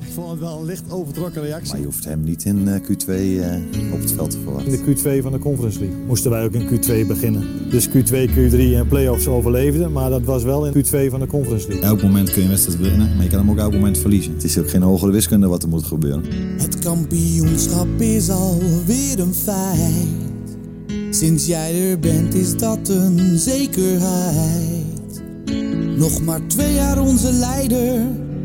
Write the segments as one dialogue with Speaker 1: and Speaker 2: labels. Speaker 1: Ik vond het wel een licht overtrokken
Speaker 2: Maar
Speaker 1: reactie.
Speaker 2: je hoeft hem niet in eh, Q2 eh, op het veld te
Speaker 1: In
Speaker 2: verwachten.
Speaker 1: de Q2 van de Conference League moesten wij ook in Q2 beginnen. Dus Q2, Q3 en playoffs overleefden, maar dat was wel in Q2 van de Conference League.
Speaker 3: Elk moment kun je een wedstrijd winnen, maar je kan hem ook elk moment verliezen.
Speaker 2: Het is ook geen hogere wiskunde wat er moet gebeuren.
Speaker 4: Het kampioenschap is alweer een feit. Sinds jij er bent is dat een zekerheid. Nog maar twee jaar onze leider,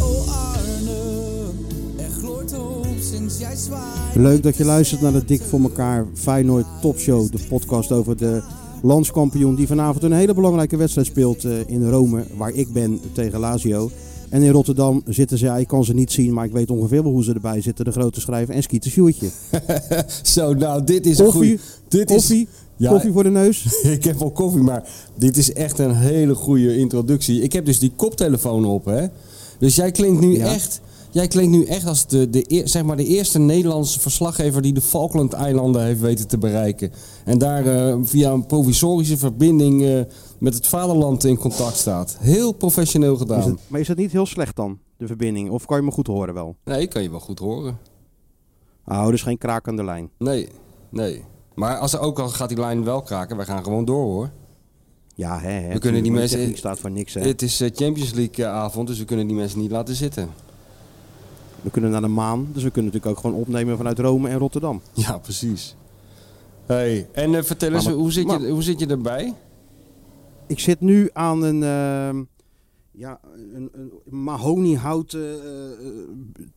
Speaker 4: Oh Arne, er gloort hoop sinds jij zwaait.
Speaker 5: Leuk dat je luistert naar de Dik voor elkaar Feyenoord Topshow. De podcast over de landskampioen die vanavond een hele belangrijke wedstrijd speelt eh, in Rome, waar ik ben tegen Lazio. En in Rotterdam zitten ze, ja, ik kan ze niet zien, maar ik weet ongeveer wel hoe ze erbij zitten. De grote schrijver en Skeeter Sjoertje.
Speaker 6: Zo, nou, dit is een
Speaker 5: Koffie,
Speaker 6: goeie. Dit
Speaker 5: koffie,
Speaker 6: Is, ja,
Speaker 5: koffie voor de neus.
Speaker 6: ik heb al koffie, maar dit is echt een hele goede introductie. Ik heb dus die koptelefoon op, hè. Dus jij klinkt nu
Speaker 5: Ja.
Speaker 6: echt... Jij klinkt nu echt als de, de, eer- zeg maar de eerste Nederlandse verslaggever die de Falkland-eilanden heeft weten te bereiken. En daar eh, via een provisorische verbinding eh, met het vaderland in contact staat. Heel professioneel gedaan.
Speaker 5: Is het- maar is dat niet heel slecht dan, de verbinding? Of kan je me goed horen wel?
Speaker 6: Nee, ik kan je wel goed horen.
Speaker 5: Oh, dus geen kraak aan de lijn.
Speaker 6: Nee, nee. Maar als er ook al gaat die lijn wel kraken, wij gaan gewoon door hoor.
Speaker 5: Ja, hè, hè.
Speaker 6: We kunnen die
Speaker 5: De
Speaker 6: mensen-
Speaker 5: techniek staat voor niks, hè.
Speaker 6: Het is eh, Champions League eh, avond, dus we kunnen die mensen niet laten zitten.
Speaker 5: We kunnen naar de maan, dus we kunnen natuurlijk ook gewoon opnemen vanuit Rome en Rotterdam.
Speaker 6: Ja, precies. Hey, en eh, vertel eens,
Speaker 5: Maar-
Speaker 6: hoe, zit
Speaker 5: maar-
Speaker 6: je, hoe zit je erbij?
Speaker 5: Ik zit nu aan een, ehm, ja, een, een mahoniehouten eh, eh,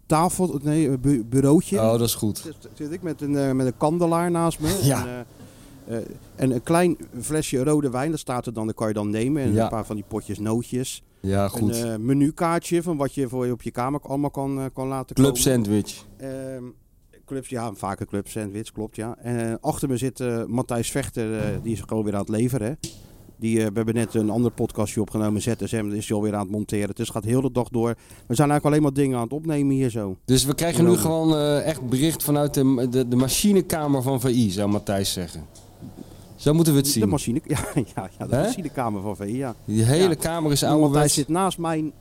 Speaker 5: tafel, nee, eh, bu- bureautje.
Speaker 6: Oh, dat is goed.
Speaker 5: Zit, zit ik met een, eh, met een kandelaar naast me. En,
Speaker 6: Ja.
Speaker 5: eh, eh, en een klein flesje rode wijn, dat staat er dan, dat kan je dan nemen. En
Speaker 6: Ja.
Speaker 5: een paar van die potjes nootjes.
Speaker 6: Ja, goed.
Speaker 5: Een eh, menukaartje van wat je voor je op je kamer allemaal kan, eh, kan laten
Speaker 6: Club
Speaker 5: komen.
Speaker 6: sandwich.
Speaker 5: Ehm, clubs, ja, vaker club sandwich, klopt ja. En eh, achter me zit eh, Matthijs Vechter, eh, die is gewoon weer aan het leveren. hè. Die, eh, we hebben net een ander podcastje opgenomen, ZSM, die is hij alweer aan het monteren. Dus het gaat heel de dag door. We zijn eigenlijk alleen maar dingen aan het opnemen hier zo.
Speaker 6: Dus we krijgen nu
Speaker 5: Enorm.
Speaker 6: gewoon eh, echt bericht vanuit de, de, de machinekamer van VI, zou Matthijs zeggen. Zo moeten we het
Speaker 5: De
Speaker 6: zien.
Speaker 5: machine, ja, ja, ja de
Speaker 6: Hè?
Speaker 5: machinekamer van VI, ja.
Speaker 6: Die hele
Speaker 5: Ja.
Speaker 6: kamer is
Speaker 5: Matthijs
Speaker 6: ouderwets.
Speaker 5: zit naast mijn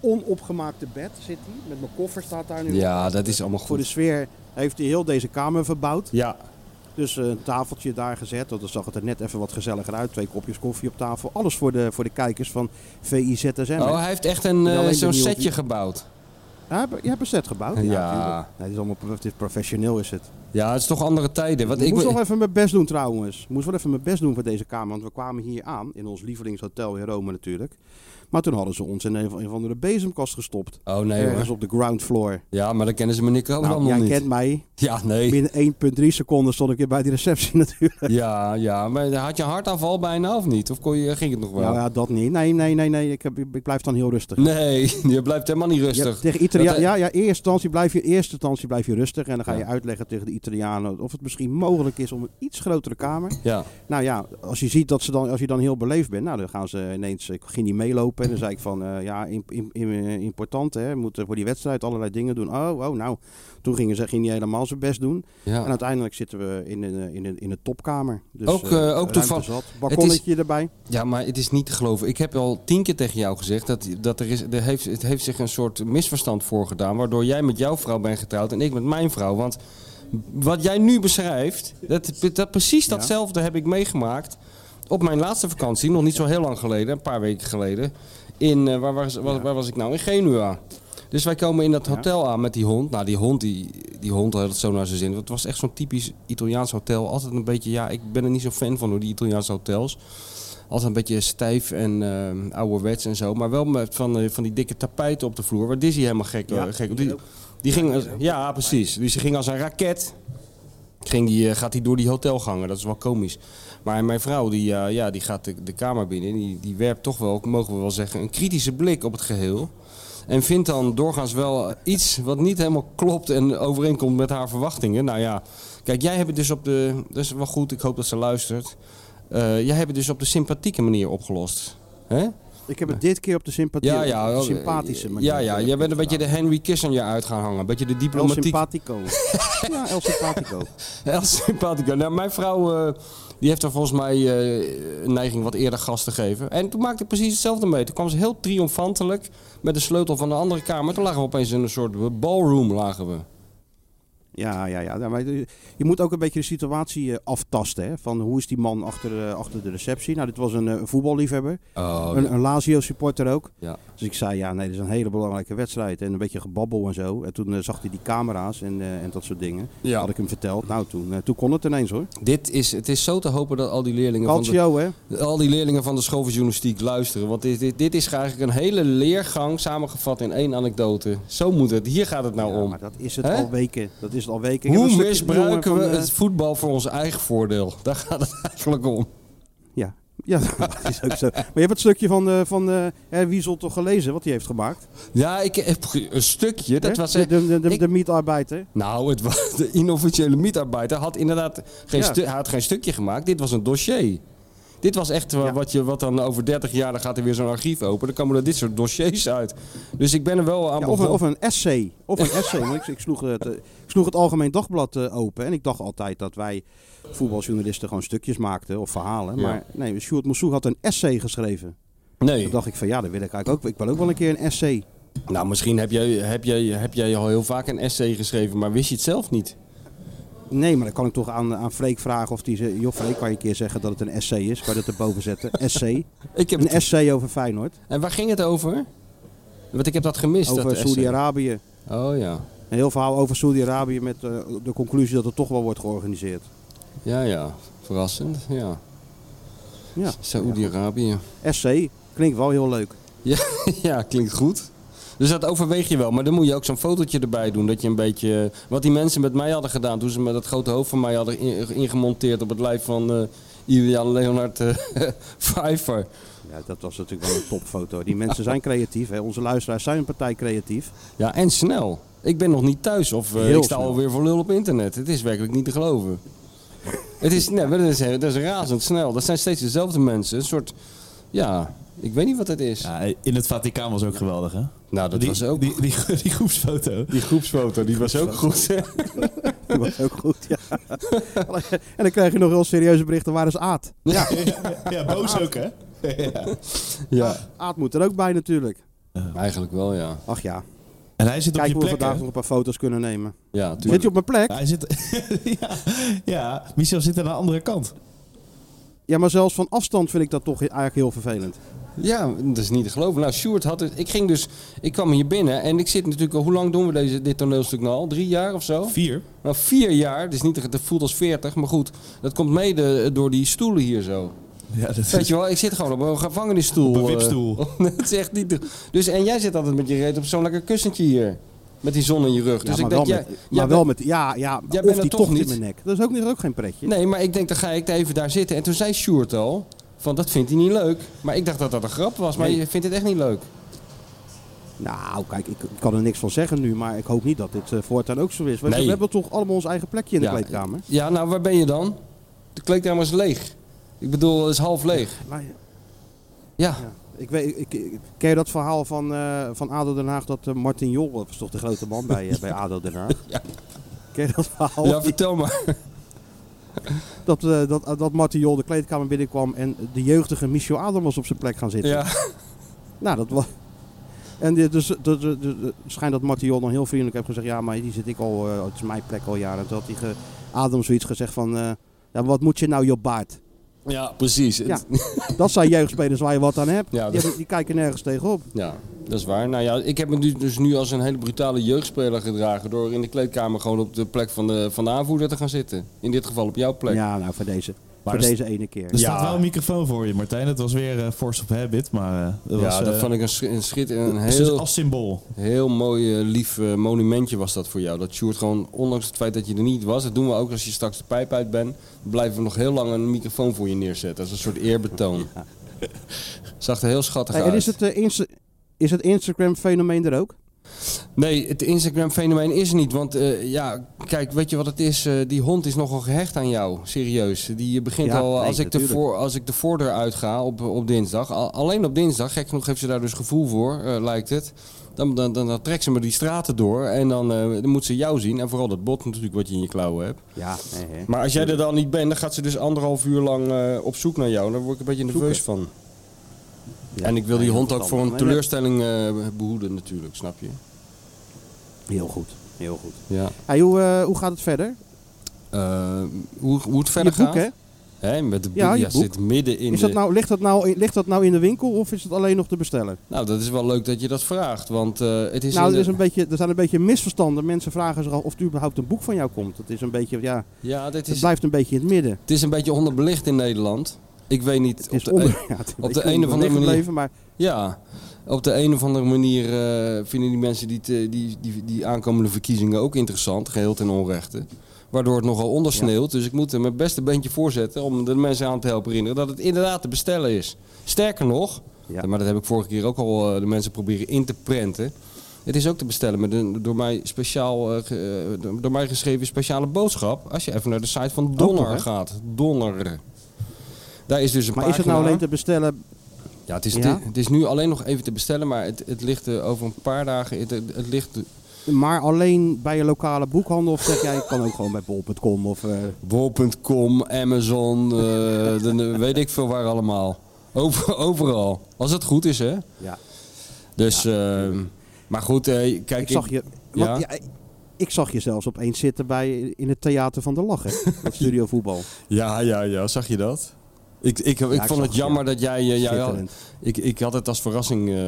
Speaker 5: onopgemaakte bed, zit hij. Met mijn koffer staat daar nu op.
Speaker 6: Ja, dat is allemaal
Speaker 5: Voor de
Speaker 6: goed.
Speaker 5: sfeer heeft hij heel deze kamer verbouwd.
Speaker 6: Ja,
Speaker 5: Dus eh, een tafeltje daar gezet. Dat zag het er net even wat gezelliger uit. Twee kopjes koffie op tafel. Alles voor de, voor de kijkers van VIZSM.
Speaker 6: oh,
Speaker 5: Oh,
Speaker 6: hij heeft echt een,
Speaker 5: ben
Speaker 6: eh,
Speaker 5: alleen
Speaker 6: zo'n
Speaker 5: benieuwd
Speaker 6: setje
Speaker 5: wie-
Speaker 6: gebouwd.
Speaker 5: Je hebt een set gebouwd.
Speaker 6: Ja.
Speaker 5: tuurlijk. nee, dit is allemaal het is professioneel is het.
Speaker 6: Ja, het is toch andere tijden. Want
Speaker 5: ik
Speaker 6: ik
Speaker 5: moest
Speaker 6: ben-
Speaker 5: nog even mijn best doen trouwens. Ik moest wel even mijn best doen voor deze kamer. Want we kwamen hier aan. In ons lievelingshotel in Rome natuurlijk. Maar toen hadden ze ons in een, van- een of andere bezemkast gestopt.
Speaker 6: Oh nee
Speaker 5: Ergens
Speaker 6: hoor.
Speaker 5: op de ground floor.
Speaker 6: Ja, maar dan kennen ze meneer Koopman
Speaker 5: Nou,
Speaker 6: nog
Speaker 5: jij
Speaker 6: niet.
Speaker 5: kent mij.
Speaker 6: Ja, nee.
Speaker 5: Binnen 1,3 seconden stond ik weer bij die receptie natuurlijk.
Speaker 6: Ja, ja, maar had je een hartaanval bijna of niet? Of kon je, ging het nog wel?
Speaker 5: Nou ja, dat niet. Nee, nee, nee. nee. Ik, heb, ik blijf dan heel rustig.
Speaker 6: Nee, je blijft helemaal niet
Speaker 5: Ja,
Speaker 6: rustig.
Speaker 5: tegen Italia
Speaker 6: Dat-
Speaker 5: ja, ja, in eerste instantie blijf je, in eerste instantie blijf je rustig. En dan ga je
Speaker 6: Ja.
Speaker 5: uitleggen tegen de Italianen of het misschien mogelijk is om een iets grotere kamer.
Speaker 6: Ja,
Speaker 5: Nou ja, als je ziet dat ze dan, als je dan heel beleefd bent, nou dan gaan ze ineens, ik ging niet meelopen. En dan zei ik van, eh, ja, imp- imp- im- eh, important hè, we moeten voor die wedstrijd allerlei dingen doen. Oh, oh, nou. Toen gingen ze, ging hij helemaal zijn best doen. En
Speaker 6: ja.
Speaker 5: uiteindelijk zitten we in een, eh, in een, in een topkamer. Dus,
Speaker 6: Ook,
Speaker 5: eh,
Speaker 6: eh, ook
Speaker 5: ruimte
Speaker 6: toevallig-
Speaker 5: zat, Balkonnetje erbij.
Speaker 6: ja, maar het is niet te geloven. Ik heb al tien keer tegen jou gezegd dat, dat er is, er heeft, het heeft zich een soort misverstand voorgedaan. Waardoor jij met jouw vrouw bent getrouwd en ik met mijn vrouw. Want wat jij nu beschrijft, dat, dat, precies datzelfde heb ik meegemaakt op mijn laatste vakantie. Nog niet zo heel lang geleden, een paar weken geleden. In, eh, waar, was, waar, waar was ik nou? In Genua. Dus wij komen in dat hotel aan met die hond. Nou, die hond, die, die hond had het zo naar zijn zin. Het was echt zo'n typisch Italiaans hotel. Altijd een beetje, ja, ik ben er niet zo fan van door die Italiaanse hotels. Altijd een beetje stijf en ehm, ouderwets en zo. Maar wel met van, eh, van die dikke tapijten op de vloer. Waar Dizzy helemaal gek,
Speaker 5: Ja,
Speaker 6: eh, gek op.
Speaker 5: die
Speaker 6: Die,
Speaker 5: ook.
Speaker 6: die ging, als- ja, precies. Dus die ging als een raket. Ging die, eh, gaat hij door die hotelgangen. Dat is wel komisch. Maar mijn vrouw, die, eh, ja, die gaat de, de kamer binnen. Die, die werpt toch wel, mogen we wel zeggen, een kritische blik op het geheel. En vindt dan doorgaans wel iets wat niet helemaal klopt en overeenkomt met haar verwachtingen. Nou ja, Kijk, jij hebt het dus op de. Dat is wel goed, ik hoop dat ze luistert. Eh, jij hebt het dus op de sympathieke manier opgelost. Hè?
Speaker 5: Ik heb het dit keer op de sympathie, op de sympathische manier.
Speaker 6: eh, Ja, ja, jij bent een beetje de Henry Kissinger uit gaan hangen. Een beetje de
Speaker 5: El
Speaker 6: diplomatiek.
Speaker 5: Sympathico. ja, El Sympathico.
Speaker 6: El sympathico. Nou, mijn vrouw eh, die heeft er volgens mij eh, een neiging wat eerder gas te geven. En toen maakte ik precies hetzelfde mee. Toen kwam ze heel triomfantelijk met de sleutel van de andere kamer. Toen lagen we opeens in een soort ballroom. Lagen we.
Speaker 5: Ja, ja, ja. Nou, maar je je moet ook een beetje de situatie eh, aftasten. Hè? Van hoe is die man achter, eh, achter de receptie? Nou, dit was een eh, voetballiefhebber.
Speaker 6: Oh,
Speaker 5: een, een Lazio supporter ook.
Speaker 6: Ja.
Speaker 5: Dus ik zei, ja, nee, dit is een hele belangrijke wedstrijd. En een beetje gebabbel en zo. En toen eh, zag hij die camera's en, eh, en dat soort dingen.
Speaker 6: Ja.
Speaker 5: Had ik hem verteld. Nou, toen, eh, toen kon het ineens hoor.
Speaker 6: Dit is, het is zo te hopen dat al die leerlingen van de
Speaker 5: Calcio, hè?
Speaker 6: Al die leerlingen van de school van journalistiek luisteren. Want dit, dit, dit is eigenlijk een hele leergang samengevat in één anekdote. Zo moet het. Hier gaat het nou
Speaker 5: Ja,
Speaker 6: om.
Speaker 5: maar dat is het
Speaker 6: Hè?
Speaker 5: al weken. Dat is het al weken. Ik heb
Speaker 6: Hoe
Speaker 5: een stukje
Speaker 6: misbruiken we
Speaker 5: jongen van, eh,
Speaker 6: het voetbal voor ons eigen voordeel? Daar gaat het eigenlijk om.
Speaker 5: Ja. Ja, dat is ook zo. Maar je hebt het stukje van, eh van eh, hè, Wiesel toch gelezen, wat hij heeft gemaakt?
Speaker 6: Ja, ik heb ge- een stukje. Dat
Speaker 5: Hè?
Speaker 6: was, eh,
Speaker 5: de, de, de, de,
Speaker 6: ik-
Speaker 5: de mietarbeiter.
Speaker 6: nou, het was, de inofficiële mietarbeider had inderdaad geen,
Speaker 5: Ja.
Speaker 6: stu- hij had geen stukje gemaakt. Dit was een dossier. Dit was echt wa-
Speaker 5: Ja.
Speaker 6: wat, je, wat dan over 30 jaar dan gaat er weer zo'n archief open. Dan komen er dit soort dossiers uit. Dus ik ben er wel aan
Speaker 5: Ja, of, een,
Speaker 6: begonnen.
Speaker 5: of een essay. Of een essay. Want ik, ik, sloeg het, eh, ik sloeg het Algemeen Dagblad eh, open. En ik dacht altijd dat wij voetbaljournalisten gewoon stukjes maakten of verhalen.
Speaker 6: Ja.
Speaker 5: Maar nee, Sjoerd Moussou had een essay geschreven.
Speaker 6: nee.
Speaker 5: Toen dacht ik van ja, dat wil ik eigenlijk ook. Ik wil ook wel een keer een essay.
Speaker 6: Nou, misschien heb jij, heb, jij, heb jij al heel vaak een essay geschreven, maar wist je het zelf niet?
Speaker 5: Nee, maar dan kan ik toch aan, aan Freek vragen of die ze. Joh, Freek, kan je een keer zeggen dat het een essay is? Kan je dat erboven zetten? Essay.
Speaker 6: Ik heb
Speaker 5: Een essay over Feyenoord.
Speaker 6: En waar ging het over? Want ik heb dat gemist. dat
Speaker 5: Over
Speaker 6: essay.
Speaker 5: Saudi-Arabië.
Speaker 6: Oh ja.
Speaker 5: Een heel verhaal over Saudi-Arabië met eh, de conclusie dat het toch wel wordt georganiseerd.
Speaker 6: Ja, ja. Verrassend. Ja.
Speaker 5: Ja.
Speaker 6: Saoedi-Arabië.
Speaker 5: SC klinkt wel heel leuk.
Speaker 6: Ja, ja, klinkt goed. Dus dat overweeg je wel, maar dan moet je ook zo'n fotootje erbij doen. Dat je een beetje. Wat die mensen met mij hadden gedaan toen ze met dat grote hoofd van mij hadden in- ingemonteerd op het lijf van eh Ilian Leonard eh, Pfeiffer.
Speaker 5: Ja, dat was natuurlijk wel een topfoto. Die mensen zijn creatief. Hè. Onze luisteraars zijn een partij creatief.
Speaker 6: Ja, en snel. Ik ben nog niet thuis of eh,
Speaker 5: Heel
Speaker 6: ik sta
Speaker 5: snel.
Speaker 6: alweer voor lul op internet. Het is werkelijk niet te geloven. het is, nee, maar dat is, dat is razendsnel. Dat zijn steeds dezelfde mensen. Een soort, ja, ik weet niet wat het is.
Speaker 7: Ja, in het Vaticaan was ook geweldig, hè?
Speaker 6: nou, dat
Speaker 7: die,
Speaker 6: was ook...
Speaker 7: Die, die, die groepsfoto.
Speaker 6: die groepsfoto, die was ook goed.
Speaker 5: Dat was ook goed, ja. en dan krijg je nog heel serieuze berichten. Waar is Aad?
Speaker 7: Ja, ja boos ook, hè? Ja.
Speaker 6: ja,
Speaker 5: Aad moet er ook bij natuurlijk.
Speaker 6: eigenlijk wel, ja.
Speaker 5: Ach ja,
Speaker 7: En hij zit op
Speaker 5: kijk
Speaker 7: je
Speaker 5: hoe we
Speaker 7: plek, hè?
Speaker 5: vandaag nog een paar foto's kunnen nemen.
Speaker 6: Ja,
Speaker 5: Zit
Speaker 6: tuurlijk.
Speaker 5: je op mijn plek?
Speaker 7: Hij zit... ja, ja, Michel zit aan de andere kant.
Speaker 5: Ja, maar zelfs van afstand vind ik dat toch eigenlijk heel
Speaker 6: Dus
Speaker 5: vervelend.
Speaker 6: Ja, dat is niet te geloven. Nou, Sjoerd had het... Ik ging dus... Ik kwam hier binnen en ik zit natuurlijk al... Hoe lang doen we deze, dit toneelstuk nou al? Drie jaar of zo?
Speaker 7: Vier.
Speaker 6: Nou, vier jaar, dat, is niet, te- dat voelt als veertig, maar goed, dat komt mede eh, door die stoelen hier zo.
Speaker 7: Ja, dat
Speaker 6: Weet je wel, ik zit gewoon op een gevangenisstoel.
Speaker 7: Op een
Speaker 6: eh.
Speaker 7: wipstoel.
Speaker 6: dat is echt niet. te- Dus, en jij zit altijd met je reet op zo'n lekker kussentje hier. Met die zon in je rug.
Speaker 5: Ja, maar
Speaker 6: dus ik denk,
Speaker 5: wel
Speaker 6: jij-
Speaker 5: met,
Speaker 6: jij
Speaker 5: maar
Speaker 6: bent-
Speaker 5: wel met... Ja, ja,
Speaker 6: Jij
Speaker 5: of
Speaker 6: bent
Speaker 5: die
Speaker 6: er toch
Speaker 5: tocht in
Speaker 6: niet.
Speaker 5: mijn nek. Dat is ook, niet- ook geen pretje.
Speaker 6: Nee, maar ik denk, dan ga ik even daar zitten. En toen zei Sjoerd al, van dat vindt hij niet leuk. Maar ik dacht dat dat een grap was, maar
Speaker 5: Nee.
Speaker 6: je vindt het echt niet leuk.
Speaker 5: Nou, kijk, ik, ik kan er niks van zeggen nu, maar ik hoop niet dat dit eh, voortaan ook zo is. Want
Speaker 6: Nee.
Speaker 5: We hebben toch allemaal ons eigen plekje in de
Speaker 6: Ja.
Speaker 5: kleedkamer.
Speaker 6: Ja, nou, waar ben je dan? De kleedkamer is leeg. Ik bedoel, het is half leeg.
Speaker 5: Maar,
Speaker 6: Ja.
Speaker 5: ja, ik weet, ik, ik- ken je dat verhaal van, eh, van ADO Den Haag dat eh, Martin Jol, dat was toch de grote man bij, eh, bij ADO Den Haag?
Speaker 6: Ja.
Speaker 5: Ken je dat verhaal?
Speaker 6: Ja, vertel maar.
Speaker 5: dat, eh, dat, dat Martin Jol de kleedkamer binnenkwam en de jeugdige Michel Adam was op zijn plek gaan zitten.
Speaker 6: Ja.
Speaker 5: Nou, dat was... En dit- dus, dus, dus, dus- dus- schijnt dat Martin Jol dan heel vriendelijk heeft gezegd... ja, maar die zit ik al, eh, het is mijn plek al jaren. En toen had hij ge, Adam zoiets gezegd van... eh, ja, wat moet je nou, je baard?
Speaker 6: Ja, precies.
Speaker 5: Ja. Dat zijn jeugdspelers waar je wat aan hebt.
Speaker 6: Ja,
Speaker 5: die,
Speaker 6: dat-
Speaker 5: hebben- die kijken nergens tegenop.
Speaker 6: Ja, dat is waar. Nou ja, ik heb me nu- dus nu als een hele brutale jeugdspeler gedragen door in de kleedkamer gewoon op de plek van de, van de aanvoerder te gaan zitten. In dit geval op jouw plek.
Speaker 5: Ja, nou, voor deze, voor
Speaker 7: er s-
Speaker 5: deze ene keer.
Speaker 7: Er staat wel een microfoon voor je, Martijn. Dat was weer eh, Force of Habit, maar... eh, dat
Speaker 6: Ja,
Speaker 7: was,
Speaker 2: Dus,
Speaker 6: dat
Speaker 7: eh,
Speaker 6: vond ik een, sch- een schit, een
Speaker 7: dus dat is
Speaker 6: heel,
Speaker 7: als symbool.
Speaker 6: heel mooi eh, lief eh, monumentje was dat voor jou. Dat Sjoerd gewoon, ondanks het feit dat je er niet was, dat doen we ook als je straks de pijp uit bent, blijven we nog heel lang een microfoon voor je neerzetten. als een soort eerbetoon. Zag er heel schattig
Speaker 5: Hey, en
Speaker 6: uit.
Speaker 5: is het, eh, Insta- is het Instagram-fenomeen er ook?
Speaker 6: Nee, het Instagram-fenomeen is er niet. Want eh, ja, kijk, weet je wat het is? Eh, die hond is nogal gehecht aan jou, serieus. Die eh, begint
Speaker 8: Ja,
Speaker 6: al,
Speaker 8: nee,
Speaker 6: als, ik de
Speaker 8: natuurlijk.
Speaker 6: voor, als ik de voordeur uitga op, op dinsdag, al- alleen op dinsdag, gek genoeg heeft ze daar dus gevoel voor, eh, lijkt het. Dan, dan, dan, dan trekt ze me die straten door en dan, eh, dan moet ze jou zien. En vooral dat bot natuurlijk wat je in je klauwen hebt.
Speaker 8: Ja, nee, hè.
Speaker 6: Maar als jij er dan niet bent, dan gaat ze dus anderhalf uur lang eh, op zoek naar jou. Daar word ik een beetje nerveus van.
Speaker 8: Ja,
Speaker 6: en ik wil die
Speaker 8: heel
Speaker 6: hond ook
Speaker 8: verstandig.
Speaker 6: voor een
Speaker 8: Nee,
Speaker 6: teleurstelling eh, behoeden natuurlijk, snap je?
Speaker 8: dat- Heel goed, heel goed.
Speaker 6: Ja.
Speaker 5: Hey, hoe, eh, hoe gaat het verder?
Speaker 6: Eh, hoe, hoe het verder
Speaker 5: je boek,
Speaker 6: gaat.
Speaker 5: hè?
Speaker 6: Hè, met de boek,
Speaker 5: Ja,
Speaker 6: ja,
Speaker 5: je boek.
Speaker 6: zit midden in
Speaker 5: Is dat
Speaker 6: de-
Speaker 5: nou, ligt, dat nou, in- ligt dat nou in de winkel of is het alleen nog te bestellen?
Speaker 6: Nou, dat is wel leuk dat je dat vraagt, want eh, het is...
Speaker 5: nou,
Speaker 6: in
Speaker 5: er,
Speaker 6: de-
Speaker 5: is een beetje, er zijn een beetje misverstanden. Mensen vragen zich af of er überhaupt een boek van jou komt. Dat is een beetje, ja,
Speaker 6: Ja, dit
Speaker 5: het
Speaker 6: is,
Speaker 5: blijft een beetje in het midden.
Speaker 6: het is een beetje onderbelicht in Nederland. Ik weet niet...
Speaker 5: Het is
Speaker 6: de- e-
Speaker 5: onder, ja, het is
Speaker 6: op de
Speaker 5: beetje
Speaker 6: een of andere manier-
Speaker 5: leven, maar
Speaker 6: Ja, op de een of andere manier eh, vinden die mensen die, te- die, die, die aankomende verkiezingen ook interessant, geheel ten onrechte. Waardoor het nogal ondersneeuwt. Dus ik moet er mijn beste beentje voor zetten om de mensen aan te helpen herinneren dat het inderdaad te bestellen is. Sterker nog,
Speaker 8: Ja.
Speaker 6: maar dat heb ik vorige keer ook al eh, de mensen proberen in te prenten. Het is ook te bestellen met een door mij, speciaal, eh, ge- eh, door mij geschreven speciale boodschap. Als je even naar de site van Donner
Speaker 5: nog, hè?
Speaker 6: gaat. Donner. Daar is dus een
Speaker 5: maar is het nou
Speaker 6: pagina.
Speaker 5: alleen te bestellen?
Speaker 6: Ja, het is,
Speaker 5: Ja?
Speaker 6: het is nu alleen nog even te bestellen, maar het, het ligt eh, over een paar dagen. Het, het, het ligt
Speaker 5: Maar alleen bij je lokale boekhandel? Of zeg jij, het kan ook gewoon bij bol.com? Of, eh,
Speaker 6: bol.com, Amazon, eh, de- weet ik veel waar allemaal. Over, overal. Als het goed is, hè?
Speaker 8: Ja.
Speaker 6: Dus, ehm, maar goed, eh, kijk.
Speaker 5: ik zag je...
Speaker 6: ja?
Speaker 5: want, ja, ik- ik zag je zelfs opeens zitten bij, in het Theater van de Lachen. Dat studio voetbal.
Speaker 6: Ja, ja, ja. Zag je dat? Ik, ik, ik,
Speaker 5: ik
Speaker 6: vond
Speaker 5: zag
Speaker 6: het
Speaker 5: het,
Speaker 6: jammer
Speaker 5: ja.
Speaker 6: dat jij... eh, jij wel-
Speaker 5: Schitterend.
Speaker 6: ik, ik had het als verrassing eh,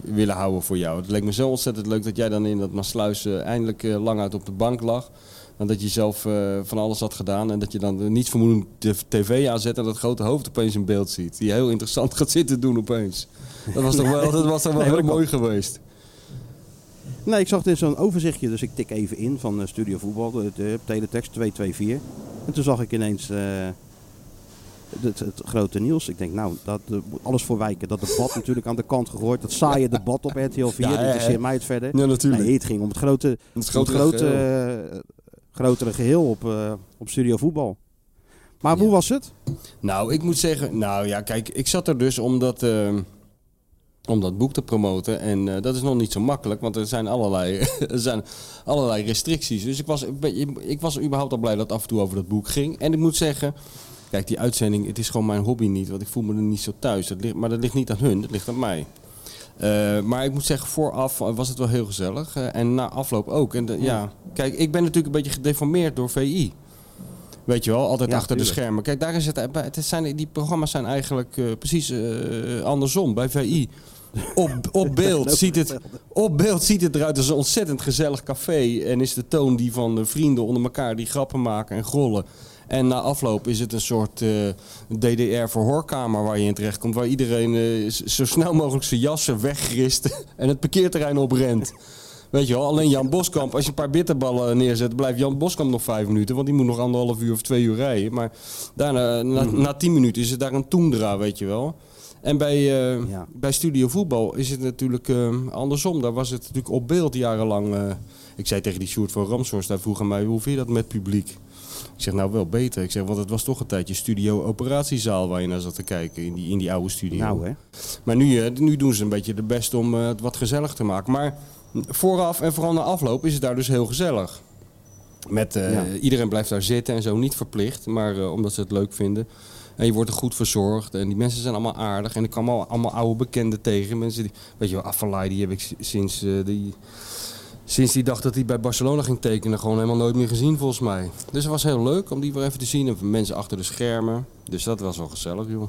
Speaker 6: willen houden voor jou. Het leek me zo ontzettend leuk dat jij dan in dat Maasluis eh, eindelijk eh, lang uit op de bank lag. En dat je zelf eh, van alles had gedaan. En dat je dan eh, niet vermoedend de tv aanzet en dat grote hoofd opeens in beeld ziet. Die heel interessant gaat zitten doen opeens. Dat was toch wel, dat was toch wel heel mooi geweest.
Speaker 5: Nee, ik zag dit zo'n overzichtje, dus ik tik even in van eh, Studio Voetbal, de, de teletext 224. En toen zag ik ineens eh, het, het grote nieuws. Ik denk, nou, dat, eh, moet alles voor wijken. Dat debat natuurlijk aan de kant gegooid. Dat saaie debat op RTL 4,
Speaker 6: Ja,
Speaker 5: dat
Speaker 6: ja,
Speaker 5: interesseert
Speaker 6: ja.
Speaker 5: mij het verder.
Speaker 6: Ja, natuurlijk.
Speaker 5: Nee, het ging om het grote, om het grote,
Speaker 6: grotere
Speaker 5: eh, grotere geheel op, eh, op Studio Voetbal. Maar hoe was het?
Speaker 6: Nou, ik moet zeggen, nou ja, kijk, ik zat er dus omdat. eh, om dat boek te promoten. En eh, dat is nog niet zo makkelijk, want er zijn allerlei, er zijn allerlei restricties. Dus ik was, een beetje- ik was überhaupt al blij dat het af en toe over dat boek ging. En ik moet zeggen, kijk, die uitzending, het is gewoon mijn hobby niet. Want ik voel me er niet zo thuis. Dat ligt, maar dat ligt niet aan hun, dat ligt aan mij. Eh, maar ik moet zeggen, vooraf was het wel heel gezellig. eh, en na afloop ook. En de- ja, kijk, ik ben natuurlijk een beetje gedeformeerd door VI. Weet je wel, altijd
Speaker 5: Ja,
Speaker 6: achter
Speaker 5: tuurlijk.
Speaker 6: de schermen. Kijk, daar is het, eh, bij- het zijn, die programma's zijn eigenlijk eh, precies eh, andersom bij VI. Op, op, beeld ziet het, op beeld ziet het eruit als een ontzettend gezellig café. En is de toon die van de vrienden onder elkaar die grappen maken en grollen. En na afloop is het een soort eh, DDR-verhoorkamer waar je in terecht komt. Waar iedereen eh, z- zo snel mogelijk zijn jassen wegrist en het parkeerterrein oprent. Weet je wel, alleen Jan Boskamp. Als je een paar bitterballen neerzet, blijft Jan Boskamp nog vijf minuten. Want die moet nog anderhalf uur of twee uur rijden. Maar daarna, na,
Speaker 5: Mhm.
Speaker 6: na tien minuten is het daar een toendra, weet je wel. En bij, eh,
Speaker 5: Ja.
Speaker 6: bij Studio Voetbal is het natuurlijk eh, andersom. Daar was het natuurlijk op beeld jarenlang. eh, ik zei tegen die Sjoerd van Ramshorst, daar vroeg aan mij, hoe vind je dat met publiek? Ik zeg, nou wel beter. Ik zeg, want het was toch een tijdje studio-operatiezaal waar je naar zat te kijken in die, in die oude studio.
Speaker 5: Nou hè.
Speaker 6: Maar nu, eh, nu doen ze een beetje de best om eh, het wat gezellig te maken. Maar vooraf en vooral na afloop is het daar dus heel gezellig. Met, eh,
Speaker 5: Ja.
Speaker 6: Iedereen blijft daar zitten en zo, niet verplicht, maar eh, omdat ze het leuk vinden. En je wordt er goed verzorgd en die mensen zijn allemaal aardig. En ik kwam al, allemaal oude bekenden tegen. Mensen die, weet je wel, Affalay, die heb ik s- sinds, eh, die, sinds die dag dat hij bij Barcelona ging tekenen gewoon helemaal nooit meer gezien volgens mij. Dus het was heel leuk om die weer even te zien. En mensen achter de schermen. Dus dat was wel gezellig, joh.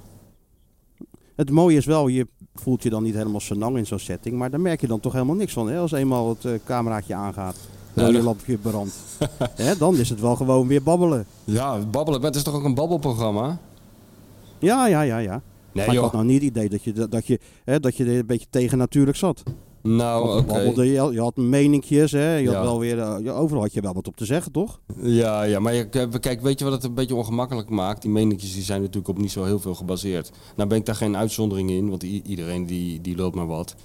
Speaker 5: Het mooie is wel, je voelt je dan niet helemaal senang in zo'n setting, maar daar merk je dan toch helemaal niks van. Hè? Als eenmaal het eh, cameraatje aangaat,
Speaker 6: Ja,
Speaker 5: dan je
Speaker 6: dat-
Speaker 5: lampje brandt. hè? Dan is het wel gewoon weer babbelen.
Speaker 6: Ja, babbelen. Maar het is toch ook een babbelprogramma?
Speaker 5: Ja, ja, ja, ja.
Speaker 6: Nee,
Speaker 5: maar ik
Speaker 6: joh.
Speaker 5: had nou niet het idee dat je, dat je, hè, dat je er een beetje tegennatuurlijk zat.
Speaker 6: Nou, oké.
Speaker 5: Babbelde Je, je had meninkjes, hè? Je
Speaker 6: Ja.
Speaker 5: had wel weer, eh, ja, overal had je wel wat op te zeggen, toch?
Speaker 6: Ja, ja, maar je- kijk, weet je wat het een beetje ongemakkelijk maakt? Die meningjes die zijn natuurlijk op niet zo heel veel gebaseerd. Nou ben ik daar geen uitzondering in, want i- iedereen die, die loopt maar wat.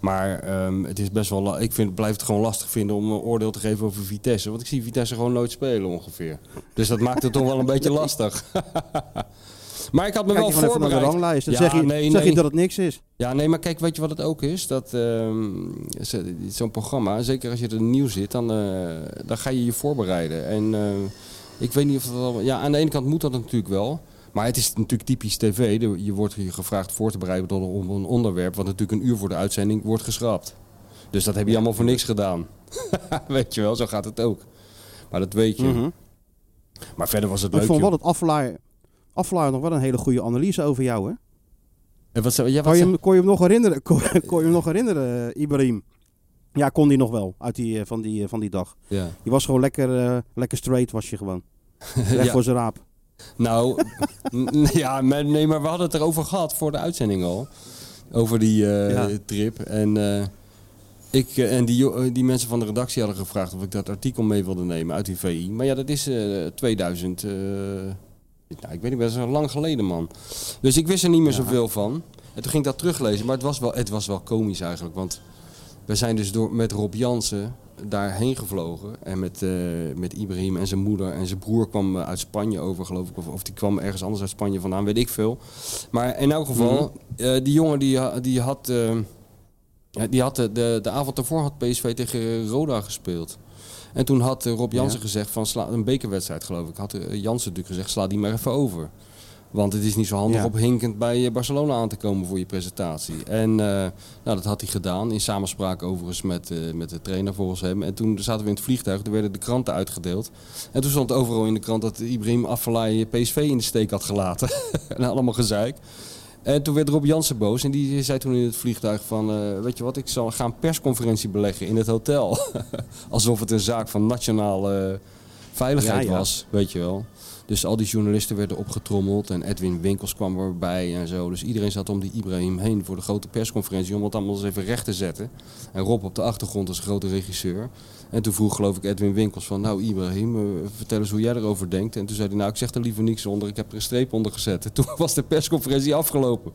Speaker 6: Maar ehm, het is best wel, la- ik vind, blijf het gewoon lastig vinden om een oordeel te geven over Vitesse. Want ik zie Vitesse gewoon nooit spelen ongeveer. Dus dat maakt het toch wel een beetje lastig. maar ik had me
Speaker 5: Kijk
Speaker 6: wel
Speaker 5: je gewoon even naar de
Speaker 6: voorbereid.
Speaker 5: ranglijst. Dan
Speaker 6: Ja,
Speaker 5: zeg, je,
Speaker 6: nee,
Speaker 5: zeg
Speaker 6: nee.
Speaker 5: je dat het niks is.
Speaker 6: Ja, nee, maar kijk, weet je wat het ook is? Dat ehm, ze- zo'n programma, zeker als je er nieuw zit, dan, eh, dan ga je je voorbereiden. En eh, ik weet niet of dat allemaal... Ja, aan de ene kant moet dat natuurlijk wel. Maar het is natuurlijk typisch tv. De- Je wordt hier gevraagd voor te bereiden tot een- op een onderwerp... wat natuurlijk een uur voor de uitzending wordt geschrapt. Dus dat heb je allemaal voor niks gedaan. weet je wel, zo gaat het ook. Maar dat weet je.
Speaker 5: Mhm.
Speaker 6: Maar verder was het
Speaker 5: Maar
Speaker 6: leuk,
Speaker 5: ik vond
Speaker 6: joh.
Speaker 5: wel dat Afflaar, Afflaar nog wel een hele goede analyse over jou, hè?
Speaker 6: En wat zei- ja, wat
Speaker 5: Kon je,
Speaker 6: zei-
Speaker 5: hem, kon je hem nog herinneren, kon, kon je hem nog herinneren eh, Ibrahim? Ja, kon die nog wel uit die, eh, van, die, eh, van die dag.
Speaker 6: ja.
Speaker 5: Je was gewoon lekker, eh, lekker straight, was je gewoon. Recht
Speaker 6: Ja.
Speaker 5: voor zijn raap.
Speaker 6: Nou, n- ja, maar, nee, maar we hadden het erover gehad voor de uitzending al. Over die eh,
Speaker 5: Ja.
Speaker 6: trip. En, eh, ik, eh, en die, jo- eh, die mensen van de redactie hadden gevraagd of ik dat artikel mee wilde nemen uit die VI. Maar ja, dat is eh, 2000. eh, nou, ik weet niet, dat is al lang geleden, man. Dus ik wist er niet meer zoveel van. En toen ging ik dat teruglezen. Maar het was wel, het was wel komisch eigenlijk. Want we zijn dus door, met Rob Jansen daarheen gevlogen. En met, eh, met Ibrahim en zijn moeder. En zijn broer kwam eh, uit Spanje over, geloof ik. Of, of die kwam ergens anders uit Spanje vandaan, weet ik veel. Maar in elk geval, eh, die jongen die, ha- die had... eh, ja, die had de, de, de avond daarvoor had PSV tegen Roda gespeeld. En toen had eh, Rob Jansen gezegd van sla, een bekerwedstrijd geloof ik. Had eh, Jansen natuurlijk gezegd sla die maar even over. Want het is niet zo handig
Speaker 5: Ja.
Speaker 6: op hinkend bij eh, Barcelona aan te komen voor je presentatie. En eh, nou, dat had hij gedaan. In samenspraak overigens met, eh, met de trainer volgens hem. En toen zaten we in het vliegtuig. Er werden de kranten uitgedeeld. En toen stond overal in de krant dat Ibrahim Afellay eh, PSV in de steek had gelaten. en allemaal gezeik. En toen werd Rob Jansen boos en die zei toen in het vliegtuig van... eh, weet je wat, ik zal gaan persconferentie beleggen in het hotel. Alsof het een zaak van nationale eh, veiligheid
Speaker 5: Ja, ja.
Speaker 6: was, weet je wel. Dus al die journalisten werden opgetrommeld en Edwin Winkels kwam erbij en zo. Dus iedereen zat om die Ibrahim heen voor de grote persconferentie... om het allemaal eens even recht te zetten. En Rob op de achtergrond als grote regisseur. En toen vroeg geloof ik Edwin Winkels van... nou Ibrahim, eh, vertel eens hoe jij erover denkt. En toen zei hij, nou ik zeg er liever niks onder. Ik heb er een streep onder gezet. En toen was de persconferentie afgelopen.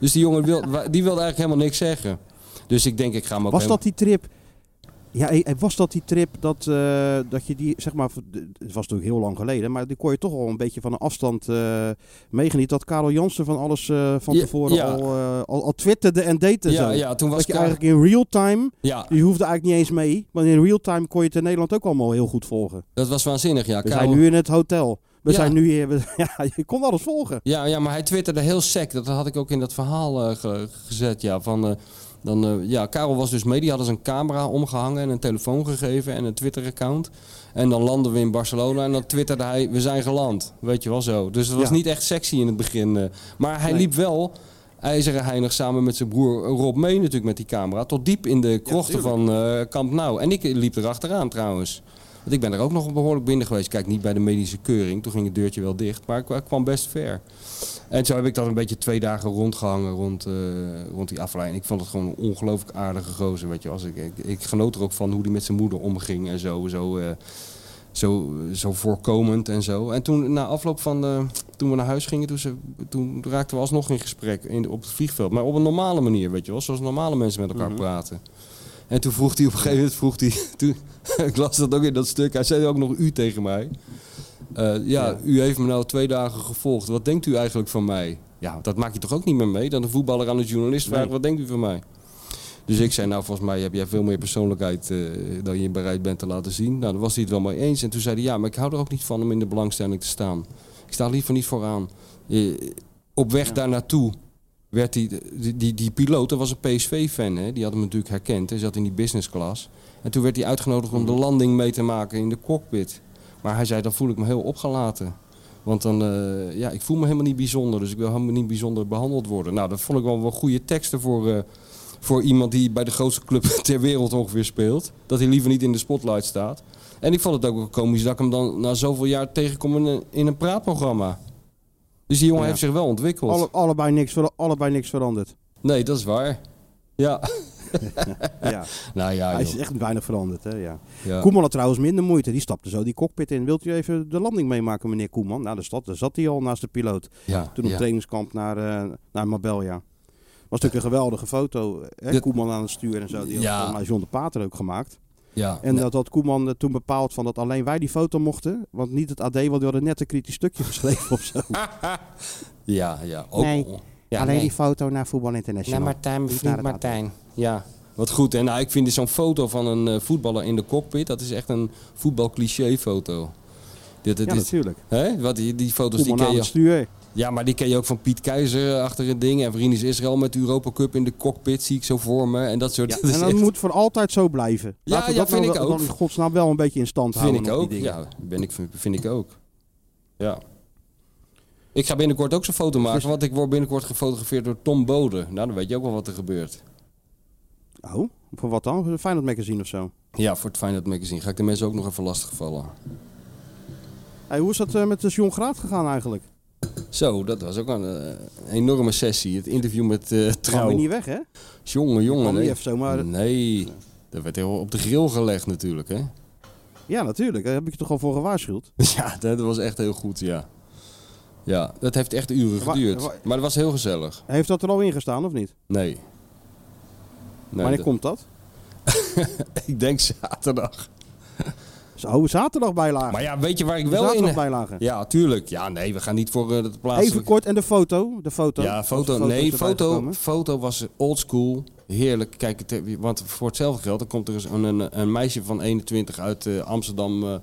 Speaker 6: Dus die jongen wil, wa- die wilde eigenlijk helemaal niks zeggen. Dus ik denk, ik ga hem ook
Speaker 5: Was
Speaker 6: helemaal-
Speaker 5: dat die trip? Ja, eh, eh, was dat die trip dat, eh, dat je die, zeg maar, v- de- het was natuurlijk heel lang geleden, maar die kon je toch al een beetje van een afstand eh meegenieten. Dat Karel Jansen van alles eh, van
Speaker 6: Ja,
Speaker 5: tevoren
Speaker 6: ja.
Speaker 5: Al, eh, al, al twitterde en deed en
Speaker 6: Ja,
Speaker 5: zo.
Speaker 6: ja, toen was
Speaker 5: dat je
Speaker 6: Ka-
Speaker 5: eigenlijk in real time,
Speaker 6: Ja,
Speaker 5: je hoefde eigenlijk niet eens mee, want in real time kon je het in Nederland ook allemaal heel goed volgen.
Speaker 6: dat was waanzinnig. Ja,
Speaker 5: We
Speaker 6: Karel-
Speaker 5: zijn nu in het hotel. We
Speaker 6: Ja.
Speaker 5: zijn nu hier, we- ja, je kon alles volgen.
Speaker 6: Ja, ja, maar hij twitterde heel sec. Dat had ik ook in dat verhaal eh, ge- gezet. Ja, van, eh, dan, eh, ja, Karel was dus mee. Die hadden ze een camera omgehangen en een telefoon gegeven en een Twitter-account. En dan landen we in Barcelona en dan twitterde hij, we zijn geland. Weet je wel zo. Dus dat was
Speaker 5: Ja.
Speaker 6: niet echt sexy in het begin. eh. maar hij
Speaker 5: Nee.
Speaker 6: liep wel ijzeren heinig samen met zijn broer eh, Rob mee natuurlijk met die camera. Tot diep in de krochten van eh Camp Nou. En ik liep erachteraan trouwens. Want ik ben er ook nog behoorlijk binnen geweest. Kijk, niet bij de medische keuring. Toen ging het deurtje wel dicht. Maar ik, ik kwam best ver. En zo heb ik dat een beetje twee dagen rondgehangen rond, eh, rond die aflijn. Ik vond het gewoon een ongelooflijk aardige gozer. Weet je, als ik, ik, ik genoot er ook van hoe die met zijn moeder omging en zo. Zo, eh, zo, zo voorkomend en zo. En toen na afloop van de, toen we naar huis gingen, toen, ze, toen raakten we alsnog in gesprek in, op het vliegveld. Maar op een normale manier, weet je wel. Zoals normale mensen met elkaar praten. En toen vroeg hij op een gegeven moment, vroeg hij, toen, ik las dat ook in dat stuk, hij zei ook nog u tegen mij. Eh, ja, u heeft me nou twee dagen gevolgd. Wat denkt u eigenlijk van mij? Ja, dat maak je toch ook niet meer mee? Dan een voetballer aan een journalist vraagt, wat denkt u van mij? Dus ik zei, nou volgens mij heb jij veel meer persoonlijkheid eh, dan je bereid bent te laten zien. Nou, daar was hij het wel mee eens. En toen zei hij, ja, maar ik hou er ook niet van om in de belangstelling te staan. Ik sta liever niet vooraan. Eh, op weg daar naartoe werd die, die, die, die piloot, dat was een PSV-fan, hè? die had hem natuurlijk herkend. Hij zat in die business class. En toen werd hij uitgenodigd om de landing mee te maken in de cockpit. Maar hij zei, dan voel ik me heel opgelaten. Want dan, eh, ja, ik voel me helemaal niet bijzonder. Dus ik wil helemaal niet bijzonder behandeld worden. Nou, dat vond ik wel, wel goede teksten voor, eh, voor iemand die bij de grootste club ter wereld ongeveer speelt. Dat hij liever niet in de spotlight staat. En ik vond het ook wel komisch dat ik hem dan na zoveel jaar tegenkom in een, in een praatprogramma. Dus die jongen heeft zich wel ontwikkeld.
Speaker 5: Alle, allebei, niks, ver- allebei niks veranderd.
Speaker 6: Nee, dat is waar. Ja,
Speaker 5: ja.
Speaker 6: Nou ja,
Speaker 5: Hij is
Speaker 6: joh.
Speaker 5: echt weinig veranderd. Hè? Ja.
Speaker 6: ja.
Speaker 5: Koeman had trouwens minder moeite. Die stapte zo die cockpit in. Wilt u even de landing meemaken, meneer Koeman? Nou, daar zat, daar zat hij al naast de piloot.
Speaker 6: ja.
Speaker 5: Toen op
Speaker 6: ja.
Speaker 5: trainingskamp naar, eh, naar Marbella. Was natuurlijk een geweldige foto. Hè?
Speaker 6: Ja.
Speaker 5: Koeman aan het stuur en zo. Die
Speaker 6: Ja.
Speaker 5: had volgens mij John de Pater ook gemaakt.
Speaker 6: Ja.
Speaker 5: En dat had Koeman eh, toen bepaald van dat alleen wij die foto mochten. Want niet het AD, want die hadden net een kritisch stukje geschreven of zo.
Speaker 6: ja, ja. Oh, Ook.
Speaker 5: Nee,
Speaker 6: Ja,
Speaker 5: alleen
Speaker 6: nee.
Speaker 5: die foto naar Voetbal
Speaker 6: Naar
Speaker 5: International.
Speaker 6: Martijn,
Speaker 5: Niet naar
Speaker 6: vriend
Speaker 5: het
Speaker 6: Martijn. Ja, wat goed. En nou, ik vind dus zo'n foto van een eh, voetballer in de cockpit, dat is echt een voetbalcliché-foto. Dit, dit,
Speaker 5: ja,
Speaker 6: dit,
Speaker 5: natuurlijk.
Speaker 6: hè? Wat, die, die foto's die
Speaker 5: Koeman
Speaker 6: ken
Speaker 5: aan
Speaker 6: je.
Speaker 5: het stuur.
Speaker 6: Ja, maar die ken je ook van Piet Keizer achter een ding. En Vriendis Israël met de Europa Cup in de cockpit zie ik zo voor me. En dat soort
Speaker 5: Ja,
Speaker 6: dat is
Speaker 5: en dat
Speaker 6: echt-
Speaker 5: moet voor altijd zo blijven.
Speaker 6: Ja,
Speaker 5: Laten we
Speaker 6: ja,
Speaker 5: dat dan
Speaker 6: vind
Speaker 5: wel-
Speaker 6: ik ook.
Speaker 5: dan in godsnaam wel een beetje in stand
Speaker 6: vind
Speaker 5: houden.
Speaker 6: ik
Speaker 5: nog die
Speaker 6: ook.
Speaker 5: dingen.
Speaker 6: Ja, ben ik, vind, vind ik ook. Ja. Ik ga binnenkort ook zo'n foto maken, want ik word binnenkort gefotografeerd door Tom Bode. Nou, dan weet je ook wel wat er gebeurt.
Speaker 5: Oh, voor wat dan? Voor de Feyenoord magazine of zo.
Speaker 6: Ja, voor het Feyenoord magazine ga ik de mensen ook nog even lastigvallen.
Speaker 5: Hey, hoe is dat eh, met de Jon Graat gegaan eigenlijk?
Speaker 6: Zo, dat was ook een eh, enorme sessie. Het interview met eh
Speaker 5: Gaan we
Speaker 6: Trouw.
Speaker 5: niet weg, hè?
Speaker 6: Jongen, jongen.
Speaker 5: kwam niet
Speaker 6: Nee.
Speaker 5: even zomaar-
Speaker 6: nee, dat werd heel op de grill gelegd natuurlijk. Hè?
Speaker 5: Ja, natuurlijk. Daar heb ik je toch al voor gewaarschuwd.
Speaker 6: Ja, dat was echt heel goed, ja. Ja, dat heeft echt uren
Speaker 5: Wa-
Speaker 6: geduurd.
Speaker 5: wa-
Speaker 6: Maar dat was heel gezellig.
Speaker 5: Heeft dat er al in gestaan of niet?
Speaker 6: Nee. nee
Speaker 5: Wanneer
Speaker 6: dat-
Speaker 5: komt dat?
Speaker 6: Ik denk zaterdag.
Speaker 5: Zo, oh, zaterdag bijlagen.
Speaker 6: Maar ja, weet je waar ik wel
Speaker 5: zaterdag
Speaker 6: in...
Speaker 5: bijlagen.
Speaker 6: Ja, tuurlijk. Ja, nee, we gaan niet voor eh, dat plaatselijke...
Speaker 5: Even kort, en de foto? De foto?
Speaker 6: Ja, foto.
Speaker 5: Als de
Speaker 6: nee,
Speaker 5: erbij
Speaker 6: foto,
Speaker 5: gekomen.
Speaker 6: foto was oldschool. Heerlijk. Kijk, het, want voor hetzelfde geld, dan komt er eens een, een, een meisje van 21 uit eh, Amsterdam eh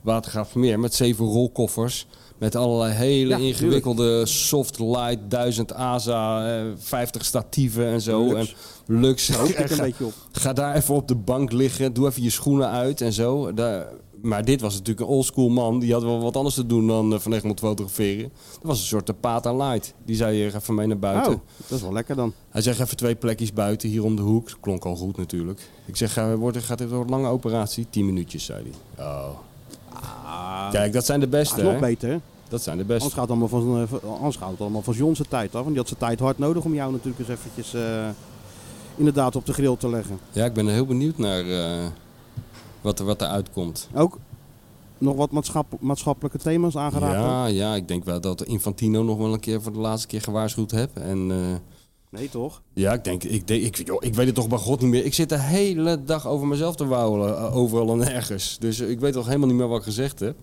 Speaker 6: Watergraafmeer met zeven rolkoffers. Met allerlei hele
Speaker 5: Ja,
Speaker 6: ingewikkelde soft light, 1000 ASA, eh, 50 statieven en zo.
Speaker 5: Lux.
Speaker 6: En luxe.
Speaker 5: Daar hoop ik een beetje op.
Speaker 6: Ga daar even op de bank liggen. Doe even je schoenen uit en zo. Daar, maar dit was natuurlijk een oldschool man. Die had wel wat anders te doen dan eh, Van Egmond fotograferen. Dat was een soort de Pata Light. Die zei, je even mee naar buiten.
Speaker 5: Oh, dat is wel lekker dan.
Speaker 6: Hij zegt, even twee plekjes buiten, hier om de hoek. Klonk al goed natuurlijk. Ik zeg, eh, wordt, gaat dit door een lange operatie? Tien minuutjes, zei hij. Oh. Kijk, dat zijn de
Speaker 5: Dat
Speaker 6: beste,
Speaker 5: is nog
Speaker 6: hè?
Speaker 5: beter. hè?
Speaker 6: Dat zijn de beste.
Speaker 5: Ah. Anders gaat het allemaal van, eh, van- anders gaat het allemaal van John zijn tijd af. En die had zijn tijd hard nodig om jou natuurlijk eens eventjes eh, inderdaad op de grill te leggen.
Speaker 6: Ja, ik ben heel benieuwd naar eh, wat, er, wat er uitkomt.
Speaker 5: Ook nog wat maatschapp- maatschappelijke thema's aangeraakt.
Speaker 6: Ja, ja, ik denk wel dat Infantino nog wel een keer voor de laatste keer gewaarschuwd heb. En... eh,
Speaker 5: Nee toch?
Speaker 6: Ja, ik denk, ik, denk ik, joh, ik weet het toch bij God niet meer. Ik zit de hele dag over mezelf te wauwelen, eh, overal en ergens. Dus eh, ik weet toch helemaal niet meer wat ik gezegd heb.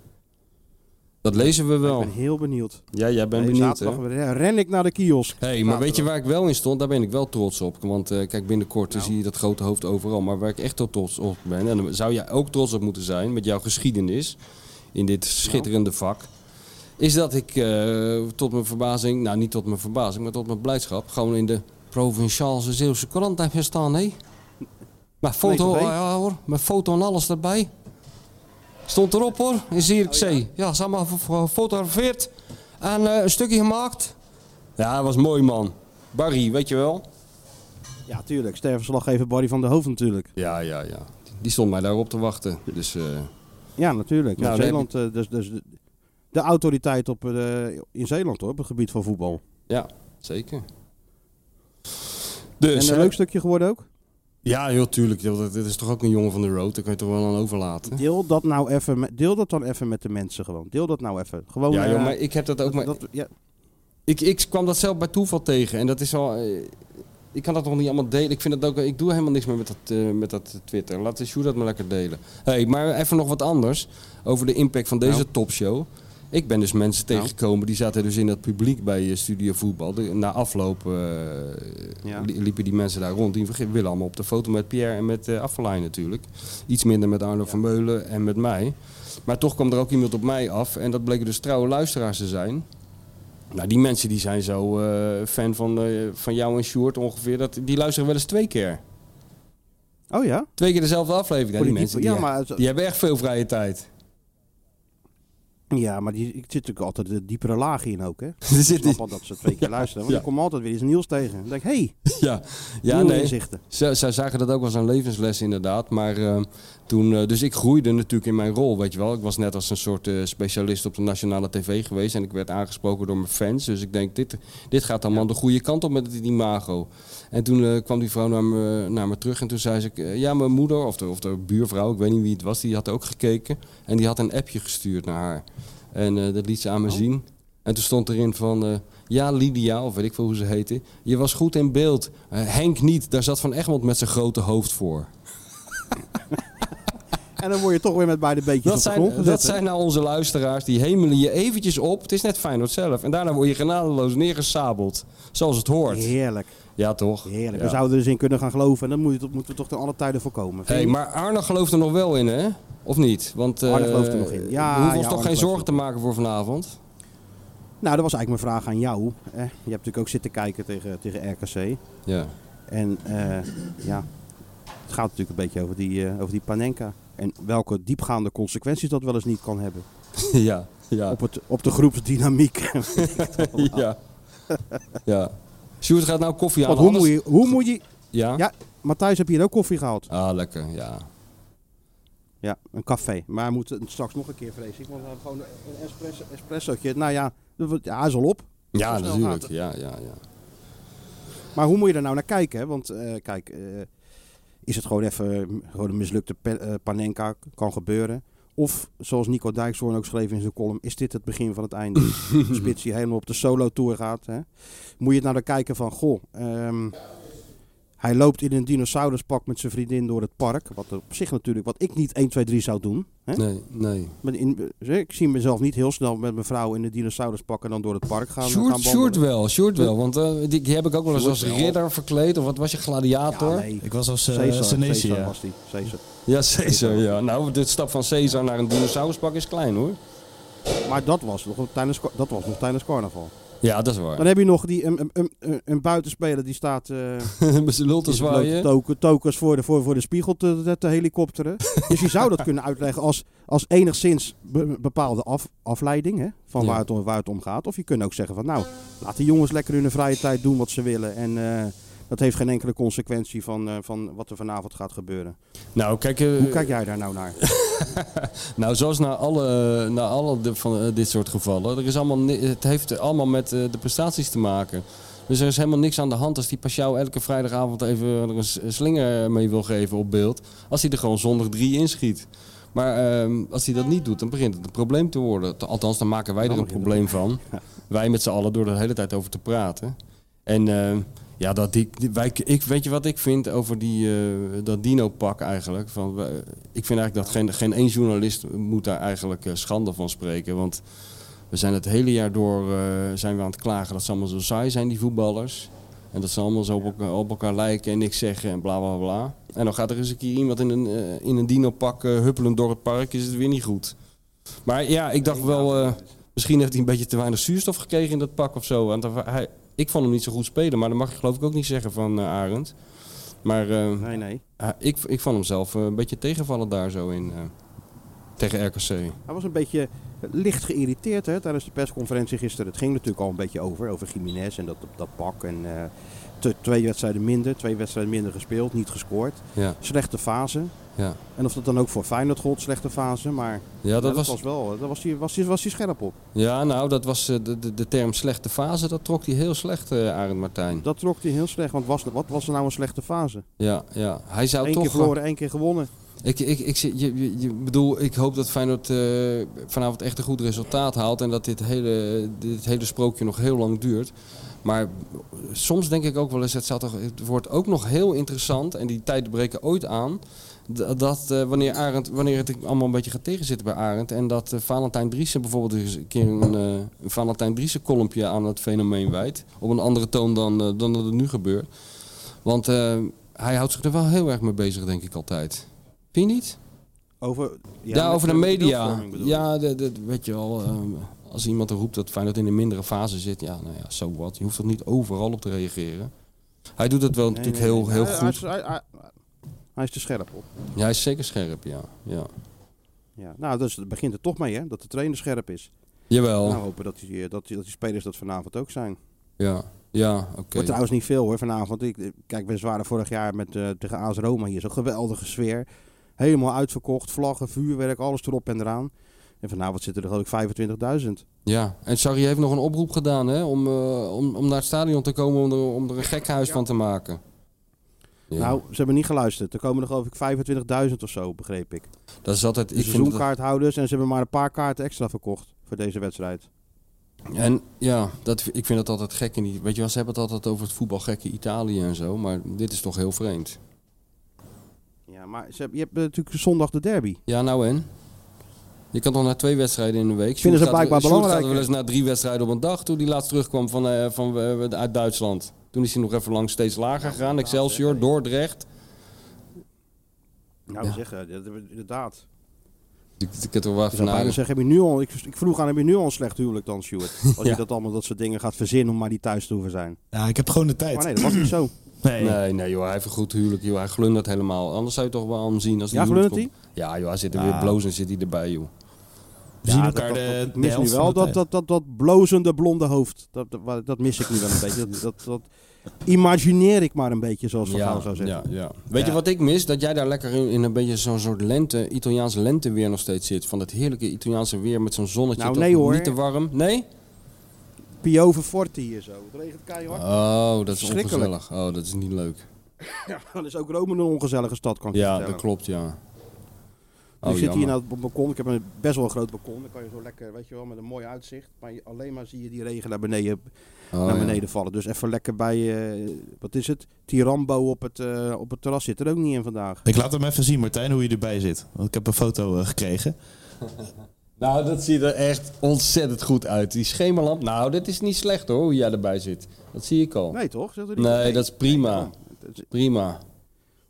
Speaker 6: Dat lezen we wel.
Speaker 5: Ik ben heel benieuwd.
Speaker 6: Ja, jij bent
Speaker 5: Nee,
Speaker 6: benieuwd, hè?
Speaker 5: zaterdag re- ren ik naar de kiosk.
Speaker 6: hey, maar weet je waar ik wel in stond? Daar ben ik wel trots op. Want eh, kijk, binnenkort
Speaker 5: Nou.
Speaker 6: eh, zie je dat grote hoofd overal. Maar waar ik echt tot trots op ben, en daar zou jij ook trots op moeten zijn met jouw geschiedenis in dit schitterende vak, is dat ik eh, tot mijn verbazing, nou niet tot mijn verbazing, maar tot mijn blijdschap, gewoon in de provinciaalse Zeeuwse krant heb gestaan, hé. Mijn foto,
Speaker 5: Nee, toch, hé?
Speaker 6: ja, hoor, mijn foto en alles erbij. Stond erop hoor, in Zierikzee. Oh, ja. ze hebben me gef- gefotografeerd en eh, een stukje gemaakt. Ja, dat was mooi man. Barry, weet je wel?
Speaker 5: Ja, tuurlijk. Sterverslaggever Barry van der Hoofd natuurlijk.
Speaker 6: Ja, ja, ja. Die stond mij daarop te wachten. Dus eh,
Speaker 5: Ja, natuurlijk.
Speaker 6: Nou,
Speaker 5: in
Speaker 6: dan
Speaker 5: Zeeland, eh, dus, dus de, de autoriteit op, eh, in Zeeland hoor, op het gebied van voetbal.
Speaker 6: ja, zeker.
Speaker 5: En
Speaker 6: Dus,
Speaker 5: een
Speaker 6: eh,
Speaker 5: leuk stukje geworden ook.
Speaker 6: Ja, heel tuurlijk. joh, dat- Dit is toch ook een jongen van de road. Daar kan je toch wel aan overlaten.
Speaker 5: Deel dat nou even, met, deel dat dan even met de mensen gewoon. Deel dat nou even. Gewoon.
Speaker 6: Ja,
Speaker 5: eh,
Speaker 6: joh, maar ik heb dat ook. Maar
Speaker 5: dat, ja,
Speaker 6: ik, ik kwam dat zelf bij toeval tegen. En dat is al. eh, Ik kan dat nog niet allemaal delen. Ik, vind dat ook, ik doe helemaal niks meer met dat, eh, met dat Twitter. Laat de Sjoerd dat maar lekker delen. hey, maar even nog wat anders. Over de impact van deze topshow. Ik ben dus mensen tegengekomen. Die zaten dus in dat publiek bij eh, Studio Voetbal. De- na afloop eh,
Speaker 5: Ja.
Speaker 6: li- liepen die mensen daar rond. Die verge- willen allemaal op de foto met Pierre en met eh Affelijn natuurlijk. Iets minder met Arno van Meulen en met mij. Maar toch kwam er ook iemand op mij af. En dat bleken dus trouwe luisteraars te zijn. Nou, die mensen die zijn zo eh, fan van, eh, van jou en Sjoerd ongeveer. Dat, die luisteren wel eens twee keer.
Speaker 5: oh ja?
Speaker 6: Twee keer dezelfde aflevering. Ja, die
Speaker 5: Politiek-
Speaker 6: mensen,
Speaker 5: ja,
Speaker 6: die,
Speaker 5: maar het-
Speaker 6: die hebben echt veel vrije tijd.
Speaker 5: Ja, maar die, ik zit natuurlijk altijd de diepere lagen in ook, hè? Ik
Speaker 6: er zit
Speaker 5: snap al dat ze twee keer luisteren, want
Speaker 6: Ja.
Speaker 5: ik kom altijd weer eens nieuws tegen. Dan denk ik, hey,
Speaker 6: Ja, ja
Speaker 5: ja,
Speaker 6: nee.
Speaker 5: inzichten.
Speaker 6: Zij, zij zagen dat ook als een levensles inderdaad. Maar eh, toen, eh, dus ik groeide natuurlijk in mijn rol, weet je wel. Ik was net als een soort eh, specialist op de nationale tv geweest. En ik werd aangesproken door mijn fans. Dus ik denk, dit, dit gaat allemaal de goede kant op met het imago. En toen eh, kwam die vrouw naar me, naar me terug. En toen zei ze, eh, ja, mijn moeder of de, of de buurvrouw, ik weet niet wie het was. Die had ook gekeken. En die had een appje gestuurd naar haar. En eh, dat liet ze aan me zien. En toen stond erin van... eh, ja, Lydia, of weet ik veel hoe ze heette. Je was goed in beeld. Eh, Henk niet, daar zat Van Egmond met zijn grote hoofd voor.
Speaker 5: En dan word je toch weer met beide beetjes
Speaker 6: Dat
Speaker 5: op de
Speaker 6: zijn,
Speaker 5: grond gezet.
Speaker 6: dat
Speaker 5: hè?
Speaker 6: zijn nou onze luisteraars, die hemelen je eventjes op. Het is net Feyenoord zelf. En daarna word je genadeloos neergesabeld. Zoals het hoort.
Speaker 5: Heerlijk,
Speaker 6: Ja, toch?
Speaker 5: heerlijk.
Speaker 6: Ja.
Speaker 5: We zouden er eens in kunnen gaan geloven en dat moet je toch- moeten we toch ten alle tijden voorkomen.
Speaker 6: Hey, maar Arne gelooft er nog wel in, hè? Of niet? Want eh,
Speaker 5: Arne gelooft er nog in. Ja,
Speaker 6: we hoeven
Speaker 5: ja, Arne
Speaker 6: ons toch geen
Speaker 5: gelooft
Speaker 6: zorgen te
Speaker 5: er nog
Speaker 6: maken voor vanavond.
Speaker 5: Nou, dat was eigenlijk mijn vraag aan jou. Eh, je hebt natuurlijk ook zitten kijken tegen, tegen RKC.
Speaker 6: Ja.
Speaker 5: En eh, ja, het gaat natuurlijk een beetje over die, eh, over die Panenka. En welke diepgaande consequenties dat wel eens niet kan hebben.
Speaker 6: ja, ja,
Speaker 5: Op, het, op de groepsdynamiek.
Speaker 6: ja. ja. Sjoerd gaat nou koffie aan.
Speaker 5: Want hoe moet
Speaker 6: anders-
Speaker 5: je... Hoe moet je
Speaker 6: Ja?
Speaker 5: ja, Matthijs, heb je hier ook koffie gehaald?
Speaker 6: Ah, lekker, ja.
Speaker 5: Ja, een café. Maar hij moet het straks nog een keer, vrees ik. Want we hebben gewoon een espresso, espressootje. Nou ja, dat wordt- ja, hij is al op.
Speaker 6: Ja,
Speaker 5: Zo snel
Speaker 6: natuurlijk.
Speaker 5: gaat
Speaker 6: Ja, ja, ja.
Speaker 5: Maar hoe moet je daar nou naar kijken? hè? Want eh, kijk, eh, is het gewoon even mm, gewoon een mislukte pe- eh, Panenka kan gebeuren? Of zoals Nico Dijkshoorn ook schreef in zijn column, is dit het begin van het einde? Een Spits die helemaal op de solo tour gaat. Hè? Moet je het nou naar kijken van, goh, ehm, hij loopt in een dinosauruspak met zijn vriendin door het park. Wat op zich natuurlijk, wat ik niet 1, 2, 3 zou doen. Hè?
Speaker 6: Nee, nee.
Speaker 5: Maar in- eh, ik zie mezelf niet heel snel met mijn vrouw in de dinosauruspak en dan door het park gaan, gaan
Speaker 6: Sjoerd,
Speaker 5: wandelen.
Speaker 6: Sjoerd wel, Sjoerd wel. Want eh, die, die heb ik ook wel eens
Speaker 5: Sjoerd
Speaker 6: als
Speaker 5: wel.
Speaker 6: ridder verkleed. Of wat was je, gladiator?
Speaker 5: Ja,
Speaker 6: Ja,
Speaker 5: nee.
Speaker 7: Ik was als
Speaker 5: Caesar,
Speaker 7: eh
Speaker 5: Caesar
Speaker 7: Senecia.
Speaker 5: was die. Caesar.
Speaker 6: Caesar, ja. Nou, de stap van Caesar naar een dinosauruspak is klein hoor.
Speaker 5: Maar dat was nog tijdens, dat was nog tijdens carnaval.
Speaker 6: Ja, dat is waar.
Speaker 5: Dan heb je nog die, een, een- een, een, een buitenspeler die staat... eh,
Speaker 6: Met zijn lul te
Speaker 5: in zijn blote
Speaker 6: zwaaien.
Speaker 5: token- tokens voor de, voor, voor de spiegel te, te- te helikopteren. dus je zou dat kunnen uitleggen als, als enigszins be- bepaalde af, afleiding hè, van
Speaker 6: Ja.
Speaker 5: waar, het, om- waar het om gaat. Of je kunt ook zeggen van nou, laat die jongens lekker in hun vrije tijd doen wat ze willen. En eh, dat heeft geen enkele consequentie van, eh, van wat er vanavond gaat gebeuren.
Speaker 6: Nou, kijk, eh,
Speaker 5: Hoe kijk jij daar nou naar?
Speaker 6: nou zoals na alle, na alle de- van eh, dit soort gevallen. Er is allemaal, ni- het heeft allemaal met eh, de prestaties te maken. Dus er is helemaal niks aan de hand als die Pashao elke vrijdagavond even er een s- slinger mee wil geven op beeld. Als hij er gewoon zondag drie inschiet. Maar ehm, als hij dat niet doet, dan begint het een probleem te worden. Te- Althans, dan maken wij er een probleem van. Wij met z'n allen door er de hele tijd over te praten. En ehm, ja, dat die, die- wij, ik, weet je wat ik vind over die, eh, dat dino-pak eigenlijk? Van, wij- ik vind eigenlijk dat geen, geen één journalist moet daar eigenlijk eh, schande van spreken. Want we zijn het hele jaar door eh, zijn we aan het klagen dat ze allemaal zo saai zijn, die voetballers. En dat ze allemaal zo op elkaar, op elkaar lijken en niks zeggen en bla bla bla. En dan gaat er eens een keer iemand in een, eh, in een dino-pak eh, huppelend door het park, is het weer niet goed. Maar ja, ik dacht
Speaker 5: nou,
Speaker 6: wel, eh, misschien heeft hij een beetje te weinig zuurstof gekregen in dat pak of zo. Want hij, ik vond hem niet zo goed spelen, maar dat mag je geloof ik ook niet zeggen van eh, Arend. Maar eh,
Speaker 5: Nee, nee.
Speaker 6: hij- ik, ik vond hem zelf eh, een beetje tegenvallen daar zo in. eh, tegen RKC.
Speaker 5: Hij was een beetje licht geïrriteerd hè, tijdens de persconferentie gisteren. Het ging natuurlijk al een beetje over, over Jiménez en dat, dat pak. En, eh, te- twee wedstrijden minder, twee wedstrijden minder gespeeld, niet gescoord.
Speaker 6: Ja,
Speaker 5: Slechte fase.
Speaker 6: ja.
Speaker 5: En of dat dan ook voor Feyenoord gold, slechte fase. Maar
Speaker 6: ja
Speaker 5: ja,
Speaker 6: dat was,
Speaker 5: wel, eh, daar was hij was, die- was die scherp op.
Speaker 6: Ja, nou, dat was eh, de, de, de term slechte fase. Dat trok hij heel slecht, eh Arend Martijn.
Speaker 5: Dat trok hij heel slecht, want was, wat was er nou een slechte fase?
Speaker 6: Ja, ja. Hij zou
Speaker 5: Eén
Speaker 6: toch...
Speaker 5: keer verloren, één keer gewonnen.
Speaker 6: Ik, ik, ik, zit- je, je, je- bedoel, ik hoop dat Feyenoord eh, vanavond echt een goed resultaat haalt. En dat dit hele, dit hele sprookje nog heel lang duurt. Maar soms denk ik ook wel eens, het, zou toch, het wordt ook nog heel interessant. En die tijden breken ooit aan. Dat, dat eh, wanneer, Arend, wanneer het allemaal een beetje gaat tegenzitten bij Arend. En dat eh, Valentijn Driessen bijvoorbeeld eens een keer een, eh, een Valentijn Driessen kolompje aan het fenomeen wijdt. Op een andere toon dan, eh, dan dat het nu gebeurt. Want eh, hij houdt zich er wel heel erg mee bezig, denk ik altijd. Vind je niet?
Speaker 5: Over,
Speaker 6: Ja,
Speaker 5: met-
Speaker 6: over de
Speaker 5: met
Speaker 6: media.
Speaker 5: beeldvorming bedoel je.
Speaker 6: Ja, dat, dat weet je wel. ehm, als iemand er roept dat Feyenoord in een mindere fase zit, ja, nou ja, zo wat. Je hoeft er niet overal op te reageren. Hij doet dat wel
Speaker 5: Nee,
Speaker 6: natuurlijk
Speaker 5: nee,
Speaker 6: heel,
Speaker 5: nee.
Speaker 6: heel
Speaker 5: Hij-
Speaker 6: goed.
Speaker 5: Hij, is- hij- hij- hij is te scherp op.
Speaker 6: Ja, hij is zeker scherp, ja. ja.
Speaker 5: ja. Nou, dus het begint er toch mee, hè? Dat de trainer scherp is.
Speaker 6: Jawel.
Speaker 5: Nou, hopen dat die, eh, dat, die, dat die spelers dat vanavond ook zijn.
Speaker 6: Ja, ja oké.
Speaker 5: Wordt trouwens niet veel hoor vanavond. Ik, eh, kijk, we waren vorig jaar met, eh, tegen AS Roma hier. Zo'n geweldige sfeer. Helemaal uitverkocht. Vlaggen, vuurwerk, alles erop en eraan. En vanavond zitten er geloof ik 25.000.
Speaker 6: Ja, en Sarri heeft nog een oproep gedaan hè, om, eh, om, om naar het stadion te komen om er, om er een gekhuis van te maken. Ja.
Speaker 5: Nou, ze hebben niet geluisterd. Er komen er geloof ik 25.000 of zo, begreep ik.
Speaker 6: dat is altijd.
Speaker 5: De
Speaker 6: Ik vind dat,
Speaker 5: seizoenkaarthouders. En ze hebben maar een paar kaarten extra verkocht voor deze wedstrijd.
Speaker 6: en ja, dat, ik vind dat altijd gek. In die, weet je wel, ze hebben het altijd over het voetbalgekke Italië en zo, maar dit is toch heel vreemd.
Speaker 5: Ja, maar ze hebben, je hebt eh, natuurlijk zondag de derby.
Speaker 6: Ja, nou en? Je kan toch naar twee wedstrijden in de week.
Speaker 5: Vinden ze
Speaker 6: Sjoerd gaat-
Speaker 5: blijkbaar
Speaker 6: Sjoerd
Speaker 5: belangrijk,
Speaker 6: gaat wel eens naar drie wedstrijden op een dag toen hij laatst terugkwam van, eh, van, eh, uit Duitsland. Toen is hij nog even lang steeds lager gegaan. Excelsior, Dordrecht.
Speaker 5: Nou,
Speaker 6: Ja.
Speaker 5: zeg, eh, dat- dat- inderdaad.
Speaker 6: Ik, ik heb er wel
Speaker 5: Ik
Speaker 6: van
Speaker 5: zou bijna zeggen, heb je nu al, ik, ik vroeg aan, heb je nu al een slecht huwelijk dan, Stuart? Als
Speaker 6: Ja.
Speaker 5: je dat allemaal dat soort dingen gaat verzinnen om maar niet thuis te hoeven zijn.
Speaker 7: Ja, ik heb gewoon de tijd.
Speaker 5: Maar nee, dat was niet zo.
Speaker 6: Nee, nee joh, hij heeft een goed huwelijk. Joh. Hij glundert helemaal. Anders zou je toch wel aan hem zien. Als die
Speaker 5: Ja,
Speaker 6: huwelijk
Speaker 5: glundert Ah.
Speaker 6: komt. Ja joh, hij zit er weer bloos en zit hij erbij joh.
Speaker 7: We zien
Speaker 5: Ja,
Speaker 7: elkaar
Speaker 5: dat- dat-
Speaker 7: de,
Speaker 5: dat- ik
Speaker 7: de
Speaker 5: mis
Speaker 7: helft
Speaker 5: nu
Speaker 7: van
Speaker 5: wel
Speaker 7: de
Speaker 5: dat,
Speaker 7: tijd.
Speaker 5: dat, dat, dat blozende blonde hoofd. Dat, dat, wa- dat mis ik nu wel een beetje. Dat, dat, dat imagineer ik maar een beetje, zoals Van Gaal
Speaker 6: Ja,
Speaker 5: zou zeggen.
Speaker 6: ja, ja. Weet je wat ik mis? Dat jij daar lekker in, in een beetje zo'n soort lente, Italiaanse lenteweer nog steeds zit. Van dat heerlijke Italiaanse weer met zo'n zonnetje.
Speaker 5: Nou,
Speaker 6: toch
Speaker 5: nee, hoor.
Speaker 6: Niet te warm. Nee?
Speaker 5: Piove Forti hier zo. Het regent keihard.
Speaker 6: Oh, dat is
Speaker 5: Verschrikkelijk.
Speaker 6: ongezellig. Oh, dat is niet leuk.
Speaker 5: Dan is ook Rome een ongezellige stad, kan ik je
Speaker 6: Ja,
Speaker 5: vertellen.
Speaker 6: dat klopt, ja.
Speaker 5: Ik
Speaker 6: Oh,
Speaker 5: zit hier
Speaker 6: jammer.
Speaker 5: nou op het balkon. Ik heb een best wel een groot balkon. Dan kan je zo lekker, weet je wel, met een mooi uitzicht. Maar je- alleen maar zie je die regen naar beneden,
Speaker 6: Oh,
Speaker 5: naar
Speaker 6: ja.
Speaker 5: beneden vallen. Dus even lekker bij, eh, wat is het? Tirambo op het, eh, op het terras zit er ook niet in vandaag.
Speaker 7: Ik laat hem even zien, Martijn, hoe je erbij zit. Want ik heb een foto eh, gekregen.
Speaker 6: Nou, dat ziet er echt ontzettend goed uit. Die schemerlamp. Nou, dit is niet slecht hoor, hoe jij erbij zit. Dat zie ik al.
Speaker 5: Nee, toch? Zegt er niet?
Speaker 6: Nee, dat is prima.
Speaker 5: man. Het is
Speaker 6: Prima.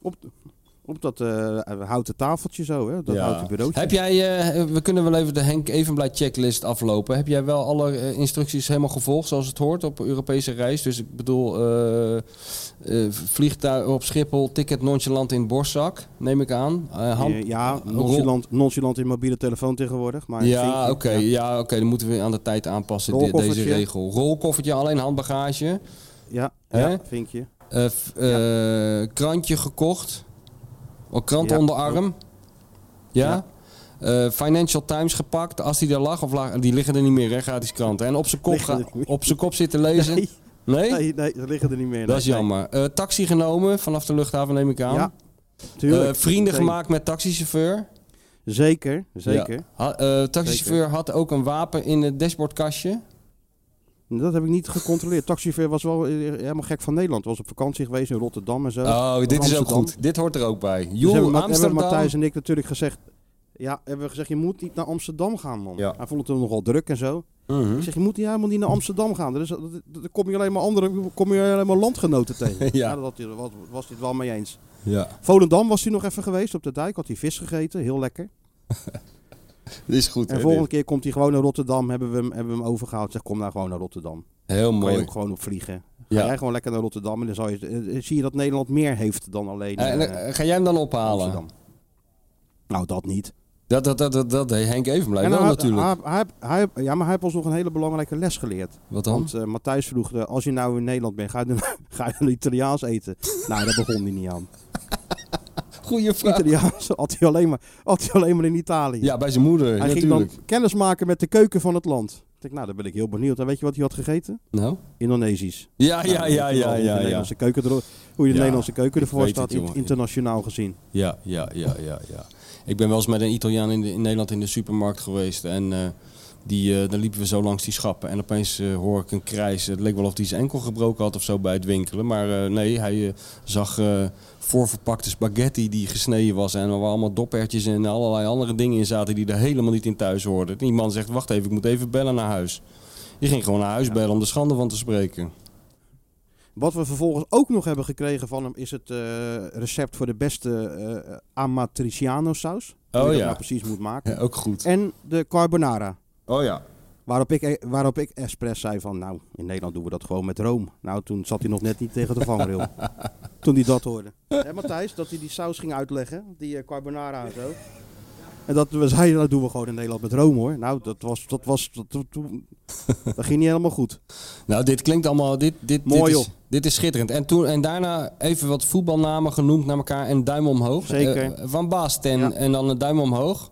Speaker 5: Op, op dat eh, houten tafeltje zo, hè? dat
Speaker 6: Ja.
Speaker 5: houten bureautje.
Speaker 6: Heb jij, eh, we kunnen wel even de Henk Evenblij checklist aflopen. Heb jij wel alle eh, instructies helemaal gevolgd zoals het hoort op Europese reis? Dus ik bedoel, eh, eh, vliegtuig op Schiphol, ticket nonchalant in borstzak, neem ik aan. Eh, hand-
Speaker 5: Eh, ja, nonchalant, nonchalant in mobiele telefoon tegenwoordig. Maar
Speaker 6: Ja,
Speaker 5: vinkje,
Speaker 6: oké, ja, oké. dan moeten we aan de tijd aanpassen, de- deze
Speaker 5: Rolkoffertje.
Speaker 6: regel. Rolkoffertje, alleen handbagage.
Speaker 5: Ja,
Speaker 6: Hè?
Speaker 5: ja, vinkje.
Speaker 6: Eh, f- eh, krantje gekocht. Oh, krant
Speaker 5: Ja.
Speaker 6: onder arm. Ja. Eh, Financial Times gepakt. Als die er lag of lag... Die liggen er niet meer, hè, gratis kranten. En op zijn kop,
Speaker 5: Liggen
Speaker 6: ga-
Speaker 5: er niet meer.
Speaker 6: op zijn kop zitten lezen. Nee?
Speaker 5: Nee, nee, nee, ze liggen er niet meer.
Speaker 6: Dat is
Speaker 5: Nee,
Speaker 6: jammer. Eh, taxi genomen vanaf de luchthaven, neem ik
Speaker 5: nee.
Speaker 6: aan.
Speaker 5: Ja,
Speaker 6: Eh,
Speaker 5: tuurlijk.
Speaker 6: vrienden
Speaker 5: Meteen.
Speaker 6: gemaakt met taxichauffeur.
Speaker 5: Zeker, zeker.
Speaker 6: Ja. Ha- eh, taxichauffeur had ook een wapen in het dashboardkastje.
Speaker 5: Dat heb ik niet gecontroleerd. Taxichauffeur was wel eh, helemaal gek van Nederland. Was op vakantie geweest in Rotterdam en zo.
Speaker 6: Oh, dit is ook
Speaker 5: Amsterdam.
Speaker 6: goed. Dit hoort er ook bij.
Speaker 5: Dus hebben,
Speaker 6: Joel,
Speaker 5: Ma- hebben
Speaker 6: Amsterdam.
Speaker 5: Matthijs en ik natuurlijk gezegd... Ja, hebben we gezegd, je moet niet naar Amsterdam gaan, man.
Speaker 6: Ja.
Speaker 5: Hij vond het toen nogal druk en zo.
Speaker 6: Mhm.
Speaker 5: Ik zeg, je moet niet helemaal niet naar Amsterdam gaan. Er is- er- er- Dan kom je alleen maar andere, kom je alleen maar landgenoten tegen.
Speaker 6: Ja.
Speaker 5: dat had hij- was, was hij het wel mee eens.
Speaker 6: Ja.
Speaker 5: Volendam was hij nog even geweest op de dijk, had hij vis gegeten, heel lekker.
Speaker 6: Dit is goed.
Speaker 5: En de volgende keer komt hij gewoon naar Rotterdam, hebben we hem, hebben we hem overgehaald. Zeg, kom nou gewoon naar Rotterdam.
Speaker 6: Heel
Speaker 5: Kan je
Speaker 6: mooi.
Speaker 5: ook gewoon op vliegen. Ga
Speaker 6: Ja.
Speaker 5: jij gewoon lekker naar Rotterdam en dan zal je, eh, zie je dat Nederland meer heeft dan alleen
Speaker 6: Eh, en,
Speaker 5: eh,
Speaker 6: eh, ga jij hem dan ophalen?
Speaker 5: Amsterdam. Nou, dat niet.
Speaker 6: Dat, dat, dat, dat, dat deed Henk even
Speaker 5: En
Speaker 6: blijven
Speaker 5: dan
Speaker 6: wel
Speaker 5: had-
Speaker 6: natuurlijk.
Speaker 5: hij- hij- hij- ja, maar hij heeft ons nog een hele belangrijke les geleerd.
Speaker 6: Wat dan?
Speaker 5: Want eh, Matthijs vroeg, eh, als je nou in Nederland bent, ga je dan, ga je dan Italiaans eten? nou, daar begon hij niet aan.
Speaker 6: Goeie vraag.
Speaker 5: Italiaans had hij alleen maar, had hij alleen maar in Italië.
Speaker 6: Ja, bij zijn moeder,
Speaker 5: hij ging
Speaker 6: natuurlijk.
Speaker 5: dan kennis maken met de keuken van het land. Ik denk, nou, daar ben ik heel benieuwd. En weet je wat hij had gegeten?
Speaker 6: Nou?
Speaker 5: Indonesisch.
Speaker 6: Ja,
Speaker 5: Nou,
Speaker 6: ja,
Speaker 5: dan weet
Speaker 6: ja,
Speaker 5: je wel
Speaker 6: ja,
Speaker 5: hoe de
Speaker 6: ja, ja.
Speaker 5: Nederlandse keuken er- hoe de
Speaker 6: Ja,
Speaker 5: Nederlandse keuken
Speaker 6: ik
Speaker 5: ervoor
Speaker 6: weet
Speaker 5: staat,
Speaker 6: het, jongen.
Speaker 5: internationaal gezien.
Speaker 6: Ja, ja, ja, ja, ja. Ik ben wel eens met een Italiaan in, de- in Nederland in de supermarkt geweest. En eh, die, eh, daar liepen we zo langs die schappen. En opeens eh, hoor ik een krijs. Het leek wel of hij zijn enkel gebroken had of zo bij het winkelen. Maar eh, nee, hij eh, zag eh, voorverpakte spaghetti die gesneden was. En er waren allemaal dopertjes en allerlei andere dingen in zaten die er helemaal niet in thuis hoorden. Die man zegt, wacht even, ik moet even bellen naar huis. Die ging gewoon naar huis bellen om de schande van te spreken.
Speaker 5: Wat we vervolgens ook nog hebben gekregen van hem is het eh, recept voor de beste eh amatriciano saus. Hoe je
Speaker 6: Oh
Speaker 5: dat
Speaker 6: ja.
Speaker 5: nou precies moet maken.
Speaker 6: Ja, ook goed.
Speaker 5: En de carbonara.
Speaker 6: Oh ja.
Speaker 5: Waarop ik, e, waarop ik expres zei van, nou, in Nederland doen we dat gewoon met room. Nou, toen zat hij nog net niet tegen de vangrail. toen hij dat hoorde. Hé Matthijs, dat hij die saus ging uitleggen, die eh, carbonara en zo. En dat we zeiden, dat doen we gewoon in Nederland met Rome hoor. Nou, dat was, dat was, dat, dat- dat ging niet helemaal goed.
Speaker 6: Nou, dit klinkt allemaal. Dit, dit,
Speaker 5: Mooi,
Speaker 6: dit,
Speaker 5: joh.
Speaker 6: is, dit is schitterend. En, toen, en daarna even wat voetbalnamen genoemd naar elkaar en duim omhoog.
Speaker 5: Zeker.
Speaker 6: Eh, van Baasten
Speaker 5: Ja.
Speaker 6: en dan een duim omhoog.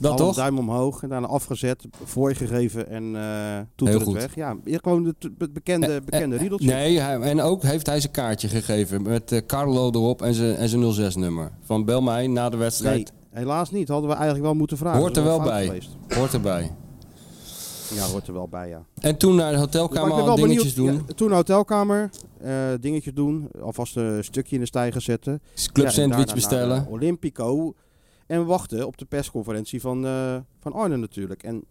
Speaker 6: Dat
Speaker 5: Alle
Speaker 6: toch?
Speaker 5: duim omhoog en daarna afgezet, voorgegeven en eh
Speaker 6: Heel
Speaker 5: toeter het
Speaker 6: goed.
Speaker 5: weg. Ja, gewoon het het bekende, bekende
Speaker 6: Eh, eh,
Speaker 5: riedeltje.
Speaker 6: Nee, hij- en ook heeft hij zijn kaartje gegeven met eh, Carlo erop en zijn en zijn 06-nummer. Van bel mij na de
Speaker 5: Nee,
Speaker 6: wedstrijd.
Speaker 5: helaas niet. Hadden we eigenlijk wel moeten vragen.
Speaker 6: Hoort
Speaker 5: Dat is
Speaker 6: er
Speaker 5: een
Speaker 6: wel
Speaker 5: fout
Speaker 6: bij. Hoort erbij.
Speaker 5: Ja, hoort er wel bij, ja.
Speaker 6: En toen naar de
Speaker 5: Ja, maar
Speaker 6: hotelkamer
Speaker 5: ik ben
Speaker 6: al
Speaker 5: wel
Speaker 6: dingetjes
Speaker 5: benieuwd.
Speaker 6: doen.
Speaker 5: Ja, toen hotelkamer, eh dingetjes doen, alvast een stukje in de stijger zetten.
Speaker 6: Club
Speaker 5: Ja, en
Speaker 6: sandwich
Speaker 5: daarna naar
Speaker 6: bestellen.
Speaker 5: de Olympico. En wachten op de persconferentie van, eh van Arne natuurlijk. En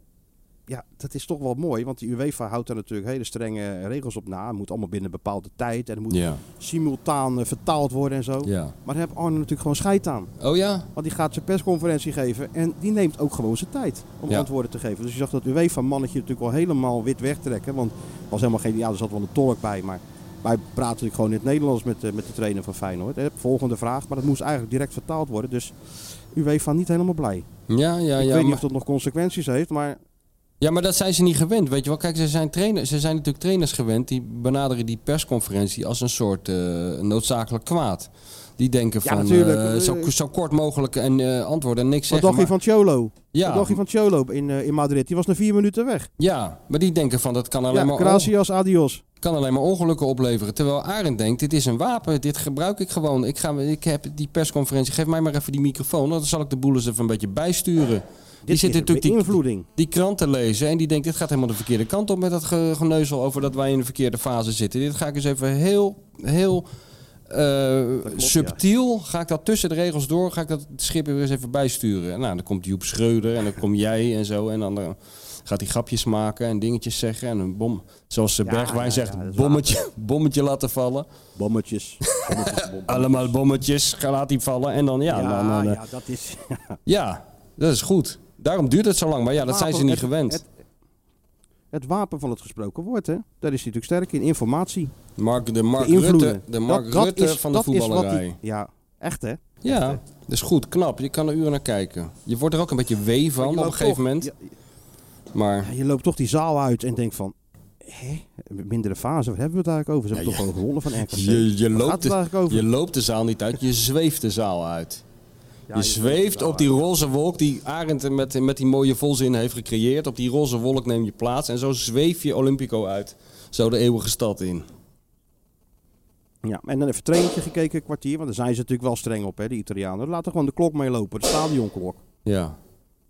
Speaker 5: ja, dat is toch wel mooi, want die UEFA houdt daar natuurlijk hele strenge regels op na. Het moet allemaal binnen een bepaalde tijd en het moet
Speaker 6: Ja,
Speaker 5: simultaan eh, vertaald worden en zo.
Speaker 6: ja.
Speaker 5: Maar daar heeft Arne natuurlijk gewoon scheid aan.
Speaker 6: Oh ja?
Speaker 5: Want die gaat zijn persconferentie geven en die neemt ook gewoon zijn tijd om
Speaker 6: Ja.
Speaker 5: antwoorden te geven. Dus je zag dat UEFA-mannetje natuurlijk wel helemaal wit wegtrekken. Want er was helemaal geen, ja, er zat wel een tolk bij, maar wij praten natuurlijk gewoon in het Nederlands met, eh, met de trainer van Feyenoord. Hè, volgende vraag, maar dat moest eigenlijk direct vertaald worden. Dus UEFA niet helemaal blij.
Speaker 6: Ja, ja,
Speaker 5: Ik
Speaker 6: ja.
Speaker 5: weet niet
Speaker 6: maar-
Speaker 5: of dat nog consequenties heeft, maar
Speaker 6: Ja, maar dat zijn ze niet gewend, weet je wel. Kijk, ze zijn, trainer, ze zijn natuurlijk trainers gewend die benaderen die persconferentie als een soort eh, noodzakelijk kwaad. Die denken
Speaker 5: Ja,
Speaker 6: van
Speaker 5: natuurlijk.
Speaker 6: eh, zo, zo kort mogelijk en eh antwoorden en
Speaker 5: wat
Speaker 6: niks zeggen.
Speaker 5: dacht je
Speaker 6: maar-
Speaker 5: van Cholo? Wat
Speaker 6: ja,
Speaker 5: dacht je van Cholo in, eh, in Madrid? Die was na vier minuten weg.
Speaker 6: ja, maar die denken van dat kan alleen,
Speaker 5: ja,
Speaker 6: maar on-
Speaker 5: Gracias, adios.
Speaker 6: kan alleen maar ongelukken opleveren. Terwijl Arend denkt, dit is een wapen, dit gebruik ik gewoon. Ik, ga, ik heb die persconferentie, geef mij maar even die microfoon. Dan zal ik de boel eens even een beetje bijsturen.
Speaker 5: Dit
Speaker 6: zitten
Speaker 5: is
Speaker 6: natuurlijk die-
Speaker 5: beïnvloeding.
Speaker 6: die kranten lezen en die denkt, dit gaat helemaal de verkeerde kant op met dat ge- geneuzel over dat wij in de verkeerde fase zitten. Dit ga ik eens even heel, heel eh,
Speaker 5: klopt,
Speaker 6: subtiel, ga ik dat tussen de regels door, ga ik dat schip weer eens even bijsturen. En nou, dan komt Joep Schreuder en dan kom jij en zo en dan eh, gaat hij grapjes maken en dingetjes zeggen en een bom, zoals de
Speaker 5: Ja,
Speaker 6: Bergwijn
Speaker 5: ja,
Speaker 6: zegt,
Speaker 5: ja, dat is
Speaker 6: bommetje, bommetje laten vallen.
Speaker 5: Bommetjes. Bommetjes, bom-
Speaker 6: Allemaal bommetjes, ga- laat die vallen en dan ja, dan, dan, eh, ja.
Speaker 5: ja, dat is...
Speaker 6: dat is goed. Daarom duurt het zo lang, maar ja, dat zijn ze
Speaker 5: wapen-
Speaker 6: niet
Speaker 5: het-
Speaker 6: gewend.
Speaker 5: Het, het wapen van het gesproken woord, hè? Daar is hij natuurlijk sterk in. Informatie,
Speaker 6: Mark, de Mark
Speaker 5: de invloeden.
Speaker 6: Rutte, de Mark
Speaker 5: Dat- dat
Speaker 6: Rutte
Speaker 5: is-
Speaker 6: van de
Speaker 5: dat is wat
Speaker 6: voetballerij.
Speaker 5: die- ja, echt hè?
Speaker 6: Ja, dat is goed, knap. Je kan er uren naar kijken. Je wordt er ook een beetje wee
Speaker 5: Maar je
Speaker 6: van op een
Speaker 5: loopt
Speaker 6: gegeven
Speaker 5: toch-
Speaker 6: moment.
Speaker 5: ja,
Speaker 6: Maar
Speaker 5: ja, je loopt toch die zaal uit en denkt van... Hè? Mindere fase, waar hebben we het eigenlijk over? Ze hebben toch wel gewonnen van RKC?
Speaker 6: je, je,
Speaker 5: Waar
Speaker 6: loopt
Speaker 5: gaat het
Speaker 6: de,
Speaker 5: eigenlijk over?
Speaker 6: je loopt de zaal niet uit, je zweeft de zaal uit.
Speaker 5: Ja,
Speaker 6: je zweeft op die roze wolk die Arendt er met, met die mooie volzin heeft gecreëerd. Op die roze wolk neem je plaats en zo zweef je Olympico uit. Zo de eeuwige stad in.
Speaker 5: Ja, en dan even traintje gekeken, kwartier. Want daar zijn ze natuurlijk wel streng op, hè, de Italianen. Laten gewoon de klok meelopen, de stadionklok.
Speaker 6: Ja.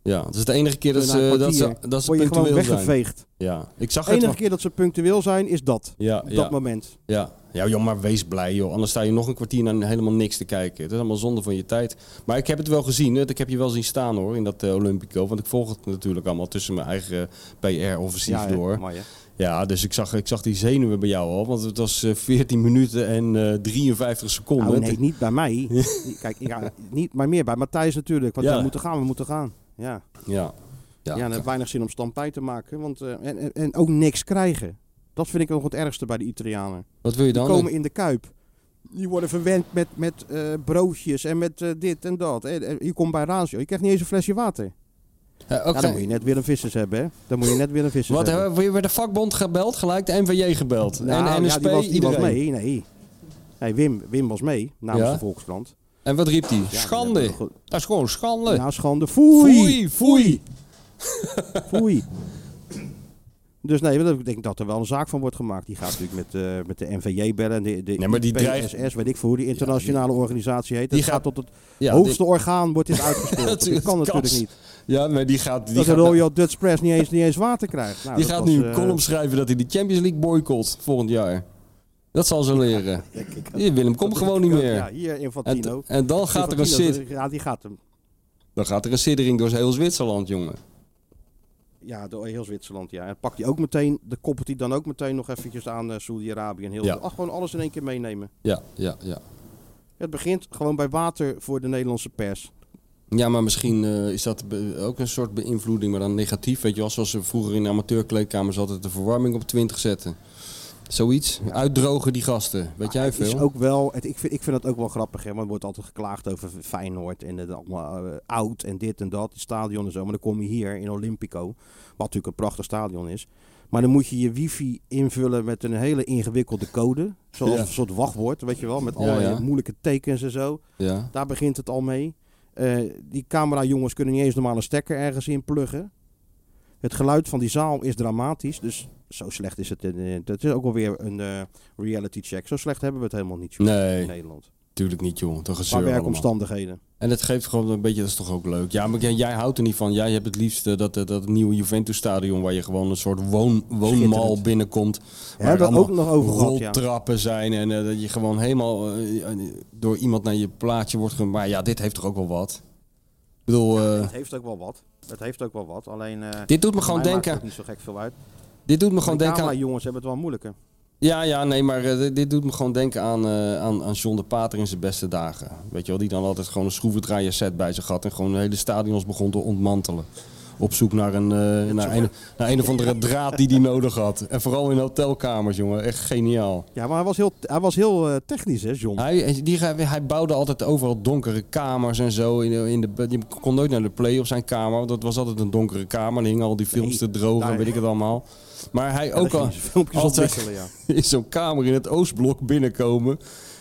Speaker 6: ja, dat is de enige keer dat
Speaker 5: Na een
Speaker 6: ze, dat ze,
Speaker 5: kwartier
Speaker 6: dat ze
Speaker 5: word je gewoon
Speaker 6: punctueel zijn.
Speaker 5: weggeveegd.
Speaker 6: Ja, ik zag
Speaker 5: De
Speaker 6: het.
Speaker 5: enige
Speaker 6: wel.
Speaker 5: keer dat ze punctueel zijn, is dat.
Speaker 6: Ja,
Speaker 5: Op
Speaker 6: ja.
Speaker 5: dat moment.
Speaker 6: Ja, ja joh, maar wees blij joh. Anders sta je nog een kwartier naar helemaal niks te kijken. Het is allemaal zonde van je tijd. Maar ik heb het wel gezien. hè. Ik heb je wel zien staan hoor, in dat eh, Olympico. Want ik volg het natuurlijk allemaal tussen mijn eigen PR-offensief
Speaker 5: hè,
Speaker 6: door.
Speaker 5: mooi, hè.
Speaker 6: Ja, dus ik zag, ik zag die zenuwen bij jou al. Want het was eh, 14 minuten en eh, 53 seconden.
Speaker 5: Nou, nee, niet bij mij. Kijk, ja, niet, maar meer bij Matthijs natuurlijk. Want
Speaker 6: Ja.
Speaker 5: we moeten gaan, we moeten gaan. Ja,
Speaker 6: Ja.
Speaker 5: ja,
Speaker 6: Ja,
Speaker 5: en het heeft weinig zin om standpij te maken. Want, eh, en, en, en ook niks krijgen. Dat vind ik nog het ergste bij de Italianen.
Speaker 6: Wat wil je
Speaker 5: Die
Speaker 6: dan?
Speaker 5: komen in de Kuip. Die worden verwend met, met eh, broodjes en met eh, dit en dat. En, en je komt bij Razio, je krijgt niet eens een flesje water.
Speaker 6: Eh, oké.
Speaker 5: Ja, dan moet je net weer een vissers hebben, hè. Dan moet je net weer een vissers
Speaker 6: Wat,
Speaker 5: hebben.
Speaker 6: hebben we weer de vakbond gebeld? Gelijk de NVJ gebeld.
Speaker 5: Nou,
Speaker 6: en NSP,
Speaker 5: ja, die was, die was
Speaker 6: iedereen.
Speaker 5: mee, nee. nee Wim, Wim was mee, namens
Speaker 6: Ja?
Speaker 5: de Volkskrant.
Speaker 6: En wat riep die?
Speaker 5: Ja,
Speaker 6: schande. Dat is gewoon schande.
Speaker 5: Ja, schande. Nou, Foei!
Speaker 6: Foei, foei.
Speaker 5: Foei. Dus nee, dat- ik denk dat er wel een zaak van wordt gemaakt. Die gaat natuurlijk met, eh, met de NVJ bellen. en De, de
Speaker 6: Nee, maar die
Speaker 5: PSS, weet ik veel hoe die internationale organisatie heet. Die
Speaker 6: die
Speaker 5: gaat
Speaker 6: gaat-
Speaker 5: tot het
Speaker 6: Ja, dit-
Speaker 5: hoogste orgaan wordt dit uitgespeeld.
Speaker 6: Dat
Speaker 5: dat,
Speaker 6: is-
Speaker 5: kan
Speaker 6: dat
Speaker 5: natuurlijk
Speaker 6: kan-
Speaker 5: niet.
Speaker 6: Ja, maar die gaat, die
Speaker 5: dat de
Speaker 6: gaat,
Speaker 5: Royal Dutch Press niet eens, niet eens water krijgt. Nou,
Speaker 6: die
Speaker 5: dat
Speaker 6: gaat
Speaker 5: was,
Speaker 6: nu een
Speaker 5: eh,
Speaker 6: column schrijven dat hij de Champions League boycott volgend jaar. Dat zal ze leren. Hier, Willem, kom
Speaker 5: dat-
Speaker 6: gewoon niet
Speaker 5: ja,
Speaker 6: meer.
Speaker 5: Ja, hier
Speaker 6: en,
Speaker 5: Infantino.
Speaker 6: en dan, gaat er een
Speaker 5: Infantino,
Speaker 6: sit,
Speaker 5: Ja, die gaat hem.
Speaker 6: dan gaat er een sittering door heel Zwitserland, jongen.
Speaker 5: Ja, door heel Zwitserland. Ja. En pakt hij ook meteen, de koppelt hij dan ook meteen nog eventjes aan eh, Saudi-Arabië. En heel,
Speaker 6: Ja.
Speaker 5: ach, gewoon alles in één keer meenemen.
Speaker 6: Ja, ja, ja.
Speaker 5: Het begint gewoon bij water voor de Nederlandse pers.
Speaker 6: Ja, maar misschien eh, is dat be- ook een soort beïnvloeding, maar dan negatief. Weet je wel, zoals ze vroeger in de amateurkleedkamers altijd de verwarming op 20 zetten. Zoiets. Uitdrogen die gasten. Weet jij
Speaker 5: Het
Speaker 6: veel?
Speaker 5: is ook wel, het, ik, vind, ik vind dat ook wel grappig. Hè? Want er wordt altijd geklaagd over Feyenoord en het allemaal eh, oud en dit en dat. Het stadion en zo. Maar dan kom je hier in Olympico. Wat natuurlijk een prachtig stadion is. Maar dan moet je je wifi invullen met een hele ingewikkelde code. Zoals
Speaker 6: Ja.
Speaker 5: een soort wachtwoord, weet je wel. Met
Speaker 6: Ja,
Speaker 5: allerlei
Speaker 6: ja.
Speaker 5: moeilijke tekens en zo.
Speaker 6: Ja.
Speaker 5: Daar begint het al mee. Eh, die camerajongens kunnen niet eens normaal een stekker ergens in pluggen. Het geluid van die zaal is dramatisch. Dus zo slecht is het. eh, dat is ook wel weer een eh, reality check. Zo slecht hebben we het helemaal niet joh,
Speaker 6: Nee.
Speaker 5: in Nederland.
Speaker 6: Tuurlijk niet, joh. Toch
Speaker 5: Qua
Speaker 6: gezeur allemaal.
Speaker 5: werkomstandigheden.
Speaker 6: En dat geeft gewoon een beetje, dat is toch ook leuk. Ja, maar jij, jij houdt er niet van. Jij hebt het liefst eh, dat, dat, dat nieuwe Juventus-stadion waar je gewoon een soort woon, woonmal
Speaker 5: Schitterend.
Speaker 6: binnenkomt. Waar
Speaker 5: Hebben we
Speaker 6: allemaal
Speaker 5: ook nog over gehad. Ja.
Speaker 6: roltrappen zijn en eh, dat je gewoon helemaal eh, eh, door iemand naar je plaatje wordt gemaakt. Maar ja, dit heeft toch ook wel wat? Ik bedoel, eh,
Speaker 5: Het heeft ook wel wat. Het heeft ook wel wat. Alleen. eh,
Speaker 6: dit doet me gewoon
Speaker 5: mij maakt
Speaker 6: denken.
Speaker 5: het niet zo gek veel uit.
Speaker 6: Dit doet me gewoon
Speaker 5: Gewoon
Speaker 6: denken aan.
Speaker 5: jongens hebben het wel moeilijker.
Speaker 6: Ja, ja, nee, maar eh, dit- dit doet me gewoon denken aan, eh, aan, aan John de Pater in zijn beste dagen. Weet je wel, die dan altijd gewoon een schroevendraaier set bij zich had en gewoon hele stadions begon te ontmantelen. Op zoek naar een, eh, naar een, naar een of andere draad die hij nodig had. En vooral in hotelkamers, jongen. Echt geniaal.
Speaker 5: Ja, maar hij was heel, hij was heel eh, technisch, hè, John?
Speaker 6: Hij, die, hij bouwde altijd overal donkere kamers en zo. In de, in de, je kon nooit naar de play op zijn kamer. Want dat was altijd een donkere kamer. Er hingen al die films te drogen en
Speaker 5: daar-
Speaker 6: weet ik het allemaal. Maar hij
Speaker 5: Ja,
Speaker 6: ook
Speaker 5: daar
Speaker 6: al
Speaker 5: ging hij filmpjes
Speaker 6: altijd-
Speaker 5: ontwikkelen, ja.
Speaker 6: in zo'n kamer in het Oostblok binnenkomen.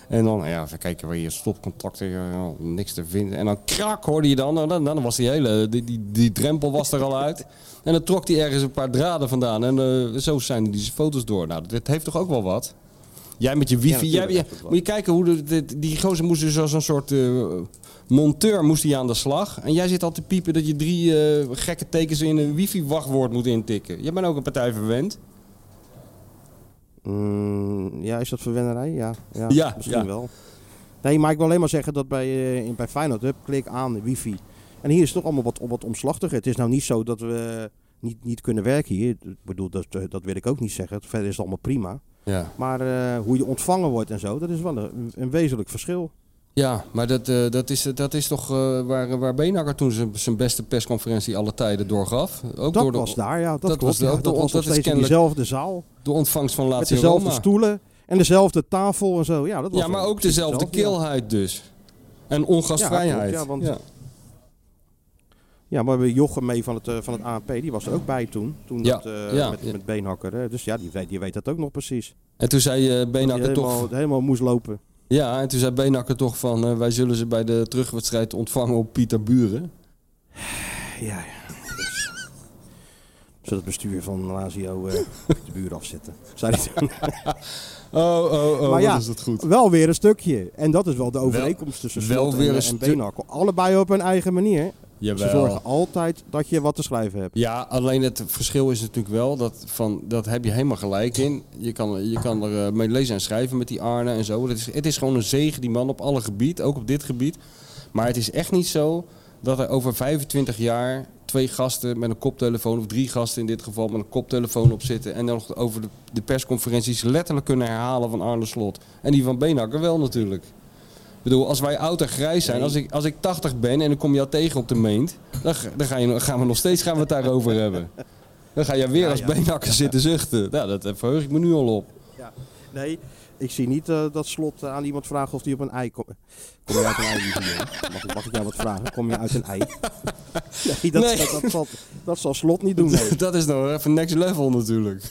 Speaker 6: En dan, nou ja, even kijken waar je stopcontacten, ja, niks te vinden. En dan krak hoorde je dan, nou, dan, dan was die hele, die, die, die drempel was er al uit. En dan trok hij ergens een paar draden vandaan. En eh, zo zijn die foto's door. Nou, dit heeft toch ook wel wat? Jij met je wifi. jij,
Speaker 5: natuurlijk
Speaker 6: jij-
Speaker 5: heeft het wat.
Speaker 6: moet je kijken hoe de, de- die gozer moest dus als een soort eh, monteur moest hij aan de slag. En jij zit al te piepen dat je drie eh, gekke tekens in een wifi-wachtwoord moet intikken. Jij bent ook een partij verwend.
Speaker 5: Mm, ja, is dat verwennerij? Ja, ja,
Speaker 6: Ja,
Speaker 5: misschien
Speaker 6: ja.
Speaker 5: wel. Nee, maar ik wil alleen maar zeggen dat bij, eh, in- bij Feyenoord, hup, klik aan, wifi. En hier is het toch allemaal wat, wat omslachtiger. Het is nou niet zo dat we niet, niet kunnen werken hier. Ik bedoel, dat, eh, dat wil ik ook niet zeggen. Verder is het allemaal prima.
Speaker 6: Ja.
Speaker 5: Maar eh, hoe je ontvangen wordt en zo, dat is wel een, een wezenlijk verschil.
Speaker 6: Ja, maar dat, eh, dat, is, dat is toch eh, waar, waar Benakker toen zijn- zijn beste persconferentie alle tijden doorgaf. Ook
Speaker 5: Dat
Speaker 6: door de,
Speaker 5: was daar, ja. Dat,
Speaker 6: dat
Speaker 5: klopt,
Speaker 6: was
Speaker 5: ja.
Speaker 6: ook
Speaker 5: dat
Speaker 6: de-
Speaker 5: was
Speaker 6: dat
Speaker 5: nog
Speaker 6: is
Speaker 5: steeds in
Speaker 6: kennelijk-
Speaker 5: diezelfde zaal.
Speaker 6: de ontvangst van
Speaker 5: Met
Speaker 6: Lazio
Speaker 5: dezelfde
Speaker 6: Roma.
Speaker 5: stoelen en dezelfde tafel en zo. Ja, dat was
Speaker 6: Ja, maar
Speaker 5: wel
Speaker 6: ook
Speaker 5: precies
Speaker 6: dezelfde
Speaker 5: hetzelfde, ja.
Speaker 6: keelheid dus. En ongastvrijheid.
Speaker 5: Ja, klopt, ja, want- Ja, maar we hebben Jochem mee van het, eh, van het ANP, die was er ook bij toen. Toen
Speaker 6: Ja,
Speaker 5: dat, eh,
Speaker 6: ja,
Speaker 5: met,
Speaker 6: ja.
Speaker 5: met Beenhakker. hè. Dus ja, die weet, die weet dat ook nog precies.
Speaker 6: En toen zei eh
Speaker 5: Die
Speaker 6: Benakker
Speaker 5: helemaal,
Speaker 6: toch...
Speaker 5: helemaal moest lopen.
Speaker 6: Ja, en toen zei Benakker toch van... eh, wij zullen ze bij de terugwedstrijd ontvangen op Pieter Buren.
Speaker 5: Ja, ja. Zodat het bestuur van Lazio eh, de buur afzetten. Zei hij toen.
Speaker 6: Oh, oh, oh,
Speaker 5: Maar ja,
Speaker 6: wat is dat goed.
Speaker 5: wel weer een stukje. En dat is wel de overeenkomst tussen
Speaker 6: wel
Speaker 5: Slot en,
Speaker 6: weer een
Speaker 5: en
Speaker 6: stuk-
Speaker 5: Beenhakker. Allebei op hun eigen manier. Ze
Speaker 6: Jawel.
Speaker 5: zorgen altijd dat je wat te schrijven hebt.
Speaker 6: Ja, alleen het verschil is natuurlijk wel dat van dat heb je helemaal gelijk in. Je kan, je kan er eh, mee lezen en schrijven met die Arne en zo. Het is, het is gewoon een zegen, die man op alle gebied, ook op dit gebied. Maar het is echt niet zo dat er over 25 jaar twee gasten met een koptelefoon, of drie gasten in dit geval, met een koptelefoon op zitten. En dan nog over de, de persconferenties letterlijk kunnen herhalen van Arne Slot. En die van Beenhakker wel natuurlijk. Ik bedoel, als wij oud en grijs zijn, als ik, als ik 80 ben en ik kom jou tegen op de meent, dan, ga- dan ga je, gaan we nog steeds gaan we het daarover hebben. Dan ga jij weer als beenhakker zitten zuchten. Nou, dat eh, verheug ik me nu al op.
Speaker 5: Nee, ik zie niet eh, dat slot eh, aan iemand vragen of die op een ei komt. Kom je uit een ei? Lieve jongen? Mag, ik- mag ik jou wat vragen? Kom je uit een ei? Nee, dat,
Speaker 6: Nee.
Speaker 5: Dat, dat, zal, dat zal slot niet doen. nee.
Speaker 6: Dat is nou even next level natuurlijk.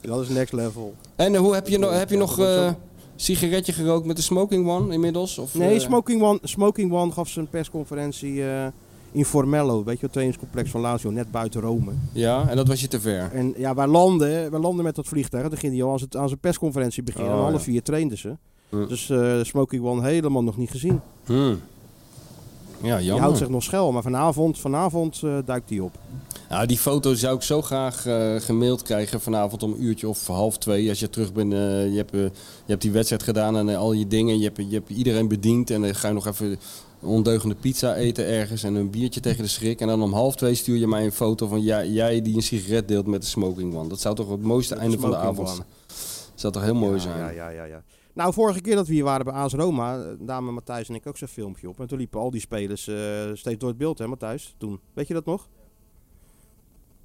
Speaker 5: Dat is next level.
Speaker 6: En eh, hoe heb je, nog heb je nog
Speaker 5: dat is ook-
Speaker 6: eh, sigaretje gerookt met de smoking one inmiddels? Of,
Speaker 5: Nee,
Speaker 6: eh,
Speaker 5: Smoking One, Smoking One gaf zijn persconferentie eh, in Formello, weet je, het trainingscomplex van Lazio, net buiten Rome.
Speaker 6: Ja, en dat was je te ver.
Speaker 5: En ja, wij landen, wij landen met dat vliegtuig. En dan ging hij al aan zijn, aan zijn persconferentie beginnen.
Speaker 6: Oh,
Speaker 5: en alle
Speaker 6: ja.
Speaker 5: vier trainden ze.
Speaker 6: Hm.
Speaker 5: Dus eh, Smoking One helemaal nog niet gezien.
Speaker 6: Hmm. Ja,
Speaker 5: Die houdt
Speaker 6: jammer.
Speaker 5: zich nog schuil, maar vanavond, vanavond eh, duikt hij op.
Speaker 6: Nou, die foto zou ik zo graag eh, gemaild krijgen vanavond om een uurtje of half twee. Als je terug bent, eh, je, hebt, eh, je hebt die wedstrijd gedaan en eh, al je dingen. Je hebt, je hebt iedereen bediend en dan ga je nog even een ondeugende pizza eten ergens en een biertje tegen de schrik. En dan om half twee stuur je mij een foto van jij, jij die een sigaret deelt met de smoking one. Dat zou toch het mooiste
Speaker 5: Met de
Speaker 6: einde van de
Speaker 5: smoking
Speaker 6: avond
Speaker 5: one.
Speaker 6: zijn. Zou toch heel mooi
Speaker 5: ja,
Speaker 6: zijn.
Speaker 5: Ja, ja, ja, ja. Nou, vorige keer dat we hier waren bij AS Roma, eh, namen Matthijs en ik ook zo'n filmpje op. En toen liepen al die spelers eh, steeds door het beeld, hè Matthijs? Toen. Weet je dat nog?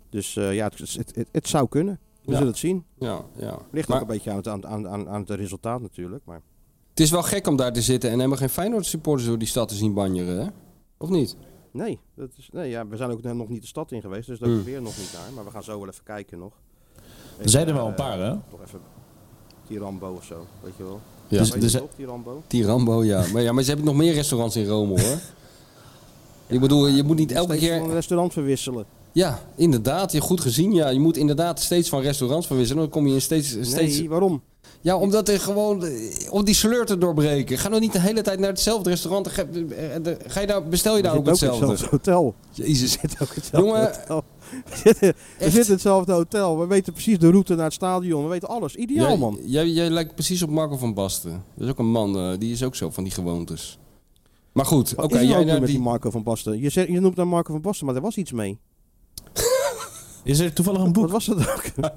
Speaker 5: Dus eh, ja, het, het, het, het zou kunnen. We
Speaker 6: Ja.
Speaker 5: zullen het zien.
Speaker 6: Ja, ja.
Speaker 5: Ligt
Speaker 6: Maar-
Speaker 5: ook een beetje aan het, aan, aan, aan, aan het resultaat natuurlijk. Maar
Speaker 6: Het is wel gek om daar te zitten en helemaal geen Feyenoord supporters door die stad te zien banjeren, hè? Of niet?
Speaker 5: nee, dat is, nee ja, we zijn ook nog niet de stad in geweest, dus daar
Speaker 6: Hmm.
Speaker 5: weer nog niet naar. Maar we gaan zo wel even kijken nog.
Speaker 7: Er zijn er
Speaker 5: Eh,
Speaker 7: wel een paar, hè?
Speaker 5: Toch even Tirambo of zo, weet je wel.
Speaker 6: Ja.
Speaker 7: Dus-
Speaker 5: Weet
Speaker 7: er
Speaker 5: je
Speaker 7: zijn-
Speaker 5: toch, Tirambo?
Speaker 6: Tirambo, ja. Maar, ja. maar ze hebben nog meer restaurants in Rome, hoor. Ik bedoel, je moet niet elke
Speaker 5: Steeds van een
Speaker 6: keer...
Speaker 5: restaurant verwisselen.
Speaker 6: Ja, inderdaad. Je goed gezien, ja. Je moet inderdaad steeds van restaurants verwisselen. Dan kom je in steeds... steeds...
Speaker 5: Nee, waarom?
Speaker 6: Ja, omdat er gewoon... eh, Om die sleur te doorbreken. Ga nou niet de hele tijd naar hetzelfde restaurant. Dan Ga, eh, eh, eh, ga je daar, bestel je daar
Speaker 5: We
Speaker 6: ook
Speaker 5: zitten
Speaker 6: hetzelfde.
Speaker 5: in hotel.
Speaker 6: Jezus.
Speaker 5: zit ook hetzelfde
Speaker 6: Jongen,
Speaker 5: hotel. We zitten- we
Speaker 6: echt?
Speaker 5: zitten in hetzelfde hotel. We weten precies de route naar het stadion. We weten alles. Ideaal,
Speaker 6: Jij,
Speaker 5: man.
Speaker 6: jij, jij lijkt precies op Marco van Basten. Dat is ook een man, eh, die is ook zo van die gewoontes. Maar goed, oké.
Speaker 5: Wat is er
Speaker 6: jij
Speaker 5: ook weer
Speaker 6: naar
Speaker 5: met die
Speaker 6: die...
Speaker 5: Marco van Basten? Je, zegt, je noemt naar Marco van Basten, maar daar was iets mee.
Speaker 7: Is er toevallig een boek?
Speaker 5: Wat was dat ook?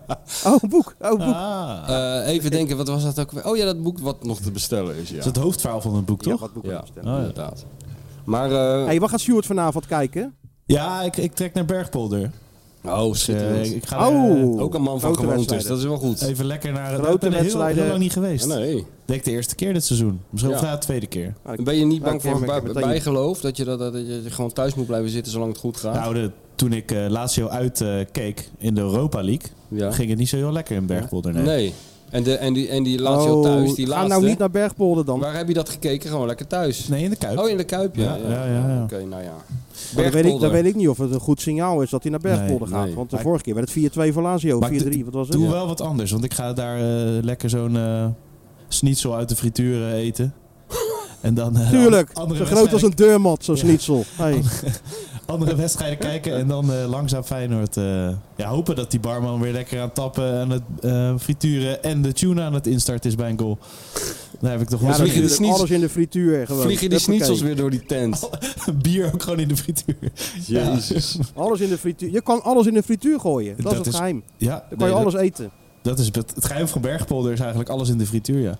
Speaker 5: oh, een boek. Oh, een boek.
Speaker 7: Ah,
Speaker 6: Eh, even denken, wat was dat ook weer? Oh ja, dat boek wat nog te bestellen is,
Speaker 7: is
Speaker 6: ja.
Speaker 7: het hoofdverhaal van een boek,
Speaker 5: Ja,
Speaker 7: toch?
Speaker 5: wat boek
Speaker 6: Ja,
Speaker 5: ja.
Speaker 7: ja.
Speaker 6: inderdaad. Maar, eh,
Speaker 5: hey, waar gaat Stuart vanavond kijken?
Speaker 7: Ja, ik, ik trek naar Bergpolder.
Speaker 6: oh,
Speaker 7: Dus, eh,
Speaker 6: schitterend.
Speaker 7: ik ga er,
Speaker 5: Oh.
Speaker 6: ook een man van
Speaker 5: grote
Speaker 6: gewoontes,
Speaker 5: wedstrijden.
Speaker 6: dat is wel goed.
Speaker 7: eh, even lekker naar...
Speaker 5: Grote
Speaker 7: ik ben er heel-
Speaker 5: wedstrijden.
Speaker 7: Heel, lang niet geweest.
Speaker 6: Ah, nee.
Speaker 7: Ik Denk de eerste keer dit seizoen. Misschien
Speaker 6: Ja.
Speaker 7: of na de tweede keer.
Speaker 6: Ben je niet
Speaker 5: Nou,
Speaker 6: bang
Speaker 5: ik
Speaker 6: voor
Speaker 5: ken- ik
Speaker 6: bij-
Speaker 5: ken meteen.
Speaker 6: bijgeloof? Dat je, dat, dat je gewoon thuis moet blijven zitten zolang het goed gaat?
Speaker 7: Nou, de- toen ik eh Lazio uit eh, keek in de Europa League,
Speaker 6: ja.
Speaker 7: ging het niet zo heel lekker in Bergpolder. Nee.
Speaker 6: Nee. En, de, en die, en die Lazio
Speaker 5: Oh,
Speaker 6: thuis, die
Speaker 5: Ga
Speaker 6: laatste.
Speaker 5: nou niet naar Bergpolder dan.
Speaker 6: Waar heb je dat gekeken? Gewoon lekker thuis.
Speaker 7: Nee, in de Kuip.
Speaker 6: Oh, in de Kuip, ja.
Speaker 7: Ja, ja, ja, ja.
Speaker 6: Oké, nou ja.
Speaker 5: Maar Dan weet, ik, dan
Speaker 6: Bergpolder.
Speaker 5: weet ik niet of het een goed signaal is dat hij naar Bergpolder
Speaker 6: Nee,
Speaker 5: gaat.
Speaker 6: nee.
Speaker 5: Want de vorige keer werd het 4-2 voor Lazio.
Speaker 7: Maar
Speaker 5: 4-3, wat was het?
Speaker 7: Doe wel wat anders, want ik ga daar eh, lekker zo'n eh schnitzel uit de frituur eh, eten. en dan eh,
Speaker 5: Tuurlijk,
Speaker 7: andere,
Speaker 5: zo groot als
Speaker 7: wedstrijden,
Speaker 5: een deurmat, zo'n schnitzel. Hey.
Speaker 7: andere wedstrijden kijken en dan eh, langzaam Feyenoord. eh, ja, hopen dat die barman weer lekker aan het tappen, aan het eh, frituren en de tuna aan het instarten is bij een goal. Daar heb ik toch
Speaker 5: Ja,
Speaker 7: wel
Speaker 6: vliegen die
Speaker 5: natuurlijk,
Speaker 6: sniets-
Speaker 5: alles in de frituur. Gewoon.
Speaker 6: Vliegen
Speaker 5: Huppakee.
Speaker 6: die schnitzels weer door die tent.
Speaker 7: zo'n bier ook gewoon in de frituur.
Speaker 6: Jezus.
Speaker 5: Alles in de frituur. Je kan alles in de frituur gooien. Dat,
Speaker 7: Dat
Speaker 5: is het
Speaker 7: is-
Speaker 5: geheim.
Speaker 7: Ja,
Speaker 5: Dan kan
Speaker 7: nee,
Speaker 5: je
Speaker 7: dat-
Speaker 5: alles eten.
Speaker 7: Dat is het, het geheim van Bergpolder is eigenlijk alles in de frituur, ja.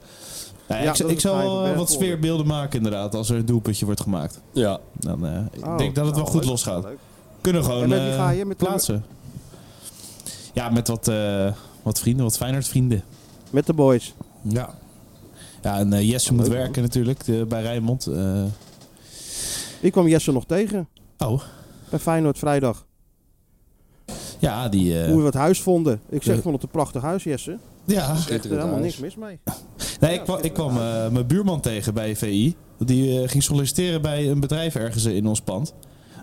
Speaker 7: Ja,
Speaker 5: Ja,
Speaker 7: ik,
Speaker 5: dat
Speaker 7: zal-
Speaker 5: is
Speaker 7: ik
Speaker 5: het geheim van
Speaker 7: zal eh, wat
Speaker 5: Bergpolder.
Speaker 7: sfeerbeelden maken inderdaad, als er een doelpuntje wordt gemaakt.
Speaker 6: Ja.
Speaker 7: Dan, eh, ik
Speaker 5: Oh,
Speaker 7: denk dat het wel
Speaker 5: nou,
Speaker 7: goed
Speaker 5: leuk.
Speaker 7: losgaat.
Speaker 5: Leuk.
Speaker 7: Kunnen gewoon
Speaker 5: En met wie
Speaker 7: eh,
Speaker 5: ga je? Met-
Speaker 7: plaatsen. Ja, met wat, eh, wat vrienden, wat Feyenoord vrienden.
Speaker 5: Met de boys.
Speaker 7: Ja. Ja, en eh, Jesse moet werken natuurlijk eh, bij Rijnmond. eh.
Speaker 5: Ik kwam Jesse nog tegen.
Speaker 7: oh,
Speaker 5: Bij Feyenoord vrijdag.
Speaker 7: ja, die... eh,
Speaker 5: Hoe we het huis vonden. Ik zeg,
Speaker 7: Ja.
Speaker 5: ik vond het een prachtig huis, Jesse.
Speaker 7: ja.
Speaker 5: Er is
Speaker 6: Schitterend
Speaker 5: helemaal niks
Speaker 6: huis.
Speaker 5: mis mee.
Speaker 7: Nee, ik kwam, ik kwam eh, mijn buurman tegen bij VI. Die eh, ging solliciteren bij een bedrijf ergens in ons pand.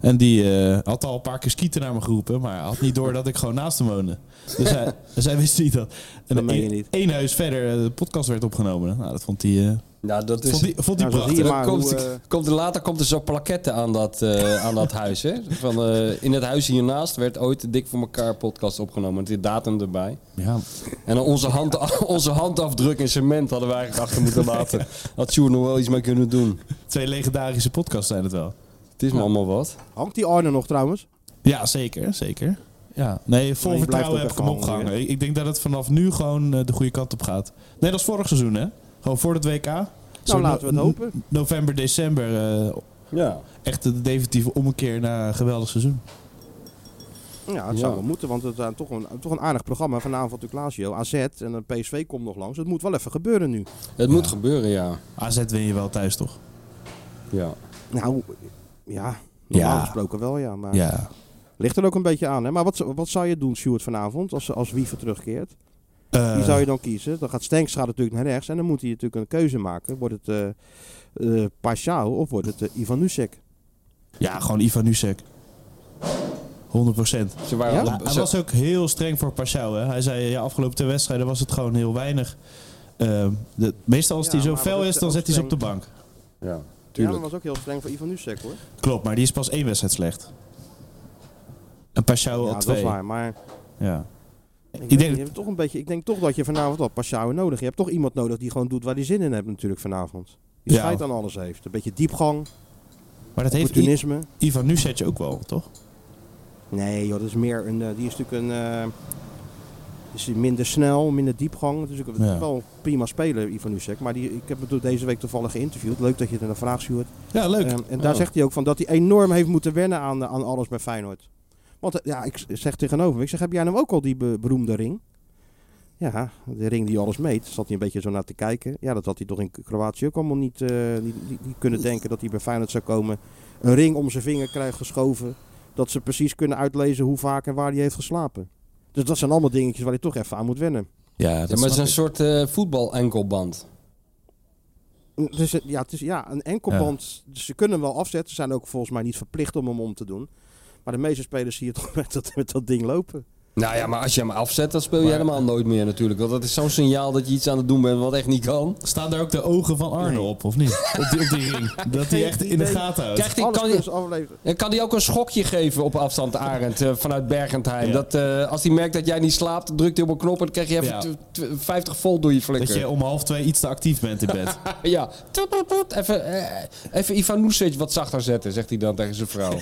Speaker 7: En die eh, had al een paar keer skieten naar me geroepen, maar had niet door dat ik gewoon naast hem woonde. Dus hij, dus hij wist niet dat. En
Speaker 5: Dat meen je
Speaker 7: één-
Speaker 5: niet.
Speaker 7: één huis verder eh, de podcast werd opgenomen. Nou, dat vond hij, eh,
Speaker 6: Nou, dat is...
Speaker 7: vond hij, vond hij
Speaker 5: Nou, zo zie
Speaker 7: prachtig.
Speaker 5: je
Speaker 6: Dan
Speaker 5: maar
Speaker 6: komt,
Speaker 5: hoe, eh,
Speaker 6: komt er later komt er zo'n plaquette aan dat, eh, aan dat huis. Hè? Van, eh, in het huis hiernaast werd ooit de Dik voor elkaar podcast opgenomen. Met die datum erbij.
Speaker 7: Ja,
Speaker 6: En dan onze, hand, onze handafdruk in cement hadden we eigenlijk achter moeten laten. Had Sjoerd nog wel iets mee kunnen doen.
Speaker 7: twee legendarische podcasts zijn het wel.
Speaker 6: Het is me allemaal wat.
Speaker 5: Hangt die Arne nog trouwens?
Speaker 7: Ja, zeker, zeker. Ja, nee, vol
Speaker 5: Maar je blijft
Speaker 7: vertrouwen
Speaker 5: ook
Speaker 7: heb ik
Speaker 5: even
Speaker 7: hem
Speaker 5: hangen,
Speaker 7: opgehangen. Ik, ik denk dat het vanaf nu gewoon eh, de goede kant op gaat. Nee, dat is vorig seizoen, hè? Gewoon voor het WK. Zo
Speaker 5: Nou, laten we het
Speaker 7: no-
Speaker 5: hopen.
Speaker 7: november, december. eh,
Speaker 6: Ja.
Speaker 7: echt de definitieve ommekeer na een geweldig seizoen.
Speaker 5: Ja, het
Speaker 6: Ja.
Speaker 5: zou wel moeten, want het is toch een, toch een aardig programma. Vanavond de Lazio, AZ en een PSV komt nog langs. Het moet wel even gebeuren nu.
Speaker 6: Het moet gebeuren, ja.
Speaker 7: AZ win je wel thuis, toch?
Speaker 6: ja.
Speaker 5: Nou, ja. Normaal
Speaker 7: Ja.
Speaker 5: gesproken wel, ja. Maar
Speaker 7: Ja.
Speaker 5: ligt er ook een beetje aan, hè. Maar wat, wat zou je doen, Stuart, vanavond, als, als Wiever terugkeert?
Speaker 7: Eh,
Speaker 5: Die zou je dan kiezen. Dan gaat Stenks gaat natuurlijk naar rechts. En dan moet hij natuurlijk een keuze maken. Wordt het eh eh, Paschao of wordt het eh, Ivan Nusek?
Speaker 7: Ja, gewoon Ivan Nusek. 100 procent.
Speaker 6: Ze waren
Speaker 5: Ja?
Speaker 6: alle-
Speaker 7: Hij
Speaker 6: ze-
Speaker 7: was ook heel streng voor Pashao. Hè? Hij zei, ja, afgelopen twee wedstrijden was het gewoon heel weinig. Ehm, de, meestal als
Speaker 5: Ja,
Speaker 7: hij zo
Speaker 5: maar
Speaker 7: fel
Speaker 5: dat
Speaker 7: is,
Speaker 5: is
Speaker 7: dan
Speaker 5: ook
Speaker 7: zet hij ze op de
Speaker 5: streng.
Speaker 7: bank.
Speaker 6: Ja,
Speaker 5: Ja, dat
Speaker 6: tuurlijk.
Speaker 5: was ook heel streng voor Ivan Nusek hoor.
Speaker 7: Klopt, maar die is pas één wedstrijd slecht. En Pashao
Speaker 5: ja,
Speaker 7: al
Speaker 5: dat is
Speaker 7: twee.
Speaker 5: waar. Maar
Speaker 7: Ja.
Speaker 5: ik,
Speaker 7: Ik
Speaker 5: weet
Speaker 7: denk-
Speaker 5: niet, je hebt toch een beetje, ik denk toch dat je vanavond al Paschao nodig hebt. Je hebt toch iemand nodig die gewoon doet waar hij zin in hebt natuurlijk vanavond. Die
Speaker 7: Ja.
Speaker 5: schijt aan alles heeft. Een beetje diepgang,
Speaker 7: Maar dat heeft I-
Speaker 5: opportunisme.
Speaker 7: Ivan Nusek ook wel, toch?
Speaker 5: Nee joh, dat is meer een... eh, die is natuurlijk een... eh, is minder snel, minder diepgang. Dus Het is ook
Speaker 7: Ja.
Speaker 5: wel een prima speler, Ivan Nusek. Maar die, ik heb hem deze week toevallig geïnterviewd. Leuk dat je er naar vraagt, Stuart.
Speaker 7: Ja, leuk.
Speaker 5: Ehm, en daar zegt hij ook van dat hij enorm heeft moeten wennen aan, eh, aan alles bij Feyenoord. Want eh, ja, ik zeg tegenover, hem, ik zeg, heb jij nou ook al die be- beroemde ring? Ja, de ring die alles meet, zat hij een beetje zo naar te kijken. Ja, dat had hij toch in Kroatië ook allemaal niet, eh, niet, niet, niet kunnen denken dat hij bij Feyenoord zou komen. Een ring om zijn vinger krijgt geschoven. Dat ze precies kunnen uitlezen hoe vaak en waar hij heeft geslapen. Dus dat zijn allemaal dingetjes waar hij toch even aan moet wennen.
Speaker 7: Ja,
Speaker 6: Ja,
Speaker 7: dat
Speaker 6: maar het is
Speaker 7: snap
Speaker 6: een soort
Speaker 7: ik.
Speaker 6: eh voetbal-enkelband.
Speaker 5: Dus het- ja, het is ja, een enkelband. Dus ze kunnen hem wel afzetten. Ze zijn ook volgens mij niet verplicht om hem om te doen. Maar de meeste spelers zie je toch met dat, met dat ding lopen.
Speaker 6: Nou ja, maar als je hem afzet, dan speel je
Speaker 7: Maar-
Speaker 6: helemaal nooit meer natuurlijk. Want dat is zo'n signaal dat je iets aan het doen bent wat echt niet kan.
Speaker 7: Staan daar ook de ogen van Arne
Speaker 5: Nee.
Speaker 7: op, of niet? Op die, op die ring. Dat hij echt in de
Speaker 5: idee.
Speaker 7: gaten houdt.
Speaker 6: Krijgt hij,
Speaker 5: Alles
Speaker 6: kan,
Speaker 5: kunnen
Speaker 6: je-
Speaker 5: ze afleveren.
Speaker 6: En Kan hij ook een schokje geven op afstand, Arend, eh, vanuit Bergentheim?
Speaker 7: Ja.
Speaker 6: Dat, eh, als hij merkt dat jij niet slaapt, drukt hij op een knop en dan krijg je even
Speaker 7: Ja.
Speaker 6: tw- tw- 50 volt door je
Speaker 7: dat
Speaker 6: flikker.
Speaker 7: je om half twee iets te actief bent in bed.
Speaker 6: Ja, Toet, toet, toet. even, eh, even Ivan Nusic wat zachter zetten, zegt hij dan tegen zijn vrouw.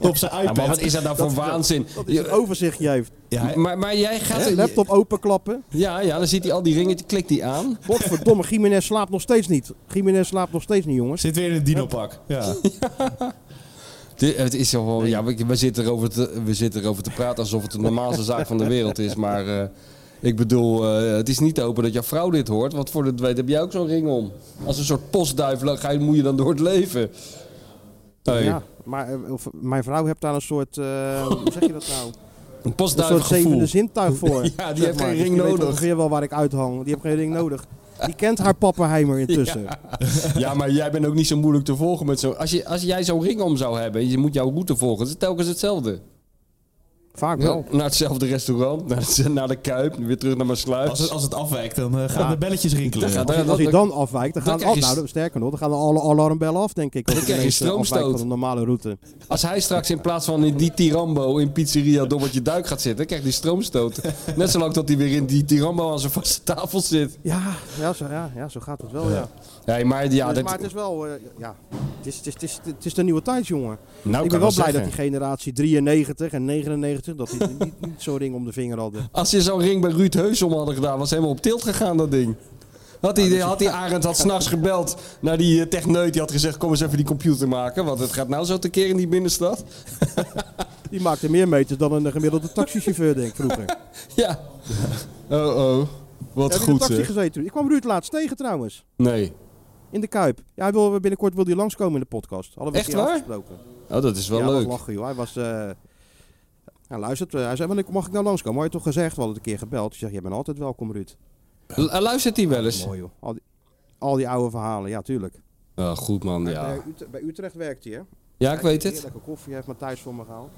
Speaker 7: op zijn
Speaker 6: Ja,
Speaker 7: iPad.
Speaker 6: maar wat is dat nou voor waanzin?
Speaker 5: Dat is het
Speaker 6: Je-
Speaker 5: overzicht juist.
Speaker 7: Ja, hij-
Speaker 6: maar, maar jij gaat...
Speaker 5: Laptop openklappen.
Speaker 6: Ja, ja, dan ziet hij al die ringen, klikt hij aan.
Speaker 5: Godverdomme, Jiménez slaapt nog steeds niet. Jiménez slaapt nog steeds niet, jongens.
Speaker 7: Zit weer in een dino-pak. Ja.
Speaker 6: De- het is toch wel, ja, we, we zitten erover te, we zitten erover te praten alsof het de normaalste zaak van de wereld is. Maar eh, ik bedoel, eh, het is niet te hopen dat jouw vrouw dit hoort. Want voor het weet heb jij ook zo'n ring om. Als een soort postduif la- ga je, moet je dan door het leven. Hey,
Speaker 5: Ja, maar eh, of- mijn vrouw heeft daar een soort, eh, hoe zeg je dat nou?
Speaker 6: Een
Speaker 5: Een soort
Speaker 6: postduifgevoel.
Speaker 5: zevende zintuig voor.
Speaker 6: Ja, die
Speaker 5: zeg
Speaker 6: heeft
Speaker 5: maar.
Speaker 6: geen ring
Speaker 5: Die weet
Speaker 6: nodig.
Speaker 5: ongeveer wel waar ik uithang. Die heeft geen ring nodig. Die kent haar pappenheimer intussen.
Speaker 6: Ja, maar jij bent ook niet zo moeilijk te volgen met zo'n... Als, je, als jij zo'n ring om zou hebben en je moet jouw route volgen, is het telkens hetzelfde.
Speaker 5: Vaak wel.
Speaker 6: Naar hetzelfde restaurant, naar, het- naar de Kuip, weer terug naar mijn sluis.
Speaker 7: Als, het, als het afwijkt, dan eh, gaan de belletjes rinkelen.
Speaker 6: gaat
Speaker 5: Als,
Speaker 6: Ja,
Speaker 5: hij- als hij
Speaker 6: dat-
Speaker 5: dan afwijkt, dan
Speaker 6: dan
Speaker 5: gaan,
Speaker 6: krijg
Speaker 5: al,
Speaker 6: je
Speaker 5: nou,
Speaker 6: s-
Speaker 5: dan- sterker nog, dan gaan alle alarmbellen af, denk ik. Als
Speaker 6: Dan
Speaker 5: hij
Speaker 6: krijg
Speaker 5: ineens,
Speaker 6: je
Speaker 5: eh, afwijkt
Speaker 6: stroomstoot.
Speaker 5: van de normale route.
Speaker 6: Als hij straks in plaats van in die Tirambo in pizzeria Dobbertje Duik gaat zitten, krijgt hij stroomstoot. Net zolang dat hij weer in die Tirambo aan zijn vaste tafel zit.
Speaker 5: Ja, ja, zo, ja, ja, zo gaat het wel, ja.
Speaker 6: Hé, maar ja,
Speaker 5: Dus-
Speaker 6: dat,
Speaker 5: maar het is wel, eh, ja, het is, het, is, het, is, het is de nieuwe tijd, jongen.
Speaker 6: nou
Speaker 5: ik
Speaker 6: kan
Speaker 5: ben wel
Speaker 6: ik
Speaker 5: blij dat
Speaker 6: zeggen.
Speaker 5: die generatie 93 en 99, dat die niet, niet zo'n ring om de vinger hadden.
Speaker 6: Als je zo'n ring bij Ruud Heus om hadden gedaan, was hij helemaal op tilt gegaan, dat ding. Had hij,
Speaker 5: dus-
Speaker 6: had die Arend had s'nachts gebeld naar die eh, techneut. Die had gezegd, kom eens even die computer maken. Want het gaat nou zo tekeer in die binnenstad.
Speaker 5: Die maakte meer meters dan een gemiddelde taxichauffeur, denk ik, vroeger.
Speaker 6: Ja. Oh, oh. Wat
Speaker 5: Heb je in
Speaker 6: goed,
Speaker 5: de taxi
Speaker 6: zeg.
Speaker 5: gezeten? toen? Ik kwam Ruud laatst tegen, trouwens.
Speaker 6: Nee.
Speaker 5: In de Kuip. Ja, hij wil, binnenkort wil hij langskomen in de podcast. Hadden we
Speaker 6: Echt
Speaker 5: een keer
Speaker 6: waar?
Speaker 5: afgesproken.
Speaker 6: Oh, dat is wel
Speaker 5: ja, dat was
Speaker 6: leuk.
Speaker 5: lachen, joh. Hij was... eh ja, luistert, eh, hij zei, "Wanneer mag ik nou langskomen? Had je toch gezegd, we hadden het een keer gebeld. Ik zeg, jij bent altijd welkom, Ruud.
Speaker 6: L- eh, Luistert hij wel eens?
Speaker 5: Mooi, joh. Al die, al die oude verhalen, ja, tuurlijk.
Speaker 6: Oh, goed, man. Ja,
Speaker 5: Bij, Utrecht, bij Utrecht werkt hij, hè?
Speaker 6: ja ik weet het.
Speaker 5: Lekker koffie, heeft Matthijs voor me gehaald.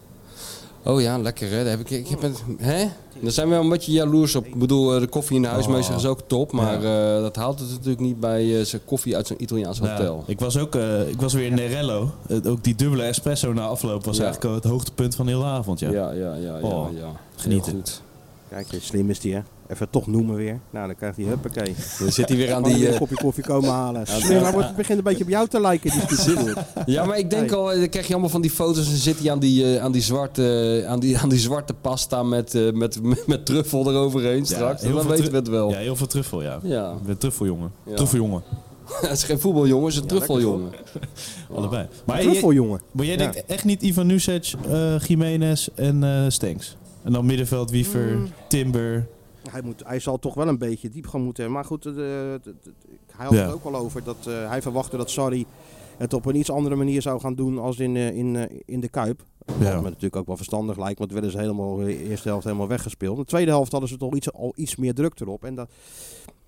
Speaker 6: Oh ja, lekker hè. Daar, heb ik, ik heb het, hè? Daar zijn we wel een beetje jaloers op. Ik bedoel, eh, de koffie in de
Speaker 7: Oh.
Speaker 6: huismeester is ook top. Maar eh, dat haalt het natuurlijk niet bij eh, zijn koffie uit zo'n Italiaans
Speaker 7: Ja,
Speaker 6: hotel.
Speaker 7: ik was ook eh, ik was weer in Nerello. Eh, ook die dubbele espresso na afloop was
Speaker 6: Ja.
Speaker 7: eigenlijk al het hoogtepunt van heel de avond. Ja.
Speaker 6: Ja, ja, ja, ja. ja,
Speaker 7: Oh,
Speaker 6: Genieten. Goed.
Speaker 5: Kijk, eh, slim is die, hè? Even toch noemen weer. Nou, dan krijgt hij, huppakee.
Speaker 6: Dan zit hij weer aan
Speaker 5: Kan
Speaker 6: die...
Speaker 5: die een
Speaker 6: eh,
Speaker 5: kopje koffie komen halen. Slim, maar wordt- het begint een beetje op jou te lijken, die discussie.
Speaker 6: ja, maar ik denk al, eh, dan krijg je allemaal van die foto's en zit hij aan die, eh, aan die, zwarte, aan die, aan die zwarte pasta met, eh, met, met, met truffel eroverheen straks.
Speaker 7: heel
Speaker 6: dan
Speaker 7: veel
Speaker 6: weten we
Speaker 7: tru-
Speaker 6: het wel.
Speaker 7: Ja, heel veel truffel, ja.
Speaker 6: Ja.
Speaker 7: Ik ben truffeljongen.
Speaker 6: Ja.
Speaker 7: Truffeljongen,
Speaker 6: het is geen voetbaljongen, het is een truffeljongen.
Speaker 7: allebei. Maar, jij,
Speaker 5: Truffeljongen.
Speaker 7: maar jij
Speaker 5: Ja.
Speaker 7: denkt echt niet Ivan Nusic, eh Jiménez en eh Stenks? En dan middenveld, Wiever,
Speaker 5: Mm.
Speaker 7: Timber.
Speaker 5: Hij, moet, hij zal toch wel een beetje diep gaan moeten. Maar goed, eh, de- de- de- hij had
Speaker 7: Ja.
Speaker 5: het ook al over. Dat, eh, hij verwachtte dat Sarri het op een iets andere manier zou gaan doen als in, eh, in, eh, in de Kuip. Wat me natuurlijk ook wel verstandig lijkt. Want werden ze helemaal eh, de eerste helft helemaal weggespeeld. De tweede helft hadden ze toch iets, al iets meer druk erop. En dat,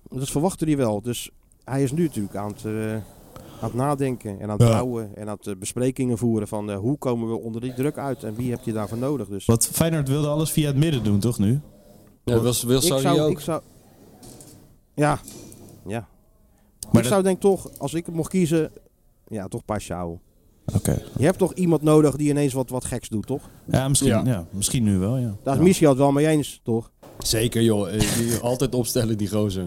Speaker 5: dat verwachtte hij wel. Dus hij is nu natuurlijk aan het... eh, aan het nadenken en aan het
Speaker 7: Ja.
Speaker 5: bouwen en aan het eh, besprekingen voeren van eh, hoe komen we onder die druk uit en wie heb je daarvoor nodig. Dus
Speaker 7: Wat Feyenoord wilde alles via het midden doen, toch nu?
Speaker 6: Ja, dat was, wil
Speaker 5: ik
Speaker 6: Sarri
Speaker 5: zou,
Speaker 6: ook.
Speaker 5: Ik zou, ja, ja.
Speaker 7: Maar
Speaker 5: Maar
Speaker 7: dat-
Speaker 5: ik zou denk toch, als ik het mocht kiezen, ja, toch Pashao.
Speaker 7: Oké.
Speaker 5: Je hebt toch iemand nodig die ineens wat, wat geks doet, toch?
Speaker 7: Ja, misschien,
Speaker 6: Ja.
Speaker 7: ja. misschien nu wel, ja.
Speaker 5: Daar is
Speaker 7: Ja.
Speaker 5: Michel het wel mee eens, toch?
Speaker 6: Zeker joh, Eh, die- altijd opstellen die gozer.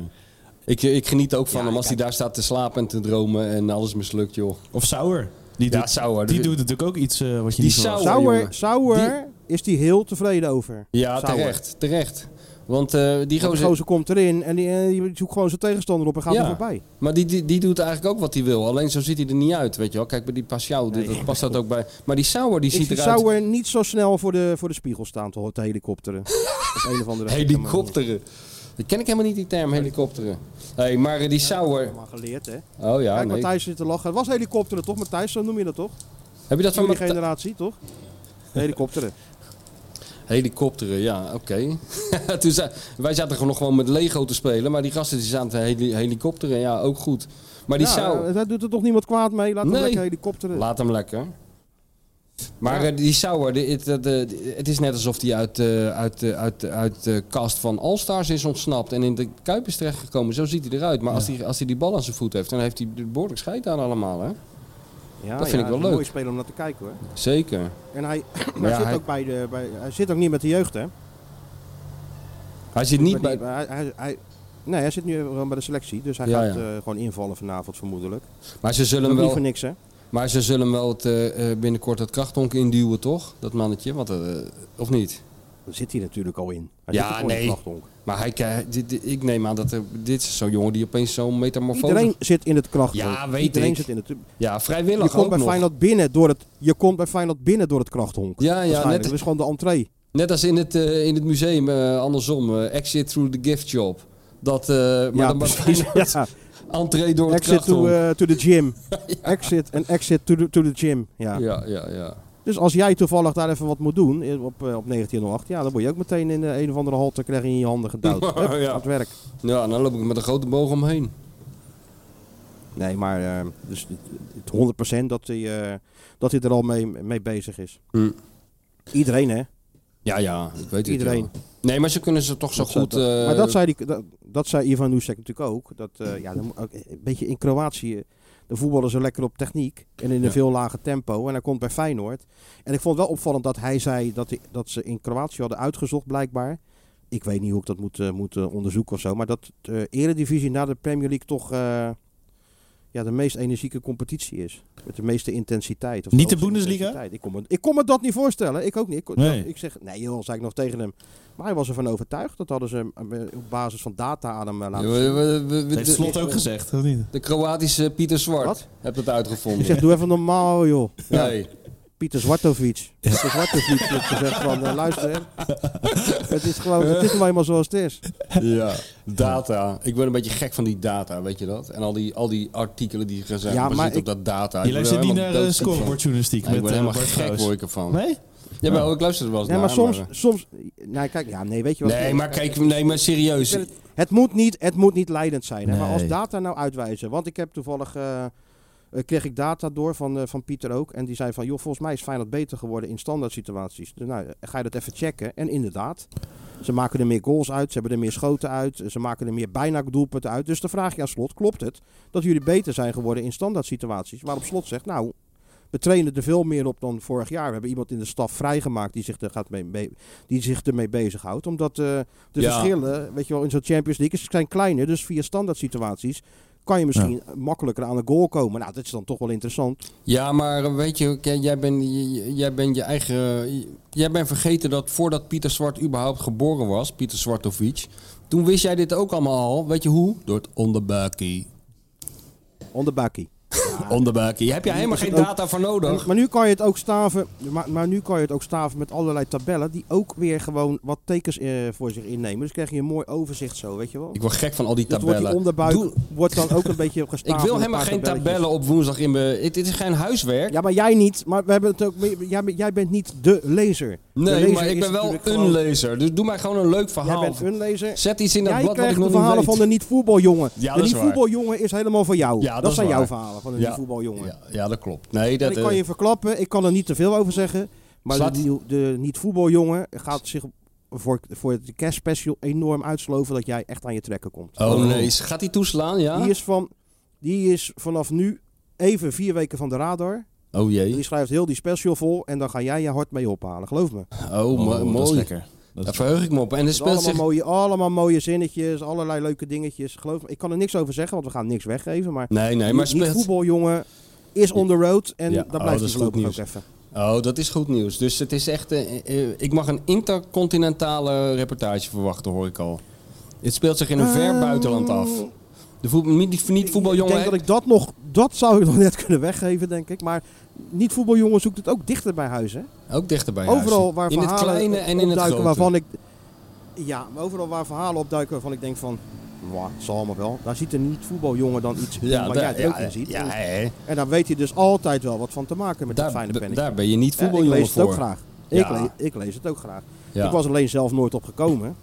Speaker 6: Ik, eh, ik geniet ook van
Speaker 5: Ja,
Speaker 6: hem als hij daar staat te slapen en te dromen en alles mislukt joh.
Speaker 7: Of Sauer. Die,
Speaker 6: Ja,
Speaker 7: doet,
Speaker 6: Sauer.
Speaker 7: die
Speaker 6: Die-
Speaker 7: doet natuurlijk ook iets eh, wat je
Speaker 6: Die
Speaker 7: niet verwacht.
Speaker 6: Sauer,
Speaker 5: Sauer,
Speaker 6: jongen.
Speaker 5: Sauer is die heel tevreden over.
Speaker 6: Ja,
Speaker 5: Sauer.
Speaker 6: terecht, terecht. Want eh, die
Speaker 5: Want
Speaker 6: gozer...
Speaker 5: Die gozer komt erin en die, eh, die zoekt gewoon zijn tegenstander op en gaat
Speaker 6: Ja.
Speaker 5: er voorbij.
Speaker 6: Maar die, die, die doet eigenlijk ook wat hij wil. Alleen zo ziet hij er niet uit, weet je wel. Kijk, bij die Pascal dit- dat past dat ook bij. Maar die Sauer, die
Speaker 5: Ik
Speaker 6: ziet
Speaker 5: zie
Speaker 6: eruit...
Speaker 5: Sauer niet zo snel voor de, voor de spiegel staan te, te helikopteren. Op een of andere gekke manier.
Speaker 6: Helikopteren. Dat ken ik helemaal niet, die term, helikopteren. hey, maar eh, die Sauer...
Speaker 5: Maar geleerd, hè?
Speaker 6: Oh ja,
Speaker 5: Kijk,
Speaker 6: nee.
Speaker 5: Matthijs zit te lachen. Het was helikopteren, toch? Matthijs, zo noem je dat toch?
Speaker 6: Heb je dat
Speaker 5: Van
Speaker 6: van
Speaker 5: jullie
Speaker 6: Matthijs?
Speaker 5: generatie, toch? Helikopteren.
Speaker 6: Helikopteren, ja, oké. Toen za- wij zaten gewoon nog gewoon met Lego te spelen, maar die gasten die zaten te heli- helikopteren, ja, ook goed. Maar die
Speaker 5: ja,
Speaker 6: Sauer...
Speaker 5: eh, Daar doet er toch niemand kwaad mee? Laat
Speaker 6: Nee.
Speaker 5: hem lekker helikopteren.
Speaker 6: Laat hem lekker. Maar eh, die Sauer, die- het, dat, eh, het is net alsof hij uit, eh, uit, eh, uit, uit de kast van All-Stars is ontsnapt en in de Kuip is terechtgekomen. Zo ziet hij eruit. Maar als, hij, als hij die bal aan zijn voet heeft, dan heeft hij er behoorlijk scheid aan allemaal. Hè?
Speaker 5: ja,
Speaker 6: dat vind
Speaker 5: ja,
Speaker 6: ik wel
Speaker 5: het is een
Speaker 6: leuk.
Speaker 5: mooie speler om naar te kijken, hoor.
Speaker 6: Zeker.
Speaker 5: En hij,
Speaker 6: ja,
Speaker 5: hij, zit,
Speaker 6: hij-
Speaker 5: Ook bij de, bij, hij zit ook niet met de jeugd, hè?
Speaker 6: Hij zit niet bij...
Speaker 5: Hij, hij, hij- nee, hij zit nu gewoon bij de selectie, dus hij
Speaker 6: Ja,
Speaker 5: gaat
Speaker 6: ja.
Speaker 5: eh, gewoon invallen vanavond vermoedelijk.
Speaker 6: Maar ze zullen
Speaker 5: Ook
Speaker 6: hem
Speaker 5: niet
Speaker 6: wel,
Speaker 5: voor niks, hè?
Speaker 6: maar ze zullen hem wel het, eh, eh, binnenkort het krachthonk induwen, toch? Dat mannetje, want, eh, of niet?
Speaker 5: Dan zit hij natuurlijk al in. Hij
Speaker 6: Ja,
Speaker 5: zit er gewoon
Speaker 6: nee.
Speaker 5: in het krachthonk.
Speaker 6: Maar hij, krijgt- dit- dit- ik neem aan dat er, dit is zo'n jongen die opeens zo'n metamorfose...
Speaker 5: Iedereen zit in het krachthonk.
Speaker 6: Ja, weet
Speaker 5: Iedereen
Speaker 6: ik.
Speaker 5: zit in het... Je
Speaker 6: Ja, vrijwillig
Speaker 5: komt
Speaker 6: ook
Speaker 5: bij
Speaker 6: nog.
Speaker 5: Feyenoord binnen door het... Je komt bij Feyenoord binnen door het krachthonk.
Speaker 6: Ja, ja,
Speaker 5: Waarschijnlijk.
Speaker 6: net,
Speaker 5: Dat is gewoon de entree.
Speaker 6: Net als in het, eh, in het museum, eh, andersom, eh, exit through the gift shop. Dat, eh, maar
Speaker 5: ja,
Speaker 6: dan was
Speaker 5: precies.
Speaker 6: het
Speaker 5: Ja.
Speaker 6: entree door het
Speaker 5: Exit to,
Speaker 6: krachthonk.
Speaker 5: eh, to the gym. Exit en exit to the, to the gym. eh, Ja.
Speaker 6: ja, ja, ja.
Speaker 5: Dus als jij toevallig daar even wat moet doen eh, op, eh, op 1908, ja, dan word je ook meteen in de een of andere halte krijg je in je handen gedouwd. Hup,
Speaker 6: Ja.
Speaker 5: Aan het werk.
Speaker 6: Ja, dan loop ik met een grote boog omheen.
Speaker 5: Nee, maar eh, dus het, het 100% dat hij, eh, dat hij er al mee, mee bezig is.
Speaker 6: Hm.
Speaker 5: Iedereen, hè?
Speaker 6: Ja, ja, ik weet
Speaker 5: Iedereen.
Speaker 6: het wel. Nee, maar ze kunnen ze toch zo
Speaker 5: Dat
Speaker 6: goed...
Speaker 5: zei- dat-
Speaker 6: eh,
Speaker 5: maar dat zei, die, dat, dat zei Ivan Nusek natuurlijk ook. Dat, eh, ja, dan moet ook een beetje in Kroatië. eh, De voetballen zo lekker op techniek en in een
Speaker 6: Ja.
Speaker 5: veel lager tempo. En hij komt bij Feyenoord. En ik vond het wel opvallend dat hij zei dat, hij- dat ze in Kroatië hadden uitgezocht, blijkbaar. Ik weet niet hoe ik dat moet, eh, moet eh, onderzoeken of zo. Maar dat de Eredivisie na de Premier League toch eh, ja, de meest energieke competitie is. Met de meeste intensiteit. of
Speaker 7: Niet
Speaker 5: hoogste
Speaker 7: de Bundesliga?
Speaker 5: intensiteit. Ik kon, me, ik kon me dat niet voorstellen. Ik ook niet. Ik, kon-
Speaker 7: Nee.
Speaker 5: dat- ik zeg, nee joh, zei ik nog tegen hem. Maar hij was ervan overtuigd. Dat hadden ze hem, eh, op basis van data aan hem eh,
Speaker 6: ja,
Speaker 5: laten zien.
Speaker 6: we- we- we- we-
Speaker 7: Dat heeft Slot ook gezegd, of niet?
Speaker 6: De Kroatische Pieter Zwart
Speaker 5: Wat?
Speaker 6: hebt het
Speaker 5: Ik
Speaker 6: uitgevonden.
Speaker 5: zeg, doe even normaal joh. Ja,
Speaker 6: Nee.
Speaker 5: Pieter Zwartovic. Pieter Zwartovic heeft gezegd van, eh, luister hè. Het is gewoon, het is nou eenmaal zoals het is.
Speaker 6: Ja, data. Ik word een beetje gek van die data, weet je dat? En al die, al die artikelen die gaan zijn
Speaker 5: Ja, maar
Speaker 6: gebaseerd op
Speaker 5: ik-
Speaker 6: dat data.
Speaker 7: Je
Speaker 6: Ik word er
Speaker 7: luistert niet
Speaker 6: helemaal
Speaker 7: naar eh,
Speaker 6: doodziek van.
Speaker 7: scorebordjournalistiek
Speaker 6: Ja, Ik
Speaker 7: met
Speaker 6: word
Speaker 7: eh,
Speaker 6: helemaal
Speaker 7: Bart
Speaker 6: gek
Speaker 7: Grouws.
Speaker 6: word ik ervan.
Speaker 7: Nee?
Speaker 6: Ja, maar ik luister er wel eens
Speaker 5: Nee, maar
Speaker 6: naar.
Speaker 5: soms,
Speaker 6: maar, eh.
Speaker 5: soms, nee kijk, ja, nee weet je wat.
Speaker 6: Nee, maar kijk, nee, maar serieus.
Speaker 5: Ik ben Het moet niet, het moet niet leidend zijn. Hè? Maar als
Speaker 2: Nee.
Speaker 5: data nou uitwijzen. Want ik heb toevallig. eh, eh, kreeg ik data door van, eh, van Pieter ook. En die zei van, joh, volgens mij is Feyenoord beter geworden in standaard situaties. Dus nou, eh, ga je dat even checken. En inderdaad, ze maken er meer goals uit. Ze hebben er meer schoten uit. Ze maken er meer bijna doelpunten uit. Dus dan vraag je aan Slot, klopt het dat jullie beter zijn geworden in standaard situaties? Waarop Slot zegt, nou, we trainen er veel meer op dan vorig jaar. We hebben iemand in de staf vrijgemaakt die zich, er gaat mee, mee- die zich ermee bezighoudt. Omdat eh, de
Speaker 6: Ja.
Speaker 5: verschillen, weet je wel, in zo'n Champions League is- zijn kleiner. Dus via standaard situaties kan je misschien makkelijker aan een goal komen. Nou, dat is dan toch wel interessant.
Speaker 6: Ja, maar eh, weet je, kijk, jij bent je- jij bent je eigen. eh, Jij bent vergeten dat voordat Pieter Zwart überhaupt geboren was, Pieter Zwartovic. Toen wist jij dit ook allemaal al. Weet je hoe? Door het onderbuikie.
Speaker 5: Onderbuikie.
Speaker 6: Onderbuikie. Hier Heb je helemaal geen
Speaker 5: ook-
Speaker 6: data voor nodig?
Speaker 5: Maar nu kan je het ook staven. Maar, maar nu kan je het ook staven met allerlei tabellen die ook weer gewoon wat tekens eh, voor zich innemen. Dus krijg je een mooi overzicht zo, weet je wel.
Speaker 6: Ik word gek van al die
Speaker 5: Dus wordt die
Speaker 6: tabellen.
Speaker 5: onderbuik
Speaker 6: Doe-
Speaker 5: wordt dan ook een beetje gestaafd.
Speaker 6: Ik
Speaker 5: met
Speaker 6: wil
Speaker 5: een
Speaker 6: helemaal
Speaker 5: paar
Speaker 6: geen
Speaker 5: tabelletjes.
Speaker 6: tabellen op woensdag in mijn. Dit dit is geen huiswerk.
Speaker 5: Ja, maar jij niet. Maar we hebben het ook. mee- Jij, bent- jij bent niet de lezer. De
Speaker 6: Nee,
Speaker 5: lezer
Speaker 6: maar ik
Speaker 5: is
Speaker 6: ben wel
Speaker 5: natuurlijk gewoon-
Speaker 6: een lezer. Dus doe mij gewoon een leuk
Speaker 5: Jij
Speaker 6: verhaal.
Speaker 5: bent een lezer.
Speaker 6: Zet iets in dat
Speaker 5: Jij
Speaker 6: blad wat ik
Speaker 5: krijgt de
Speaker 6: nog niet
Speaker 5: verhalen
Speaker 6: weet.
Speaker 5: van de niet-voetbaljongen.
Speaker 6: Ja,
Speaker 5: de
Speaker 6: dat is waar.
Speaker 5: niet-voetbaljongen is helemaal van jou.
Speaker 6: Ja,
Speaker 5: dat,
Speaker 6: dat is
Speaker 5: zijn jouw
Speaker 6: waar.
Speaker 5: verhalen van de
Speaker 6: Ja.
Speaker 5: niet-voetbaljongen.
Speaker 6: Ja, ja, dat klopt. Nee,
Speaker 5: En
Speaker 6: dat, eh,
Speaker 5: ik kan je verklappen, ik kan er niet te veel over zeggen. Maar
Speaker 6: Slaat-
Speaker 5: de, nieuw- de niet-voetbaljongen gaat zich voor, voor de kerstspecial enorm uitsloven dat jij echt aan je trekken komt.
Speaker 6: eh, Oh nee, gaat hij toeslaan? Ja.
Speaker 5: Die, is van, die is vanaf nu even vier weken van de radar.
Speaker 6: Oh
Speaker 5: Die
Speaker 6: jee.
Speaker 5: schrijft heel die special vol en dan ga jij je hart mee ophalen, geloof me.
Speaker 6: Oh, mo-
Speaker 7: Oh, Dat is
Speaker 6: mooi.
Speaker 7: lekker.
Speaker 6: Daar verheug ik me op. En er
Speaker 5: Het
Speaker 6: speelt
Speaker 5: allemaal,
Speaker 6: zich...
Speaker 5: mooie, allemaal mooie zinnetjes, allerlei leuke dingetjes. Geloof me, ik kan er niks over zeggen, want we gaan niks weggeven. Maar,
Speaker 6: Nee, nee, maar
Speaker 5: die
Speaker 6: speelt...
Speaker 5: voetbaljongen is on the road en
Speaker 6: Ja,
Speaker 5: daar
Speaker 6: oh, dat
Speaker 5: blijft
Speaker 6: is
Speaker 5: hij
Speaker 6: goed
Speaker 5: voorlopig ook
Speaker 6: nieuws.
Speaker 5: even.
Speaker 6: Oh, dat is goed nieuws. Dus het is echt. eh, eh, ik mag een intercontinentale reportage verwachten, hoor ik al. Het speelt zich in een ver buitenland af. De voet, niet, niet
Speaker 5: Ehm. Ik
Speaker 6: voetbaljongen.
Speaker 5: denk dat ik dat nog, dat zou ik nog net kunnen weggeven, denk ik. Maar niet voetbaljongen zoekt het ook dichter bij huis, hè?
Speaker 6: Ook dichter bij huis.
Speaker 5: Overal waar
Speaker 6: In het
Speaker 5: verhalen
Speaker 6: kleine en in het
Speaker 5: opduiken
Speaker 6: grote.
Speaker 5: waarvan ik... Ja, maar overal waar verhalen opduiken waarvan ik denk van... Wat zal me wel. Daar ziet een niet-voetbaljongen dan iets in waar
Speaker 6: daar-
Speaker 5: jij het er ook in ziet.
Speaker 6: ja,
Speaker 5: En-
Speaker 6: hè.
Speaker 5: en daar weet je dus altijd wel wat van te maken met dat
Speaker 6: daar,
Speaker 5: fijne
Speaker 6: da-
Speaker 5: pennetje.
Speaker 6: daar ben je niet
Speaker 5: Ja, ik
Speaker 6: voetbaljongen
Speaker 5: lees het
Speaker 6: voor.
Speaker 5: ook graag. Ik,
Speaker 6: Ja.
Speaker 5: le- ik lees het ook graag.
Speaker 6: Ja.
Speaker 5: Ik was alleen zelf nooit op gekomen.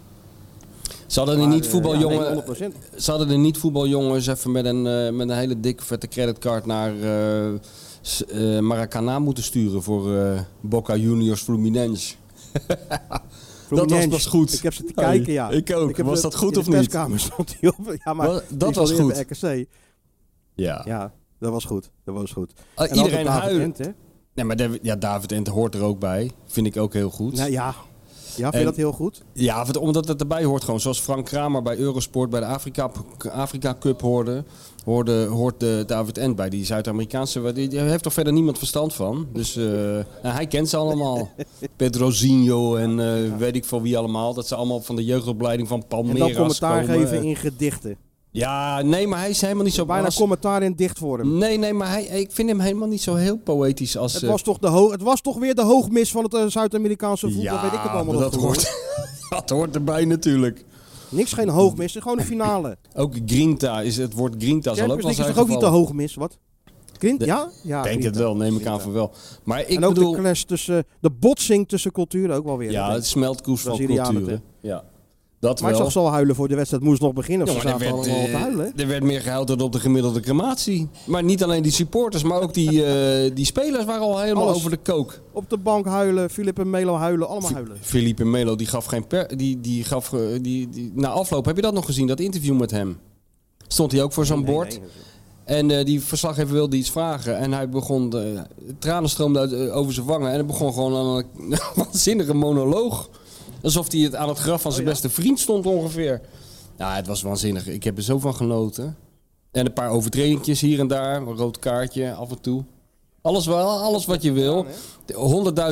Speaker 6: Ze hadden er
Speaker 5: maar,
Speaker 6: niet
Speaker 5: eh,
Speaker 6: voetbaljongen.
Speaker 5: ja, nee, 100%.
Speaker 6: Ze hadden de niet-voetbaljongens even met een, eh, met een hele dikke vette creditcard naar eh, s- eh, Maracanã moeten sturen voor eh, Boca Juniors Fluminense. dat was
Speaker 5: Fluminense.
Speaker 6: pas goed.
Speaker 5: Ik heb zitten
Speaker 6: Hey,
Speaker 5: kijken, ja.
Speaker 6: ik ook.
Speaker 5: heb
Speaker 6: Was
Speaker 5: ze-
Speaker 6: dat goed
Speaker 5: in
Speaker 6: of niet?
Speaker 5: de perskamer stond hij op. Ja, maar
Speaker 6: Wa- dat
Speaker 5: die
Speaker 6: was
Speaker 5: stond eerder
Speaker 6: goed.
Speaker 5: bij RKC.
Speaker 6: Ja.
Speaker 5: Ja, dat was goed. Dat was goed.
Speaker 6: Ah,
Speaker 5: En
Speaker 6: iedereen
Speaker 5: altijd David
Speaker 6: huilen.
Speaker 5: Ent, hè?
Speaker 6: Nee, maar David, ja, David Ent hoort er ook bij. Vind ik ook heel goed.
Speaker 5: Nou ja. Ja, vind je
Speaker 6: En-
Speaker 5: dat heel goed?
Speaker 6: Ja, want- omdat het erbij hoort gewoon. Zoals Frank Kramer bij Eurosport bij de Afrika, Afrika Cup hoorde, hoorde, hoort de David Ent bij. Die Zuid-Amerikaanse, die, die heeft toch verder niemand verstand van. Dus eh, nou, hij kent ze allemaal. Pedrozinho en eh, weet ik van wie allemaal. Dat ze allemaal van de jeugdopleiding van
Speaker 5: En
Speaker 6: Palmeiras
Speaker 5: dan commentaar
Speaker 6: komen. eh,
Speaker 5: geven in gedichten.
Speaker 6: Ja, nee, maar hij is helemaal niet zo...
Speaker 5: Bijna
Speaker 6: was-
Speaker 5: commentaar in dichtvorm.
Speaker 6: Nee, nee, maar hij, ik vind hem helemaal niet zo heel poëtisch als...
Speaker 5: Het
Speaker 6: eh,
Speaker 5: was, toch de ho- het was toch weer de hoogmis van het eh, Zuid-Amerikaanse voetbal,
Speaker 6: ja,
Speaker 5: weet ik het allemaal
Speaker 6: maar
Speaker 5: nog
Speaker 6: dat
Speaker 5: geworden.
Speaker 6: hoort, dat hoort erbij natuurlijk.
Speaker 5: Niks geen hoogmis, het is gewoon een finale.
Speaker 6: Ook Grinta, is het woord Grinta zal ook
Speaker 5: Champions
Speaker 6: wel
Speaker 5: League is
Speaker 6: zijn
Speaker 5: dus toch ook niet de
Speaker 6: gevallen.
Speaker 5: hoogmis, wat? Grint,
Speaker 6: De-
Speaker 5: ja? ja?
Speaker 6: Ik denk
Speaker 5: Grint.
Speaker 6: het wel, neem ik aan van wel. Maar ik
Speaker 5: en ook
Speaker 6: bedoel,
Speaker 5: de clash tussen, eh, de botsing tussen culturen ook wel weer.
Speaker 6: ja, het smeltkoers van
Speaker 5: Brazilianen,
Speaker 6: culturen. Ja, dat
Speaker 5: maar ik
Speaker 6: wel.
Speaker 5: zag ze al huilen voor de wedstrijd, moest nog beginnen. Of
Speaker 6: Ja,
Speaker 5: ze
Speaker 6: maar er
Speaker 5: zaten
Speaker 6: werd,
Speaker 5: allemaal op te
Speaker 6: eh,
Speaker 5: huilen.
Speaker 6: er werd meer gehuild dan op de gemiddelde crematie. Maar niet alleen die supporters, maar ook die, eh, die spelers waren al helemaal
Speaker 5: Alles.
Speaker 6: over de kook.
Speaker 5: Op de bank huilen, Filip en Melo huilen, allemaal huilen.
Speaker 6: Felipe Melo, die gaf geen per... Die, die gaf, eh, die, die, na afloop, heb je dat nog gezien, dat interview met hem? Stond hij ook voor zo'n bord? En eh, die verslaggever wilde iets vragen. En hij begon. eh, tranen stroomden uit, eh, over zijn wangen. En hij begon gewoon aan een waanzinnige monoloog. Alsof hij het aan het graf van zijn beste vriend stond ongeveer. Ja, het was waanzinnig. Ik heb er zo van genoten. En een paar overtredingjes hier en daar. Een rood kaartje af en toe. Alles wel, alles wat je wil.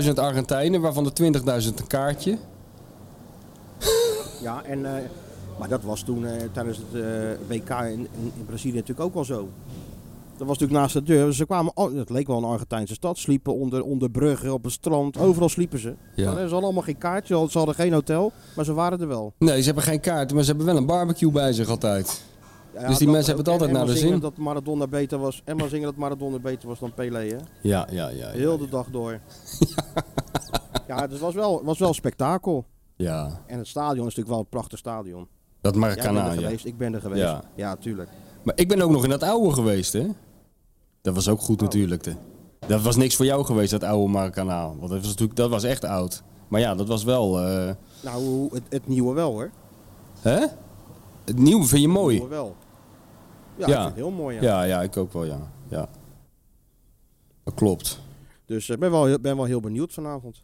Speaker 6: 100.000 Argentijnen, waarvan de 20.000 een kaartje.
Speaker 5: Ja, en, eh, maar dat was toen eh, tijdens het eh, WK in, in, in Brazilië natuurlijk ook al zo. Dat was natuurlijk naast de deur. Ze kwamen, al- het leek wel een Argentijnse stad, sliepen onder, onder bruggen, op het strand. Overal sliepen ze.
Speaker 6: Ja.
Speaker 5: Maar Ze hadden allemaal geen kaartje, ze hadden geen hotel, maar ze waren er wel.
Speaker 6: Nee, ze hebben geen kaarten, maar ze hebben wel een barbecue bij zich altijd.
Speaker 5: Ja,
Speaker 6: Dus die
Speaker 5: dat-
Speaker 6: mensen hebben het altijd
Speaker 5: en
Speaker 6: naar
Speaker 5: maar
Speaker 6: de
Speaker 5: zingen
Speaker 6: zin.
Speaker 5: Dat Maradona beter was, en maar zingen dat Maradona beter was dan Pelé, hè?
Speaker 6: Ja, ja, ja. Ja,
Speaker 5: Heel de dag door. Ja, het was wel, was wel spektakel.
Speaker 6: ja.
Speaker 5: En het stadion is natuurlijk wel een prachtig stadion.
Speaker 6: dat
Speaker 5: Jij bent er
Speaker 6: Maracana, ja.
Speaker 5: geweest, ik ben er geweest.
Speaker 6: Ja.
Speaker 5: Ja, tuurlijk.
Speaker 6: Maar ik ben ook nog in dat oude geweest, hè? Dat was ook
Speaker 5: Oh.
Speaker 6: goed natuurlijk. hè. Dat was niks voor jou geweest, dat oude Maracanaal. Want dat was, natuurlijk, dat was echt oud. Maar ja, dat was wel... eh,
Speaker 5: Nou, het, het nieuwe wel hoor.
Speaker 6: hè? Het nieuwe vind je
Speaker 5: Het
Speaker 6: mooi.
Speaker 5: nieuwe wel. Ja,
Speaker 6: Ja.
Speaker 5: Ik vind het heel mooi. Ja.
Speaker 6: Ja, ja, ik ook wel, ja. ja. Dat klopt.
Speaker 5: Dus ik ben wel, heel- ben wel heel benieuwd vanavond.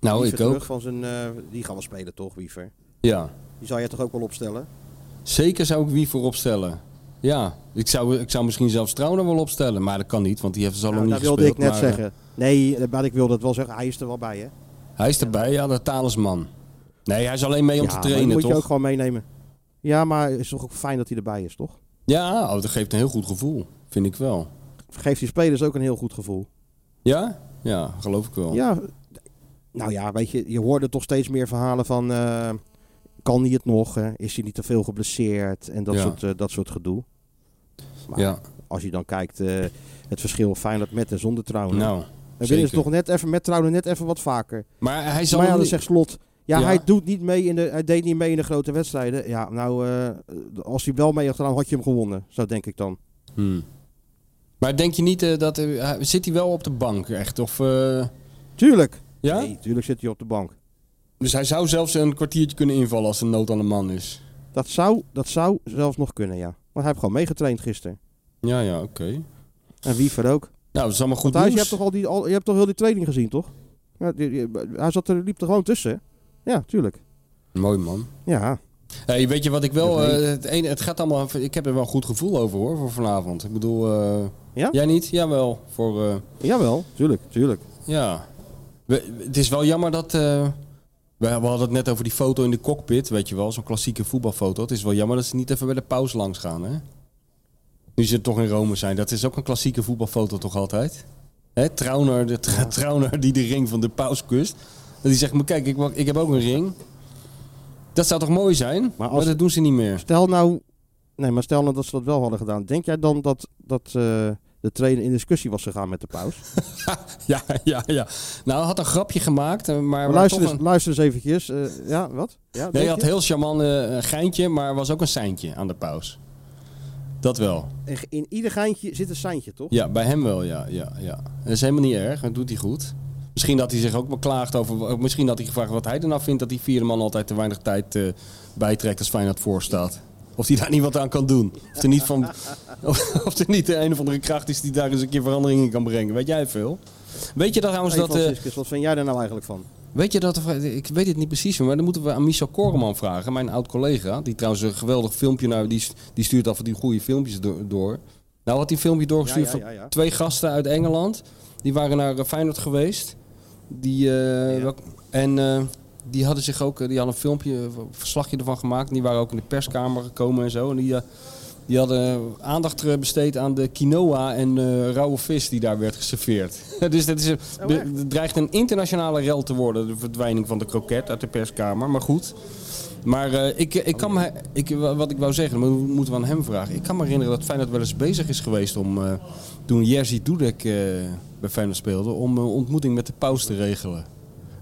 Speaker 6: Nou,
Speaker 5: Wiever
Speaker 6: ik
Speaker 5: terug
Speaker 6: ook.
Speaker 5: Van zijn, eh, die gaan we spelen toch, Wiever?
Speaker 6: Ja.
Speaker 5: Die zou jij toch ook wel opstellen?
Speaker 6: Zeker zou ik wie voor opstellen. Ja, ik zou, ik zou misschien zelfs Trouwner wel opstellen. Maar dat kan niet, want die heeft zo lang
Speaker 5: Nou,
Speaker 6: niet
Speaker 5: dat wilde
Speaker 6: gespeeld.
Speaker 5: ik net
Speaker 6: maar, eh,
Speaker 5: zeggen. Nee, eh, maar ik wilde het wel zeggen. Hij is er wel bij, hè?
Speaker 6: Hij is erbij, ja, de talisman. Nee, hij is alleen mee om
Speaker 5: maar
Speaker 6: te
Speaker 5: die moet
Speaker 6: trainen,
Speaker 5: je
Speaker 6: toch?
Speaker 5: ook gewoon meenemen. Ja, maar het is toch ook fijn dat hij erbij is, toch?
Speaker 6: Ja, oh, dat geeft een heel goed gevoel. Vind ik wel.
Speaker 5: Geeft die spelers ook een heel goed gevoel.
Speaker 6: Ja? Ja, geloof ik wel.
Speaker 5: Ja, d- nou ja, weet je, je hoorde toch steeds meer verhalen van... eh, kan hij het nog? hè? Is hij niet te veel geblesseerd? En dat,
Speaker 6: Ja.
Speaker 5: soort, eh, dat soort gedoe. Maar
Speaker 6: Ja.
Speaker 5: als je dan kijkt, eh, het verschil Feyenoord met en zonder trouwen.
Speaker 6: Nou,
Speaker 5: dan winnen ze
Speaker 6: zeker.
Speaker 5: toch net even met trouwen net even wat vaker.
Speaker 6: maar hij zal
Speaker 5: Maar ja, dan
Speaker 6: niet-
Speaker 5: zegt Slot... Ja,
Speaker 6: Ja.
Speaker 5: Hij, doet niet mee in de, hij deed niet mee in de grote wedstrijden. Ja, nou, eh, als hij wel mee had gedaan, had je hem gewonnen. Zo denk ik dan.
Speaker 6: Hmm. Maar denk je niet eh, dat... eh, hij- zit hij wel op de bank echt? Of, eh,
Speaker 5: Tuurlijk.
Speaker 6: ja?
Speaker 5: Nee, tuurlijk zit hij op de bank.
Speaker 6: Dus hij zou zelfs een kwartiertje kunnen invallen als de nood aan de man is.
Speaker 5: Dat zou, dat zou zelfs nog kunnen, ja. Want hij heeft gewoon meegetraind gisteren.
Speaker 6: Ja, ja, oké.
Speaker 5: En Wiever ook.
Speaker 6: Nou, dat is allemaal goed
Speaker 5: Thijs, je hebt
Speaker 6: nieuws.
Speaker 5: toch al die, al, je hebt toch heel die training gezien, toch? Ja, die- die- hij zat er, liep er gewoon tussen. hè? Ja, tuurlijk.
Speaker 6: Mooi, man.
Speaker 5: Ja,
Speaker 6: Hey, weet je wat ik wel...
Speaker 5: Dat weet
Speaker 6: eh, het, ene, het gaat allemaal... Ik heb er wel een goed gevoel over, hoor, voor vanavond. Ik bedoel... eh,
Speaker 5: Ja?
Speaker 6: Jij niet? Jawel. Voor... eh,
Speaker 5: jawel. Tuurlijk, tuurlijk.
Speaker 6: Ja. We- het is wel jammer dat... eh, we, we hadden het net over die foto in de cockpit, weet je wel. Zo'n klassieke voetbalfoto. Het is wel jammer dat ze niet even bij de pauze langs gaan, hè? Nu ze toch in Rome zijn. Dat is ook een klassieke voetbalfoto toch altijd? Hè? Trauner, de, tra- Trauner die de ring van de paus kust. Dat die zegt, maar kijk, ik, mag- ik heb ook een ring. Dat zou toch mooi zijn? Maar,
Speaker 5: als-
Speaker 6: dat doen ze niet meer.
Speaker 5: Stel nou, nee, maar stel nou dat ze dat wel hadden gedaan. Denk jij dan dat, dat eh, de trainer in discussie was gegaan met de paus?
Speaker 6: Ja, ja, ja. Nou, hij had een grapje gemaakt, eh, maar... maar
Speaker 5: Maar luister,
Speaker 6: toch
Speaker 5: eens,
Speaker 6: een-
Speaker 5: luister eens eventjes. eh, ja, wat? Ja,
Speaker 6: Nee,
Speaker 5: denk
Speaker 6: hij had
Speaker 5: je?
Speaker 6: heel charmant eh, een geintje, maar er was ook een seintje aan de paus. Dat wel.
Speaker 5: In ieder geintje zit een seintje, toch?
Speaker 6: Ja, bij hem wel, ja. ja, ja. Dat is helemaal niet erg, dat doet hij goed. Misschien dat hij zich ook beklaagt over... eh, Misschien dat hij gevraagd wat hij er nou vindt... dat die vierde man altijd te weinig tijd eh, bijtrekt als Feyenoord voorstaat. Of hij daar niet wat aan kan doen. Of er niet, van, of, of er niet de een of andere kracht is die daar eens een keer verandering in kan brengen. Weet jij veel? Weet je dat trouwens
Speaker 5: Hey,
Speaker 6: dat... eh,
Speaker 5: Franciscus, wat vind jij daar nou eigenlijk van?
Speaker 6: Weet je dat, er- ik weet het niet precies, maar dan moeten we aan Michel Koreman vragen, mijn oud collega. Die trouwens een geweldig filmpje naar, die, die stuurt af en die goede filmpjes do- door. Nou had hij een filmpje doorgestuurd
Speaker 5: Ja, ja, ja,
Speaker 6: van
Speaker 5: ja.
Speaker 6: twee gasten uit Engeland. Die waren naar eh, Feyenoord geweest. Die, eh, welk- en eh, die hadden zich ook, eh, die hadden een filmpje, eh, een verslagje ervan gemaakt. En die waren ook in de perskamer gekomen en zo. En die, eh, die hadden aandacht eh, besteed aan de quinoa en eh, rauwe vis die daar werd geserveerd. dus dat is, een- de- het dreigt een internationale rel te worden, de verdwijning van de kroket uit de perskamer. Maar goed. Maar eh, ik, ik kan me, ik, wat ik wou zeggen, dat mo- moeten we aan hem vragen. Ik kan me herinneren dat Feyenoord wel eens bezig is geweest om, eh, toen Jerzy Dudek eh, bij Feyenoord speelde, om een ontmoeting met de paus te regelen.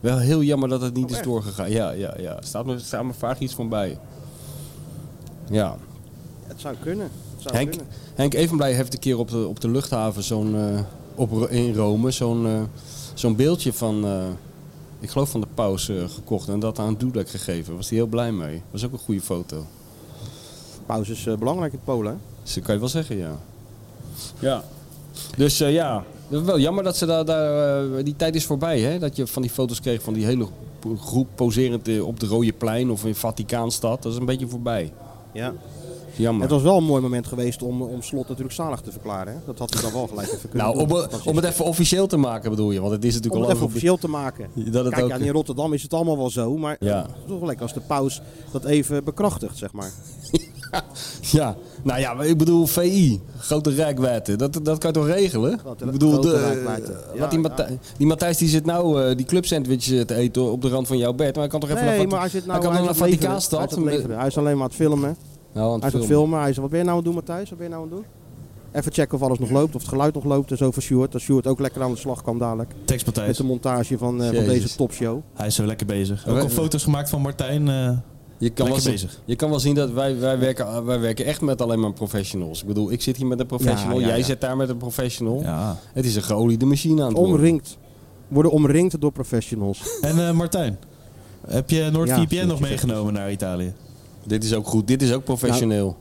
Speaker 6: Wel heel jammer dat het niet is doorgegaan. Ja, ja, ja. Staat me, staat me vaag iets van bij. Ja.
Speaker 5: Het zou kunnen. Het zou
Speaker 6: Henk,
Speaker 5: kunnen.
Speaker 6: Henk Evenblij heeft een keer op de, op de luchthaven zo'n, eh, op, Ro- in Rome zo'n, eh, zo'n beeldje van, eh, ik geloof van de paus eh, gekocht en dat aan Dudek gegeven. Was hij heel blij mee. Was ook een goede foto.
Speaker 5: Pauze is eh, belangrijk in Polen. hè?
Speaker 6: Dus dat kan je wel zeggen, ja. Ja. Dus eh, ja, dat is wel jammer dat ze daar, daar eh, die tijd is voorbij, hè? Dat je van die foto's kreeg van die hele groep poserend eh, op de Rode Plein of in Vaticaanstad. Dat is een beetje voorbij.
Speaker 5: Ja.
Speaker 6: Jammer.
Speaker 5: Het was wel een mooi moment geweest om, om slot natuurlijk zalig te verklaren. Hè? Dat had hij dan wel gelijk even kunnen
Speaker 6: Nou,
Speaker 5: doen.
Speaker 6: om,
Speaker 5: Dat is-
Speaker 6: om het even officieel te maken bedoel je, want het is
Speaker 5: om
Speaker 6: natuurlijk
Speaker 5: het
Speaker 6: al
Speaker 5: even
Speaker 6: over-
Speaker 5: officieel te maken.
Speaker 6: Dat het
Speaker 5: Kijk,
Speaker 6: ook-
Speaker 5: ja, in Rotterdam is het allemaal wel zo, maar
Speaker 6: Ja.
Speaker 5: het is toch wel lekker als de paus dat even bekrachtigt, zeg maar.
Speaker 6: Ja, nou ja, maar ik bedoel VI, grote rijkwijde, dat, dat kan je toch regelen?
Speaker 5: Grote-
Speaker 6: ik bedoel,
Speaker 5: grote
Speaker 6: de,
Speaker 5: reikwijdte.
Speaker 6: eh,
Speaker 5: Ja,
Speaker 6: wat die,
Speaker 5: ja.
Speaker 6: Matthij- die Matthijs die zit nou eh, die clubsandwich eh, te eten op de rand van jouw bed, maar hij kan toch even
Speaker 5: nee,
Speaker 6: naar, Vati-
Speaker 5: maar als je het nou...
Speaker 6: hij kan
Speaker 5: hij
Speaker 6: toch
Speaker 5: is
Speaker 6: naar
Speaker 5: aan het leveren. Hij is
Speaker 6: Vaticaanstad?
Speaker 5: aan het leveren. Hij is alleen maar aan het filmen. Hij
Speaker 6: Nou, aan het
Speaker 5: is aan het
Speaker 6: filmen.
Speaker 5: filmen. Hij zei, wat ben je nou aan het doen Matthijs? Wat ben je nou aan het doen? Even checken of alles nog loopt, of het geluid nog loopt en zo voor Sjoerd. Dat Sjoerd ook lekker aan de slag kwam dadelijk.
Speaker 7: Tekst
Speaker 5: Met
Speaker 7: Matthijs.
Speaker 5: de montage van, eh, van
Speaker 6: Jezus.
Speaker 5: deze topshow.
Speaker 7: Hij is zo lekker bezig. Ook
Speaker 6: Wij-
Speaker 7: al foto's gemaakt van Martijn. eh,
Speaker 6: Je kan, wel
Speaker 7: Lekker
Speaker 6: zien,
Speaker 7: bezig.
Speaker 6: je kan wel zien dat wij, wij, werken, eh, wij werken echt met alleen maar professionals. Ik bedoel, ik zit hier met een professional,
Speaker 7: Ja, ja,
Speaker 6: jij
Speaker 7: ja.
Speaker 6: zit daar met een professional.
Speaker 7: ja.
Speaker 6: Het is een geoliede machine aan het worden.
Speaker 5: Omringd. Worden omringd door professionals.
Speaker 7: En eh, Martijn, heb je NordVPN
Speaker 5: Ja,
Speaker 7: nog meegenomen naar Italië?
Speaker 6: Dit is ook goed, dit is ook
Speaker 7: Nou,
Speaker 6: professioneel.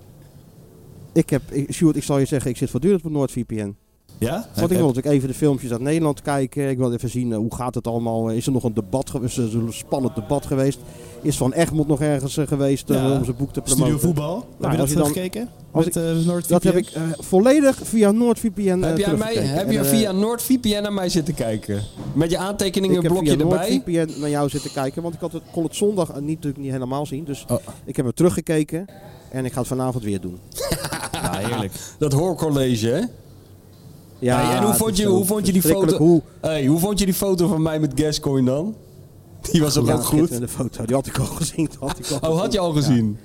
Speaker 5: Ik heb, ik, Sjoerd, ik zal je zeggen, ik zit voortdurend op NordVPN.
Speaker 7: Ja?
Speaker 5: Want ik
Speaker 7: Heb-
Speaker 5: wil natuurlijk even de filmpjes uit Nederland kijken. Ik wil even zien, eh, hoe gaat het allemaal? Is er nog een debat geweest? Is er een spannend debat geweest? Is Van Egmond nog ergens eh, geweest eh,
Speaker 7: Ja.
Speaker 5: om zijn boek te promoten? Nou,
Speaker 7: Studio Voetbal.
Speaker 5: als
Speaker 7: heb
Speaker 5: je dan-
Speaker 7: je dat gekeken?
Speaker 5: als
Speaker 7: Met eh, NordVPN?
Speaker 5: Dat heb ik eh, volledig via NordVPN eh,
Speaker 6: Heb jij mij,
Speaker 5: teruggekeken.
Speaker 6: heb
Speaker 5: En,
Speaker 6: je
Speaker 5: eh,
Speaker 6: via NordVPN naar mij zitten kijken? Met je aantekeningen
Speaker 5: Ik heb
Speaker 6: blokje
Speaker 5: via
Speaker 6: erbij?
Speaker 5: NordVPN naar jou zitten kijken, want ik had het, kon het zondag eh, niet, natuurlijk niet helemaal zien. Dus
Speaker 6: Oh.
Speaker 5: ik heb het teruggekeken en ik ga het vanavond weer doen.
Speaker 7: Ja,
Speaker 5: Ah.
Speaker 7: heerlijk.
Speaker 6: Dat hoorcollege, hè? Hey, en hoe
Speaker 5: het
Speaker 6: vond
Speaker 5: is
Speaker 6: je-
Speaker 5: zo
Speaker 6: hoe vond je die
Speaker 5: verschrikkelijk
Speaker 6: foto-
Speaker 5: Hoe,
Speaker 6: Hey, hoe vond je die foto van mij met Gascoin dan? Die was ook
Speaker 5: ja,
Speaker 6: ook goed.
Speaker 5: schitterende foto, die had ik al gezien. die Had ik al
Speaker 6: Oh, had je al gezien?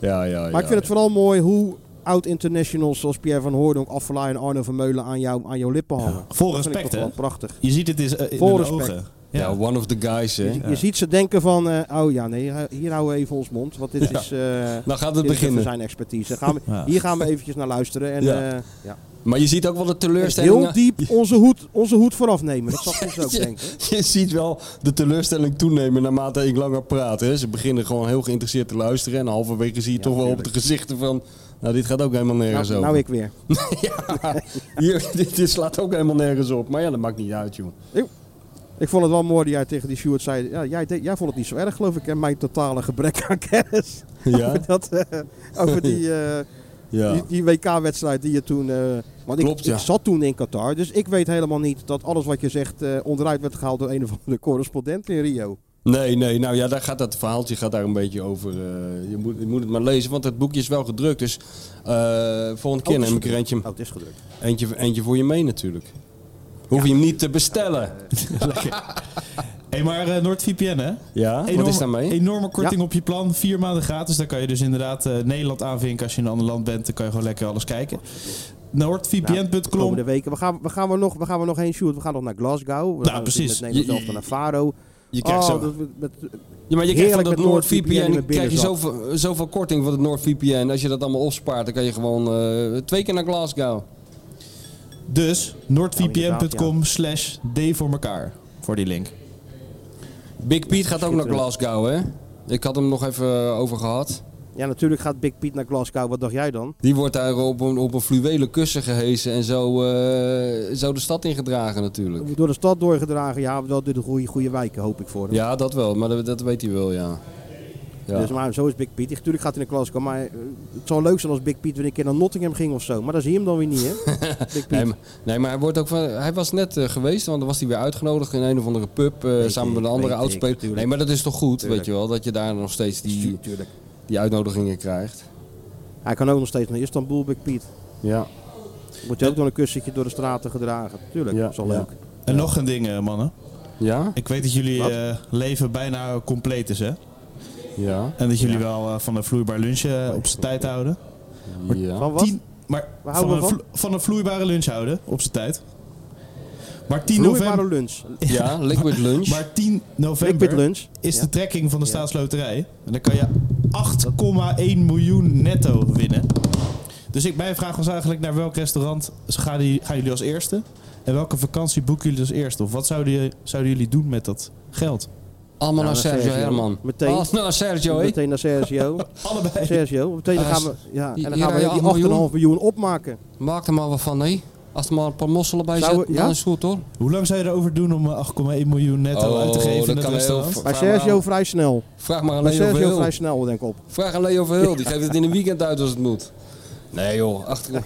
Speaker 6: Ja, ja, ja.
Speaker 5: Maar ik vind het vooral mooi hoe oud-internationals zoals Pierre van Hoordonk, Affalay en Arno van Meulen aan, jou, aan jouw lippen hangen.
Speaker 7: Vol
Speaker 5: dat vind ik
Speaker 7: respect,
Speaker 5: toch
Speaker 7: hè?
Speaker 5: wel prachtig.
Speaker 7: Je ziet het is, eh, in
Speaker 5: Vol
Speaker 7: hun
Speaker 5: respect.
Speaker 7: ogen.
Speaker 6: Ja, one of the guys, hè?
Speaker 5: Je ziet ze denken van, eh, oh ja, nee, hier houden we even ons mond, want dit is... eh,
Speaker 6: Nou gaat
Speaker 5: dit
Speaker 6: het
Speaker 5: is even
Speaker 6: beginnen.
Speaker 5: zijn expertise. Gaan we,
Speaker 7: Ja.
Speaker 5: Hier gaan we eventjes naar luisteren. En,
Speaker 6: Ja.
Speaker 5: eh, ja.
Speaker 6: Maar je ziet ook wel de
Speaker 5: Heel
Speaker 6: teleurstellingen.
Speaker 5: diep onze hoed, onze hoed vooraf nemen. Dat zag ik dus ook denken.
Speaker 6: Je ziet wel de teleurstelling toenemen naarmate ik langer praat. Hè. Ze beginnen gewoon heel geïnteresseerd te luisteren. En halverwege zie je toch wel op de gezichten van... Nou, dit gaat ook helemaal nergens
Speaker 5: Nou,
Speaker 6: over.
Speaker 5: nou ik weer.
Speaker 6: Ja, hier, dit, dit slaat ook helemaal nergens op. Maar ja, dat maakt niet uit, joh.
Speaker 5: Ik vond het wel mooi dat jij tegen die Stuart zei... Ja, jij, deed- jij vond het niet zo erg, geloof ik. En mijn totale gebrek aan kennis.
Speaker 6: Ja?
Speaker 5: Over, dat, eh, over die, eh,
Speaker 6: Ja.
Speaker 5: die, die WK-wedstrijd die je toen eh, Want ik,
Speaker 6: Klopt, ja.
Speaker 5: ik zat toen in Qatar, dus ik weet helemaal niet dat alles wat je zegt eh, onderuit werd gehaald door een of andere correspondent in Rio.
Speaker 6: Nee, nee, nou ja, daar gaat dat verhaaltje gaat daar een beetje over. eh, je, moet, je moet het maar lezen, want het boekje is wel gedrukt. Dus eh, volgende keer neem ik er eentje,
Speaker 5: Oh, het is gedrukt.
Speaker 6: eentje, eentje voor je mee natuurlijk. Hoef je hem niet te bestellen.
Speaker 7: Hé, maar eh, NordVPN,
Speaker 5: Ah.
Speaker 7: hè?
Speaker 6: Ja, wat is daarmee?
Speaker 7: Enorme korting op je plan. Vier maanden gratis. Dan kan je dus inderdaad eh, Nederland aanvinken. Als je in een ander land bent, dan kan je gewoon lekker alles kijken.
Speaker 5: Nou, de
Speaker 7: NordVPN.com.
Speaker 5: komende weken. We gaan, we gaan, er nog, we gaan er nog heen, Sjoerd. We gaan nog naar Glasgow. We gaan Met
Speaker 7: precies.
Speaker 5: Nederland
Speaker 6: Je- je-
Speaker 5: zelf naar Faro.
Speaker 6: Je krijgt
Speaker 5: Oh,
Speaker 6: zo...
Speaker 5: dat we- met-
Speaker 6: Ja, maar je krijgt van
Speaker 5: Heerlijk
Speaker 6: dat
Speaker 5: met NordVPN in
Speaker 6: NoordVPN
Speaker 5: mijn
Speaker 6: krijg je
Speaker 5: binnenzak.
Speaker 6: zoveel, zoveel korting van het NoordVPN. Als je dat allemaal opspaart, dan kan je gewoon eh, twee keer naar Glasgow.
Speaker 7: Dus
Speaker 5: Ja.
Speaker 7: NordVPN.com slash D voor elkaar. Voor die link.
Speaker 6: Big Piet gaat ook naar
Speaker 5: schitterend.
Speaker 6: Glasgow, hè? Ik had hem nog even eh, over gehad.
Speaker 5: ja, natuurlijk gaat Big Piet naar Glasgow. Wat dacht jij dan?
Speaker 6: Die wordt daar op een, op een fluwelen kussen gehesen en zo, eh, zo de stad ingedragen natuurlijk.
Speaker 5: Door de stad doorgedragen. Ja, wel door de goede, goede wijken, hoop ik voor hem.
Speaker 6: Ja, dat wel, maar dat, dat weet hij wel, ja. ja.
Speaker 5: Dus, maar zo is Big Piet. Natuurlijk gaat hij naar Glasgow. Maar eh, het zou leuk zijn als Big Piet weer een keer naar Nottingham ging of zo. Maar daar zie je hem dan weer niet, hè? Big
Speaker 6: Nee,
Speaker 5: Piet.
Speaker 6: maar, nee, maar hij, wordt ook van, hij was net eh, geweest, want dan was hij weer uitgenodigd in een of andere pub eh, samen
Speaker 5: ik,
Speaker 6: met een andere
Speaker 5: weet ik,
Speaker 6: oudspeler.
Speaker 5: tuurlijk.
Speaker 6: Nee, maar dat is toch goed,
Speaker 5: Tuurlijk.
Speaker 6: weet je wel, dat je daar nog steeds die,
Speaker 5: Natuurlijk.
Speaker 6: die uitnodigingen krijgt.
Speaker 5: Hij kan ook nog steeds naar Istanbul, Big Piet.
Speaker 6: Ja.
Speaker 5: Wordt je ook door een kussentje door de straten gedragen. Tuurlijk,
Speaker 6: Ja,
Speaker 5: dat is al
Speaker 6: ja.
Speaker 5: leuk.
Speaker 7: En nog een ding, eh, mannen.
Speaker 6: Ja?
Speaker 7: Ik weet dat jullie eh, leven bijna compleet is, hè?
Speaker 6: Ja.
Speaker 7: En dat jullie wel eh, van een vloeibaar lunch eh, op zijn tijd houden.
Speaker 6: ja.
Speaker 5: Van wat?
Speaker 7: Tien- maar
Speaker 5: Waar
Speaker 7: van
Speaker 5: houden we
Speaker 7: een, vlo- van een vloeibare lunch houden op zijn tijd. Maar 10
Speaker 5: Vloeibare
Speaker 7: november,
Speaker 5: lunch.
Speaker 6: Ja, liquid lunch.
Speaker 5: Nou,
Speaker 7: maar 10
Speaker 5: Big Piet
Speaker 7: november
Speaker 5: lunch.
Speaker 7: is
Speaker 5: Ja.
Speaker 7: de trekking van de staatsloterij. En dan kan je 8,1 miljoen netto winnen. Dus ik, mijn vraag was eigenlijk naar welk restaurant gaan, die- gaan jullie als eerste? En welke vakantie boeken jullie als eerste? Of wat zouden, je- zouden jullie doen met dat geld?
Speaker 6: Allemaal
Speaker 5: Ja, dan
Speaker 6: naar Sergio
Speaker 5: Sergio.
Speaker 6: Herman.
Speaker 5: Meteen.
Speaker 6: Allemaal naar Sergio, hè?
Speaker 5: Meteen naar Sergio.
Speaker 7: Allebei.
Speaker 5: Sergio. Meteen dan
Speaker 6: Ah,
Speaker 5: gaan we, ja, en
Speaker 6: hier
Speaker 5: dan gaan
Speaker 6: heb je
Speaker 5: we die 8,5
Speaker 6: 8 miljoen.
Speaker 5: miljoen. opmaken.
Speaker 6: Maak er maar wat van, hè? Als er maar een paar mosselen bij
Speaker 5: Zou we-
Speaker 6: zitten,
Speaker 5: ja?
Speaker 6: dan is het goed, hoor.
Speaker 7: Hoe lang zou je erover doen om eh, 8,1 miljoen netto uit
Speaker 6: Oh,
Speaker 7: te geven in het restaurant?
Speaker 5: Bij Sergio vrij snel.
Speaker 6: Vraag maar aan
Speaker 5: Bij
Speaker 6: Leo
Speaker 5: Sergio vrij
Speaker 6: Verhul.
Speaker 5: snel, denk ik op.
Speaker 6: Vraag aan Leo Verhul, die geeft het in een weekend uit als het moet. Nee joh, achter...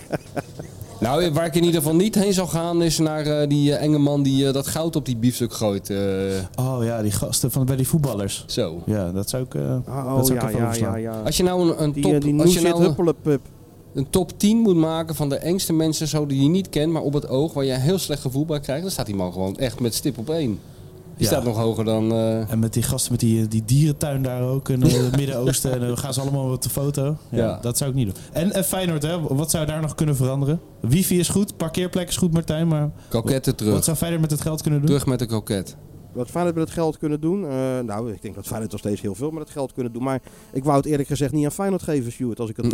Speaker 6: Nou, waar ik in ieder geval niet heen zou gaan is naar eh, die eh, enge man die eh, dat goud op die biefstuk gooit. eh,
Speaker 7: Oh ja, die gasten van bij die voetballers.
Speaker 6: zo.
Speaker 7: Ja, dat zou ik, eh,
Speaker 5: Ah,
Speaker 7: dat
Speaker 5: Oh
Speaker 7: zou ik
Speaker 5: ja,
Speaker 7: even
Speaker 5: ja, ja,
Speaker 7: overslaan.
Speaker 5: ja.
Speaker 6: Als je nou een, een
Speaker 5: Die,
Speaker 6: top,
Speaker 5: eh, die nu
Speaker 6: als je
Speaker 5: zit
Speaker 6: nou een,
Speaker 5: huppelepup.
Speaker 6: een top 10 moet maken van de engste mensen zo die je niet kent, maar op het oog waar je een heel slecht gevoel bij krijgt, dan staat die man gewoon echt met stip op één. Die
Speaker 7: Ja.
Speaker 6: staat nog hoger dan... eh,
Speaker 7: En met die gasten met die, eh, die dierentuin daar ook in eh, het Midden-Oosten. En dan gaan ze allemaal op de foto. Ja,
Speaker 6: Ja.
Speaker 7: Dat zou ik niet doen. En, en Feyenoord, hè, wat zou daar nog kunnen veranderen? Wifi is goed, parkeerplek is goed Martijn. Maar
Speaker 6: Koketten
Speaker 7: wat
Speaker 6: terug.
Speaker 7: zou Feyenoord met het geld kunnen doen?
Speaker 6: Terug met de koket.
Speaker 5: Wat Feyenoord met het geld kunnen doen? Eh, nou, ik denk dat Feyenoord nog steeds heel veel met het geld kunnen doen. Maar ik wou het eerlijk gezegd niet aan Feyenoord geven, Stuart. Als ik, het,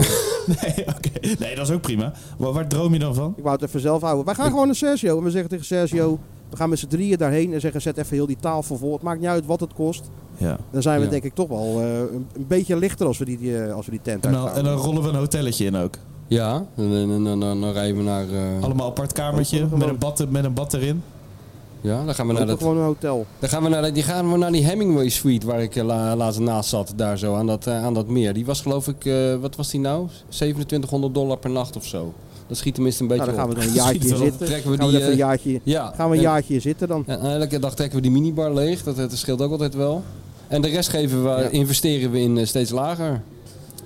Speaker 7: Nee, oké. nee, dat is ook prima. Waar, waar droom je dan van?
Speaker 5: ik wou het even zelf houden. Wij gaan gewoon naar Sergio. En we zeggen tegen Sergio, we gaan met z'n drieën daarheen. En zeggen, zet even heel die tafel vol. Het maakt niet uit wat het kost.
Speaker 7: Ja.
Speaker 5: Dan zijn we
Speaker 6: Ja.
Speaker 5: denk ik toch wel eh, een, een beetje lichter als we die, die, eh, als we die tent
Speaker 7: En dan,
Speaker 5: uitgaan.
Speaker 7: en dan rollen we een hotelletje in ook.
Speaker 6: Ja, dan, dan, dan, dan, dan rijden we naar... eh,
Speaker 7: Allemaal apart kamertje met een bad, met een bad erin.
Speaker 6: ja, dan gaan we
Speaker 5: Ook
Speaker 6: naar dat...
Speaker 5: gewoon een hotel.
Speaker 6: Dan gaan we naar, die gaan we naar die Hemingway Suite waar ik eh, la- laatst naast zat, daar zo aan dat, eh, aan dat meer. Die was geloof ik, eh, wat was die nou? 2700 dollar per nacht of zo. Dat schiet tenminste een beetje
Speaker 5: Nou, dan gaan we
Speaker 6: op.
Speaker 5: er een jaartje in
Speaker 7: Schiet wel.
Speaker 5: zitten.
Speaker 6: Trekken we
Speaker 5: gaan we
Speaker 6: die,
Speaker 5: even een
Speaker 6: eh,
Speaker 5: jaartje,
Speaker 6: Ja.
Speaker 5: gaan we een
Speaker 6: en-
Speaker 5: jaartje in zitten dan.
Speaker 6: En, elke dag trekken we die minibar leeg, dat, dat scheelt ook altijd wel. En de rest geven we,
Speaker 5: Ja.
Speaker 6: investeren we in eh, steeds lager.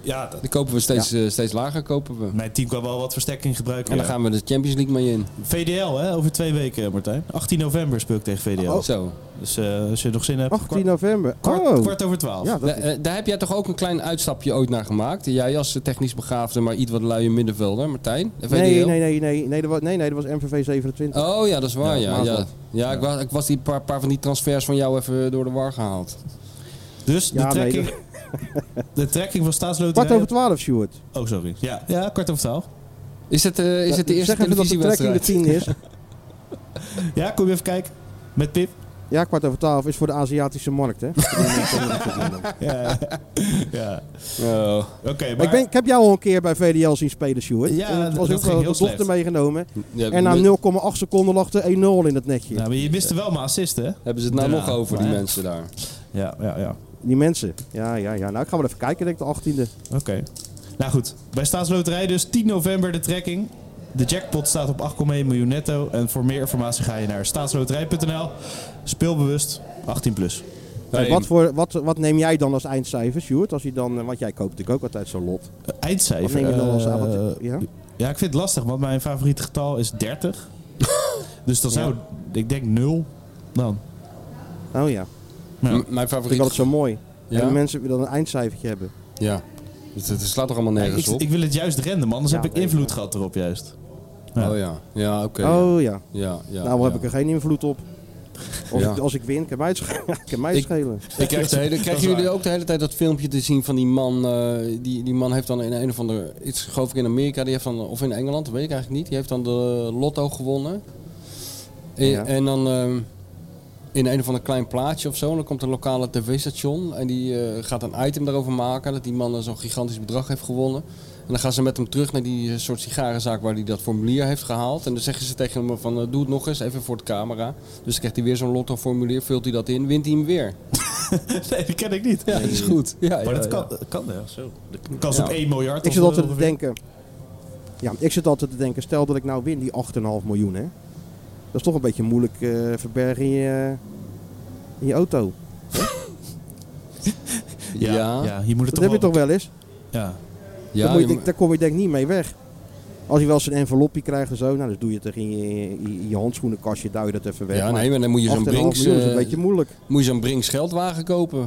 Speaker 7: Ja, dat-
Speaker 6: Die kopen we steeds, eh, steeds lager kopen we.
Speaker 7: mijn team kan wel wat versterking gebruiken.
Speaker 6: En dan
Speaker 7: ja.
Speaker 6: gaan we de Champions League mee in.
Speaker 7: VDL, hè, over twee weken, eh, Martijn. 18 november speel ik tegen VDL.
Speaker 5: Oh.
Speaker 6: Zo.
Speaker 7: Dus eh, als je nog zin hebt,
Speaker 5: 18
Speaker 7: kwart,
Speaker 5: november.
Speaker 7: kwart,
Speaker 5: oh,
Speaker 7: kwart over 12.
Speaker 5: ja, dat
Speaker 6: Da- eh, daar heb jij toch ook een klein uitstapje ooit naar gemaakt? Jij als eh, technisch begaafde, maar iets wat luie middenvelder, Martijn? VDL?
Speaker 5: Nee, nee, nee, nee, nee, dat was, nee, nee, dat was MVV 27.
Speaker 6: Oh ja, dat is waar.
Speaker 5: Ja,
Speaker 6: Ja, ja, ja.
Speaker 5: maandag.
Speaker 6: ik, was, ik was die paar, paar van die transfers van jou even eh, door de war gehaald.
Speaker 7: Dus de,
Speaker 5: Ja, nee,
Speaker 7: trekking, de trekking van staatsloterij...
Speaker 5: Kwart over 12, Sjoerd.
Speaker 7: Oh, sorry. Ja, ja kwart over 12.
Speaker 6: Is het, eh, is het de eerste
Speaker 5: zeg even dat de trekking de
Speaker 6: televisiewedstrijd?
Speaker 5: 10 is.
Speaker 7: Ja, kom je even kijken. Met Pip.
Speaker 5: Ja, kwart over 12 is voor de Aziatische markt, hè.
Speaker 7: Ja, ja. ja.
Speaker 6: Oh.
Speaker 7: oké. maar...
Speaker 5: ik, ben, ik heb jou al een keer bij VDL zien spelen, Sjoerd.
Speaker 7: Ja,
Speaker 5: En het was
Speaker 7: dat
Speaker 5: ook
Speaker 7: ging
Speaker 5: wel
Speaker 7: heel
Speaker 5: de dochter
Speaker 7: slecht.
Speaker 5: meegenomen.
Speaker 6: Ja,
Speaker 5: En na
Speaker 6: nu-
Speaker 5: 0,8 seconden lag er 1-0 in het netje.
Speaker 7: Ja, Nou, maar je miste wel mijn assist, hè?
Speaker 6: Hebben ze het nou
Speaker 7: Ja,
Speaker 6: nog over, die
Speaker 7: maar-
Speaker 6: mensen daar?
Speaker 7: Ja, ja, ja.
Speaker 5: Die mensen. Ja, ja, ja. Nou, ik ga wel even kijken, denk ik, de 18e.
Speaker 7: Oké. Nou goed, bij Staatsloterij dus 10 november de trekking. De jackpot staat op 8,1 miljoen netto. En voor meer informatie ga je naar staatsloterij.nl. Speelbewust 18 plus.
Speaker 5: En wat, voor, wat, wat neem jij dan als eindcijfer, Sjoerd? Als je dan, eh, want jij koopt natuurlijk ook altijd zo'n lot. Wat
Speaker 7: Eindcijfer.
Speaker 5: neem je dan als
Speaker 7: eh,
Speaker 5: avond? Ja?
Speaker 7: ja, ik vind het lastig, want mijn favoriete getal is 30. dus dan zou ik denk Nou, 0 dan.
Speaker 5: Oh ja,
Speaker 7: Ja.
Speaker 6: M-
Speaker 5: vind
Speaker 6: Mijn
Speaker 5: ik altijd
Speaker 6: favoriet.
Speaker 5: zo mooi.
Speaker 6: Ja?
Speaker 5: En de mensen willen dan een eindcijfertje hebben.
Speaker 6: Ja. Het, het slaat toch allemaal
Speaker 7: Ik,
Speaker 6: nergens op?
Speaker 7: ik wil het juist renden, anders
Speaker 5: Ja,
Speaker 7: heb ik
Speaker 5: nee,
Speaker 7: invloed gehad erop juist. ja.
Speaker 6: Oh ja. Ja, oké. ja.
Speaker 5: Oh ja,
Speaker 6: Ja, ja,
Speaker 5: nou heb
Speaker 6: ja.
Speaker 5: ik er geen invloed op. Als,
Speaker 6: Ja.
Speaker 5: ik, als ik win, kan mij het schelen. kan mij het
Speaker 6: Ik-
Speaker 5: schelen.
Speaker 6: Ik krijg de hele,
Speaker 7: Dat
Speaker 6: krijgen
Speaker 7: is
Speaker 6: jullie
Speaker 7: waar.
Speaker 6: ook de hele tijd dat filmpje te zien van die man? eh, die, die man heeft dan in een of ander, iets geloof ik in Amerika, die heeft dan, of in Engeland, dat weet ik eigenlijk niet. Die heeft dan de lotto gewonnen. En,
Speaker 5: Ja.
Speaker 6: en dan eh, in een of ander klein plaatsje of zo. En dan komt een lokale tv-station en die eh, gaat een item daarover maken. Dat die man dan zo'n gigantisch bedrag heeft gewonnen. En dan gaan ze met hem terug naar die eh, soort sigarenzaak waar hij dat formulier heeft gehaald. En dan zeggen ze tegen hem van eh, doe het nog eens, even voor de camera. Dus krijgt hij weer zo'n lotto-formulier, vult hij dat in, wint hij hem weer.
Speaker 7: nee, dat ken ik niet.
Speaker 6: Ja, dat is goed. Ja,
Speaker 7: Maar
Speaker 6: ja,
Speaker 7: dat kan,
Speaker 6: ja.
Speaker 7: dat kan ja. Zo. De kans op
Speaker 6: Ja.
Speaker 7: 1 miljard.
Speaker 5: Ik zit
Speaker 7: of zo
Speaker 5: altijd te
Speaker 7: ongeveer.
Speaker 5: denken. Ja, ik zit altijd te denken, stel dat ik nou win die 8,5 miljoen, hè. Dat is toch een beetje moeilijk eh, verbergen in je, in je auto.
Speaker 7: Ja, ja. je moet het
Speaker 5: Dat
Speaker 7: toch
Speaker 5: heb je
Speaker 7: wel-
Speaker 5: toch wel eens?
Speaker 7: Ja.
Speaker 6: Ja,
Speaker 5: daar, moet je,
Speaker 6: je-
Speaker 5: denk- daar kom je denk ik niet mee weg. Als je wel eens een envelopje krijgt en zo, nou, dus doe je het er in je, in je handschoenenkastje, duw je dat even weg.
Speaker 6: ja,
Speaker 5: Maar
Speaker 6: nee, maar dan moet je
Speaker 5: 8,5
Speaker 6: zo'n
Speaker 5: miljoen
Speaker 6: Brinks,
Speaker 5: is een
Speaker 6: eh,
Speaker 5: beetje moeilijk.
Speaker 6: moet je zo'n Brinks geldwagen kopen.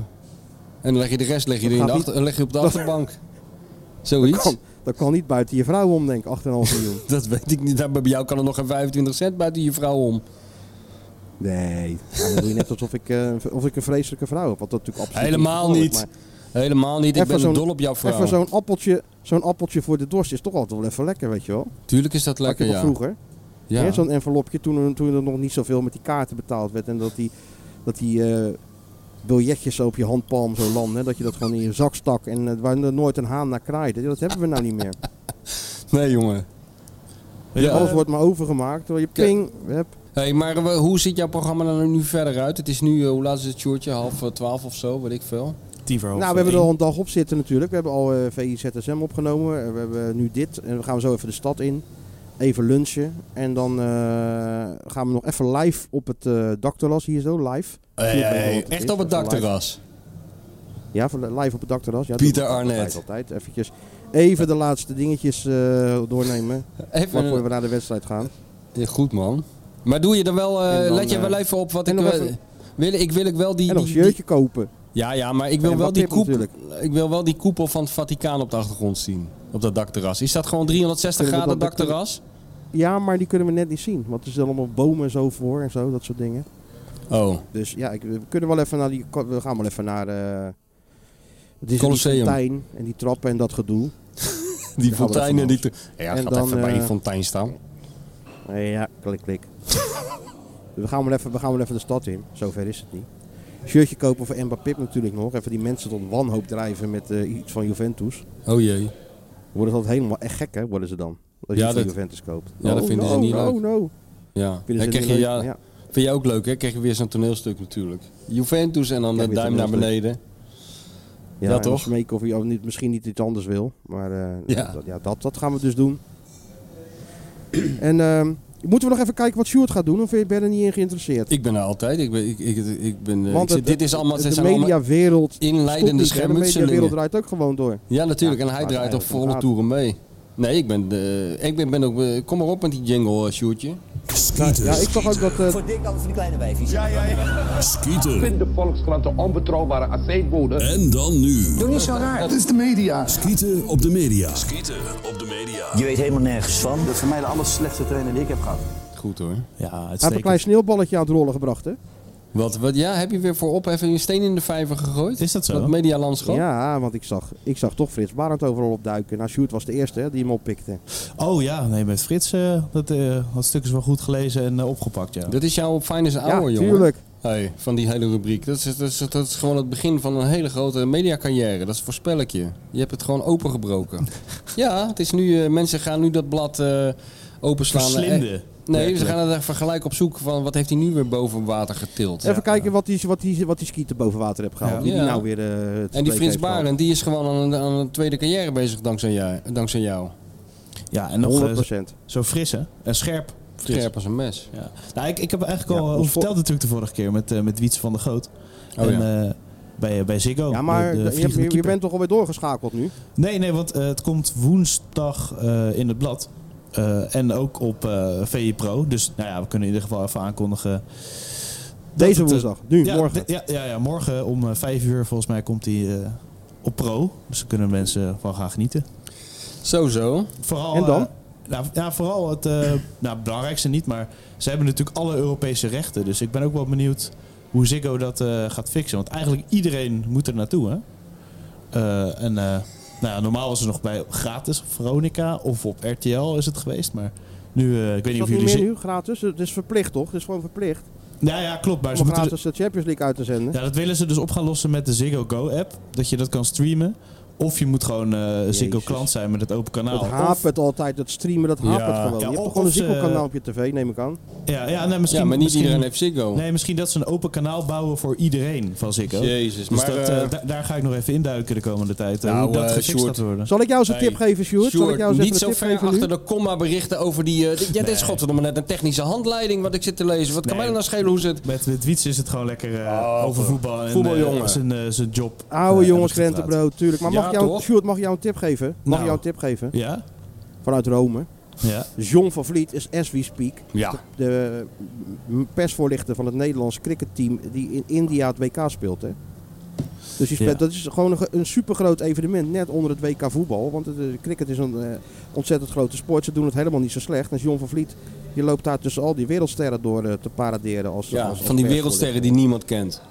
Speaker 6: En dan leg je de rest leg je
Speaker 5: Dat
Speaker 6: er in de
Speaker 5: gaat
Speaker 6: achter, leg je op de achterbank. Zoiets?
Speaker 5: Kan, dat kan niet buiten je vrouw om, denk ik, 8,5 miljoen.
Speaker 6: Dat weet ik niet. Daar- Bij jou kan er nog geen 25 cent buiten je vrouw om.
Speaker 5: Nee, ja, dan doe je net alsof ik, eh, of ik een vreselijke vrouw heb. Want dat natuurlijk absoluut
Speaker 6: Helemaal
Speaker 5: het geval is,
Speaker 6: niet. Helemaal niet. Ik
Speaker 5: Even
Speaker 6: ben
Speaker 5: zo'n-
Speaker 6: dol op jouw
Speaker 5: Maar even
Speaker 6: vrouw.
Speaker 5: zo'n appeltje, zo'n appeltje voor de dorst is toch altijd wel even lekker, weet je wel.
Speaker 6: Tuurlijk is
Speaker 5: Had
Speaker 6: dat
Speaker 5: je
Speaker 6: lekker,
Speaker 5: toch
Speaker 6: ja.
Speaker 5: vroeger?
Speaker 6: ja.
Speaker 5: Hè, Zo'n envelopje toen, toen er nog niet zoveel met die kaarten betaald werd. En dat die, dat die eh, biljetjes zo op je handpalm zo landen. Dat je dat gewoon in je zak stak en eh, waar er nooit een haan naar kraaide. Dat hebben we nou niet meer.
Speaker 6: Nee, jongen.
Speaker 7: Ja.
Speaker 5: Alles wordt maar overgemaakt. Terwijl je
Speaker 6: Ke-
Speaker 5: ping hebt.
Speaker 6: Hey, maar eh, hoe ziet jouw programma er nu verder uit? Het is nu, eh, hoe laat is het, Sjoerdje? Half eh, twaalf of zo, weet ik veel.
Speaker 7: Tien voor half
Speaker 5: Nou, we hebben er
Speaker 7: één.
Speaker 5: al een dag op zitten natuurlijk. We hebben al eh VIZSM opgenomen. Eh, We hebben nu dit. En we gaan zo even de stad in. Even lunchen. En dan eh, gaan we nog even live op het eh dakterras hier zo. Live.
Speaker 6: Hey,
Speaker 5: Hier ben je
Speaker 6: hey,
Speaker 5: wel wat het
Speaker 6: echt
Speaker 5: is,
Speaker 6: op het
Speaker 5: even live.
Speaker 6: dakterras.
Speaker 5: Ja, voor live op het dakterras. Ja,
Speaker 6: Pieter
Speaker 5: dat doen we
Speaker 6: Arnett.
Speaker 5: altijd, Altijd eventjes. Even de laatste dingetjes eh, doornemen.
Speaker 6: Even,
Speaker 5: Waarvoor we naar de wedstrijd gaan.
Speaker 6: Ja, goed man. Maar doe je er wel, eh,
Speaker 5: En dan,
Speaker 6: let je
Speaker 5: eh,
Speaker 6: wel even op wat
Speaker 5: en
Speaker 6: ik
Speaker 5: nog
Speaker 6: wil,
Speaker 5: even-
Speaker 6: wil. Ik wil ik wel die.
Speaker 5: En nog een
Speaker 6: die-
Speaker 5: shirtje kopen.
Speaker 6: die- ja, ja, maar ik wil,
Speaker 5: En
Speaker 6: wel
Speaker 5: wat
Speaker 6: die
Speaker 5: tip
Speaker 6: koepel,
Speaker 5: natuurlijk.
Speaker 6: ik wil wel die koepel van het Vaticaan op de achtergrond zien. Op dat dakterras. Is dat gewoon 360
Speaker 5: Kunnen we
Speaker 6: graden
Speaker 5: dat ook
Speaker 6: dakterras?
Speaker 5: Ja, maar die kunnen we net niet zien. Want er zitten allemaal bomen zo voor en zo. Dat soort dingen.
Speaker 6: Oh,
Speaker 5: Dus ja, ik, we kunnen wel even naar die. We gaan wel even naar. eh het is
Speaker 6: Colosseum.
Speaker 5: Die fontein en die trappen en dat gedoe.
Speaker 6: die
Speaker 5: gaan we
Speaker 6: fontein en
Speaker 5: even
Speaker 6: die. te- Ja,
Speaker 5: En
Speaker 6: gaat
Speaker 5: dan,
Speaker 6: even bij die
Speaker 5: eh,
Speaker 6: fontein staan.
Speaker 5: Eh, ja, klik, klik. we, gaan wel even, we gaan wel even de stad in. Zover is het niet. Shirtje kopen voor Mbappé natuurlijk nog. Even die mensen tot wanhoop drijven met eh, iets van Juventus.
Speaker 6: Oh jee.
Speaker 5: Worden ze altijd helemaal echt gek, hè? Worden ze dan? Als je
Speaker 6: Ja,
Speaker 5: iets van
Speaker 6: dat-
Speaker 5: Juventus koopt.
Speaker 6: ja, dat
Speaker 5: Oh,
Speaker 6: vinden ze
Speaker 5: no,
Speaker 6: niet
Speaker 5: no,
Speaker 6: leuk.
Speaker 5: no.
Speaker 6: Ja.
Speaker 5: Vinden
Speaker 6: En
Speaker 5: ze
Speaker 6: krijg
Speaker 5: niet
Speaker 6: je,
Speaker 5: leuk.
Speaker 6: ja,
Speaker 5: ja.
Speaker 6: Vind je ook leuk, hè? Krijg je weer zo'n toneelstuk natuurlijk. Juventus en dan
Speaker 5: Ja,
Speaker 6: de
Speaker 5: weer
Speaker 6: duim naar
Speaker 5: toneelstuk.
Speaker 6: beneden.
Speaker 5: Ja,
Speaker 6: dat
Speaker 5: en dan
Speaker 6: toch?
Speaker 5: smeken of je ook niet, misschien niet iets anders wil. Maar eh,
Speaker 6: Ja.
Speaker 5: Dat, ja, dat, dat gaan we dus doen. en ehm, moeten we nog even kijken wat Sjoerd gaat doen? Of ben je er niet in geïnteresseerd?
Speaker 6: Ik ben er altijd. Ik ben, ik, ik, ik ben, eh, ik zit-
Speaker 5: het-
Speaker 6: dit is allemaal,
Speaker 5: het-
Speaker 6: dit
Speaker 5: de
Speaker 6: zijn allemaal
Speaker 5: mediawereld stopt
Speaker 6: inleidende
Speaker 5: niet, hè. De mediawereld
Speaker 6: schermutselingen.
Speaker 5: draait ook gewoon door.
Speaker 6: Ja, natuurlijk.
Speaker 5: Ja,
Speaker 6: en hij
Speaker 5: maar
Speaker 6: draait op
Speaker 5: eigenlijk
Speaker 6: volle
Speaker 5: inderdaad.
Speaker 6: toeren mee. Nee, ik ben, eh, ik ben, ben ook... eh, kom maar op met die jingle, eh, Sjoerdje.
Speaker 5: Ja, ik zag ook dat... eh,
Speaker 9: Skieten.
Speaker 10: de Volkskrant een onbetrouwbare aceetbode.
Speaker 9: En dan nu.
Speaker 11: Doe niet zo raar. Dat is de media.
Speaker 9: Skieten op de media. Skieten op de media.
Speaker 12: Je weet helemaal nergens van.
Speaker 8: Dat is voor mij de aller slechtste trainer die ik heb gehad.
Speaker 6: Goed hoor.
Speaker 5: Hij
Speaker 7: Ja,
Speaker 5: heeft een klein
Speaker 7: uitstekend.
Speaker 5: sneeuwballetje aan het rollen gebracht, hè?
Speaker 6: Wat, wat, ja, heb je weer voor opheffing een steen in de vijver gegooid?
Speaker 7: Is dat zo?
Speaker 6: Dat medialandschap?
Speaker 5: Ja, want ik zag, ik zag toch Frits Barend overal opduiken. Nou, Sjoerd was de eerste hè, die hem oppikte.
Speaker 7: Oh ja, nee, met Frits eh dat, eh dat stuk is wel goed gelezen en eh, opgepakt, ja.
Speaker 5: Dus
Speaker 6: Dat is jouw finest hour,
Speaker 5: Ja,
Speaker 6: jongen.
Speaker 5: tuurlijk.
Speaker 6: Hey, van die hele rubriek. Dat is, dat, is, dat is gewoon het begin van een hele grote mediacarrière. Dat is voorspel ik je. Je hebt het gewoon opengebroken. ja, het is nu, eh, mensen gaan nu dat blad eh, openslaan.
Speaker 7: Verslinden.
Speaker 6: Eh, nee, ze gaan er even gelijk op zoek van wat heeft hij nu weer boven water getild.
Speaker 5: Even kijken wat die, wat, die, wat die skieten boven water heeft gehaald.
Speaker 7: Ja.
Speaker 5: Wie die
Speaker 6: Ja.
Speaker 5: nou weer eh, te
Speaker 6: En
Speaker 5: spreken
Speaker 6: die Frits
Speaker 5: heeft gehad.
Speaker 6: Barend, die is gewoon aan een, aan een tweede carrière bezig dankzij jou. Dankzij jou.
Speaker 7: Ja, en nog eh,
Speaker 5: 100%.
Speaker 7: zo fris hè? En scherp. Fris.
Speaker 6: Scherp als een mes.
Speaker 7: Ja. Nou, ik, ik heb eigenlijk al
Speaker 5: Ja,
Speaker 7: eh,
Speaker 5: ons
Speaker 7: verteld natuurlijk de vorige keer met, eh met Wietse van der Goot.
Speaker 6: Oh,
Speaker 7: en,
Speaker 6: ja.
Speaker 7: eh, bij, bij Ziggo.
Speaker 5: Ja, maar
Speaker 7: Oh, de- de
Speaker 5: je-
Speaker 7: vliegende
Speaker 5: je, je
Speaker 7: keeper.
Speaker 5: bent toch alweer doorgeschakeld nu?
Speaker 7: Nee, nee, want eh, het komt woensdag eh, in het blad. Eh, en ook op eh VI Pro. Dus nou ja, we kunnen in ieder geval even aankondigen. dat
Speaker 5: Deze
Speaker 7: het, eh,
Speaker 5: woensdag, nu,
Speaker 7: ja,
Speaker 5: morgen.
Speaker 7: d- Ja, ja, ja, morgen om eh, vijf uur volgens mij komt die eh, op Pro. Dus daar kunnen mensen van gaan genieten.
Speaker 6: Zo, zo.
Speaker 7: Vooral,
Speaker 5: En dan?
Speaker 7: eh, nou, ja, vooral het eh, nou, het belangrijkste niet, maar ze hebben natuurlijk alle Europese rechten. Dus ik ben ook wel benieuwd hoe Ziggo dat eh, gaat fixen. Want eigenlijk iedereen moet er naartoe. Hè? Eh, en eh, nou, ja, normaal was het nog bij gratis op Veronica of op RTL is het geweest. Maar nu, eh, ik weet
Speaker 5: Is
Speaker 7: niet
Speaker 5: dat
Speaker 7: of
Speaker 5: niet
Speaker 7: jullie...
Speaker 5: meer
Speaker 7: Zi-
Speaker 5: nu, gratis? Het is verplicht toch? Het is gewoon verplicht
Speaker 7: Ja, ja, klopt. Maar ze
Speaker 5: om
Speaker 7: moeten,
Speaker 5: gratis de Champions League uit te zenden.
Speaker 7: ja, dat willen ze dus op gaan lossen met de Ziggo Go-app. Dat je dat kan streamen. Of je moet gewoon eh, Ziggo
Speaker 5: Jezus.
Speaker 7: klant zijn met het open kanaal.
Speaker 5: dat
Speaker 7: Of-
Speaker 5: hapert altijd, dat streamen, dat hapert gewoon.
Speaker 7: Ja,
Speaker 5: je hebt
Speaker 7: of-
Speaker 5: toch gewoon een
Speaker 7: of eh, ze-
Speaker 5: ziekelkanaal op je tv, neem ik aan.
Speaker 7: ja, ja, nee, misschien,
Speaker 6: ja, maar niet
Speaker 7: misschien-
Speaker 6: iedereen heeft Ziggo.
Speaker 7: Nee, misschien dat ze een open kanaal bouwen voor iedereen van Ziggo.
Speaker 6: Jezus,
Speaker 7: Dus
Speaker 6: maar...
Speaker 7: dat,
Speaker 6: eh,
Speaker 7: eh, da- daar ga ik nog even induiken de komende tijd. eh,
Speaker 6: Nou,
Speaker 7: hoe dat
Speaker 6: eh,
Speaker 7: gefixt
Speaker 6: Sjoerd.
Speaker 7: gaat worden.
Speaker 5: Zal ik jou eens een
Speaker 6: Nee.
Speaker 5: tip geven, Sjoerd? Zal ik jou eens
Speaker 6: niet
Speaker 5: even
Speaker 6: zo
Speaker 5: een tip
Speaker 6: ver
Speaker 5: geven nu?
Speaker 6: achter de komma berichten over die... eh, dit- ja, dit is godverdomme net een technische handleiding wat ik zit te lezen. Wat kan mij
Speaker 7: Nee.
Speaker 6: dan nou schelen hoe ze het...
Speaker 7: Met, met Wiets is het gewoon lekker eh,
Speaker 6: Oh,
Speaker 7: over voetbal en
Speaker 6: voetbaljongen.
Speaker 7: eh, zijn, eh, zijn job.
Speaker 5: Oude
Speaker 7: eh,
Speaker 5: jongens,
Speaker 7: hebben gepraat.
Speaker 5: krentenbrood, tuurlijk. Maar mag
Speaker 6: Ja,
Speaker 5: ik jou,
Speaker 6: toch?
Speaker 5: Sjoerd, mag ik jou een tip geven? Mag
Speaker 7: Nou.
Speaker 5: ik jou een tip geven?
Speaker 7: Ja?
Speaker 5: Vanuit Rome.
Speaker 7: Ja.
Speaker 5: John van Vliet is as we speak.
Speaker 6: Ja.
Speaker 5: De eh, m- persvoorlichter van het Nederlands cricketteam die in India het WK speelt. Hè? Dus die speelt,
Speaker 7: Ja.
Speaker 5: dat is gewoon een, ge- een supergroot evenement, net onder het WK voetbal. Want het, eh, cricket is een eh, ontzettend grote sport. Ze doen het helemaal niet zo slecht. En John van Vliet, je loopt daar tussen al die wereldsterren door eh, te paraderen. Als, als-
Speaker 6: Ja,
Speaker 5: als
Speaker 6: van die
Speaker 5: persvoorlichter.
Speaker 6: wereldsterren die niemand kent.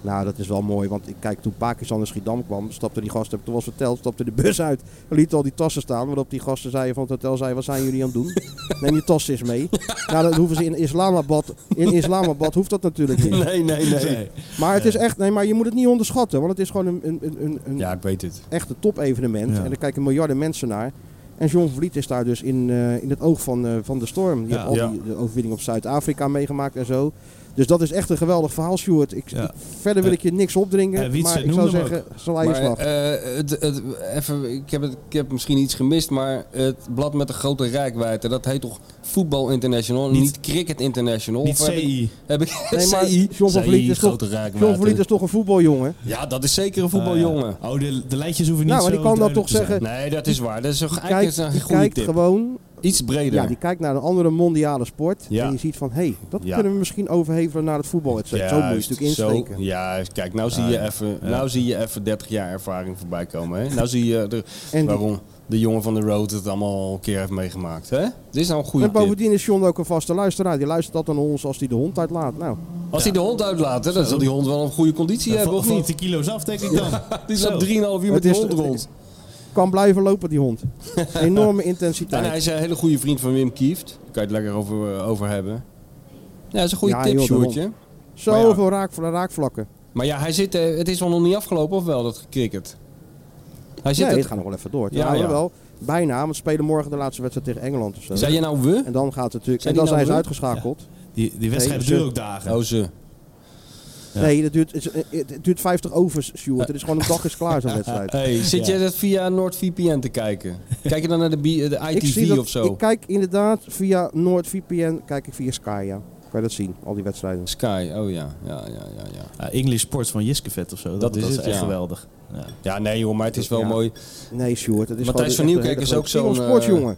Speaker 5: Nou, dat is wel mooi, want ik kijk, toen Pakistan in Schiedam kwam, stapte die gasten, heb ik toen was verteld, stapte de bus uit, liet al die tassen staan, waarop die gasten zeiden van het hotel, zeiden, wat zijn jullie aan het doen? Neem je tassen eens mee. Nou, dat hoeven ze in Islamabad, in Islamabad hoeft dat natuurlijk niet.
Speaker 6: Nee, nee, nee.
Speaker 5: Maar het is echt, nee, maar je moet het niet onderschatten, want het is gewoon een, een, een- een, een
Speaker 6: Ja, ik weet het.
Speaker 5: echte topevenement en er kijken miljarden mensen naar. En John Vliet is daar dus in, eh, in het oog van, eh, van de storm. Die heeft
Speaker 7: Ja.
Speaker 5: al
Speaker 7: Ja.
Speaker 5: die de overwinning op Zuid-Afrika meegemaakt en zo. Dus dat is echt een geweldig verhaal, Stuart. Ik,
Speaker 7: Ja.
Speaker 5: ik- verder wil ik je niks opdringen.
Speaker 7: Eh, Wietse
Speaker 5: maar ik
Speaker 7: noemde
Speaker 5: zou
Speaker 7: hem ook.
Speaker 5: zeggen, sla je
Speaker 6: Maar,
Speaker 5: slag.
Speaker 6: eh, het, het- even, ik, heb het, ik heb misschien iets gemist, maar het blad met de grote rijkwijde, dat heet toch Voetbal International, niet,
Speaker 7: Niet-
Speaker 6: Cricket International?
Speaker 7: Niet Ah,
Speaker 6: Of heb ik-
Speaker 7: CI.
Speaker 6: Heb ik,
Speaker 5: nee, maar
Speaker 6: CI?
Speaker 5: John van
Speaker 6: CI,
Speaker 5: Vliet is toch,
Speaker 6: grote
Speaker 5: John van
Speaker 6: rijkwijde.
Speaker 5: Vliet is toch een voetbaljongen?
Speaker 6: Ja, dat is zeker een voetbaljongen.
Speaker 7: Ah, ja. Oh, de, de lijntjes hoeven niet
Speaker 5: Nou, maar
Speaker 7: zo
Speaker 5: die kan dat toch
Speaker 7: duidelijk
Speaker 5: zeggen.
Speaker 7: te zijn.
Speaker 6: Nee, dat is waar. Dat is toch
Speaker 5: Kijk,
Speaker 6: eigenlijk
Speaker 5: die
Speaker 6: een goede
Speaker 5: kijkt
Speaker 6: tip.
Speaker 5: gewoon,
Speaker 6: Iets breder.
Speaker 5: ja, die kijkt naar een andere mondiale sport.
Speaker 6: Ja.
Speaker 5: En je ziet van, hé, dat
Speaker 6: Ja.
Speaker 5: kunnen we misschien overhevelen naar het voetbal. Zo moet je het
Speaker 6: Juist,
Speaker 5: natuurlijk insteken.
Speaker 6: Zo, ja, kijk, nou zie, je even, nou zie je even 30 jaar ervaring voorbij komen. Hè? Nou zie je de-
Speaker 5: die-
Speaker 6: waarom de jongen van de road het allemaal een keer heeft meegemaakt. Hè? Dit is nou een goede
Speaker 5: En
Speaker 6: tip.
Speaker 5: bovendien is John ook een vaste luisteraar. Die luistert altijd naar ons als hij de hond uitlaat. Nou,
Speaker 6: Als hij de hond uitlaat, hè, dan zal die hond wel een goede conditie
Speaker 7: Ja,
Speaker 6: hebben,
Speaker 7: van,
Speaker 6: of
Speaker 7: van
Speaker 6: niet?
Speaker 7: de kilo's af, denk ik dan.
Speaker 6: Die
Speaker 7: Zo.
Speaker 6: zat 3,5 uur met
Speaker 5: Het
Speaker 6: die
Speaker 5: is-
Speaker 6: hond rond.
Speaker 5: kan blijven lopen die hond. Enorme
Speaker 6: En hij
Speaker 5: intensiteit.
Speaker 6: is een hele goede vriend van Wim Kieft. Daar kan je het lekker over, eh, over hebben. Ja, dat is een goede
Speaker 5: Ja,
Speaker 6: tip,
Speaker 5: joh, daarom.
Speaker 6: Sjoerdje.
Speaker 5: Zoveel raak, raakvlakken.
Speaker 6: Maar ja, hij zit, eh, het is wel nog niet afgelopen, of wel, dat cricket? Hij zit
Speaker 5: Nee,
Speaker 6: het-
Speaker 5: het gaat nog wel even door.
Speaker 6: Ja,
Speaker 5: Ja,
Speaker 6: ja.
Speaker 5: wel. Bijna, want ze spelen morgen de laatste wedstrijd tegen Engeland of zo.
Speaker 6: Zei je nou we?
Speaker 5: En dan gaat het natuurlijk.
Speaker 6: Zijn
Speaker 5: en dan zijn ze
Speaker 6: die nou leuk?
Speaker 5: uitgeschakeld.
Speaker 7: Die, die wedstrijden
Speaker 5: ze-
Speaker 7: duren ook dagen.
Speaker 6: Oh, ze.
Speaker 5: Nee, dat duurt, het, is- het duurt 50 overs, Stuart. Het is gewoon een dag is klaar zo'n wedstrijd.
Speaker 6: Hey, zit jij dat via NordVPN te kijken? Kijk je dan naar de, bi- de
Speaker 5: Ik zie
Speaker 6: ITV
Speaker 5: dat-
Speaker 6: of zo?
Speaker 5: Ik kijk inderdaad via NordVPN, kijk ik via Sky, ja. Kan je dat zien, al die wedstrijden.
Speaker 6: Sky, oh ja. Ja, ja, ja, ja.
Speaker 7: Ah, English Sports van Jiskevet of zo. Dat,
Speaker 6: is
Speaker 7: dat
Speaker 6: het,
Speaker 7: echt
Speaker 6: ja.
Speaker 7: geweldig. Ja.
Speaker 6: ja, nee joh, maar het is wel
Speaker 5: Ja.
Speaker 6: mooi.
Speaker 5: Nee, Stuart, het is
Speaker 6: Matthijs
Speaker 5: gewoon
Speaker 6: van
Speaker 5: echt een
Speaker 6: Nieuwkerk
Speaker 5: hele
Speaker 6: is
Speaker 5: grote- King of
Speaker 6: ook zo'n,
Speaker 5: Sports,
Speaker 6: eh,
Speaker 5: jongen.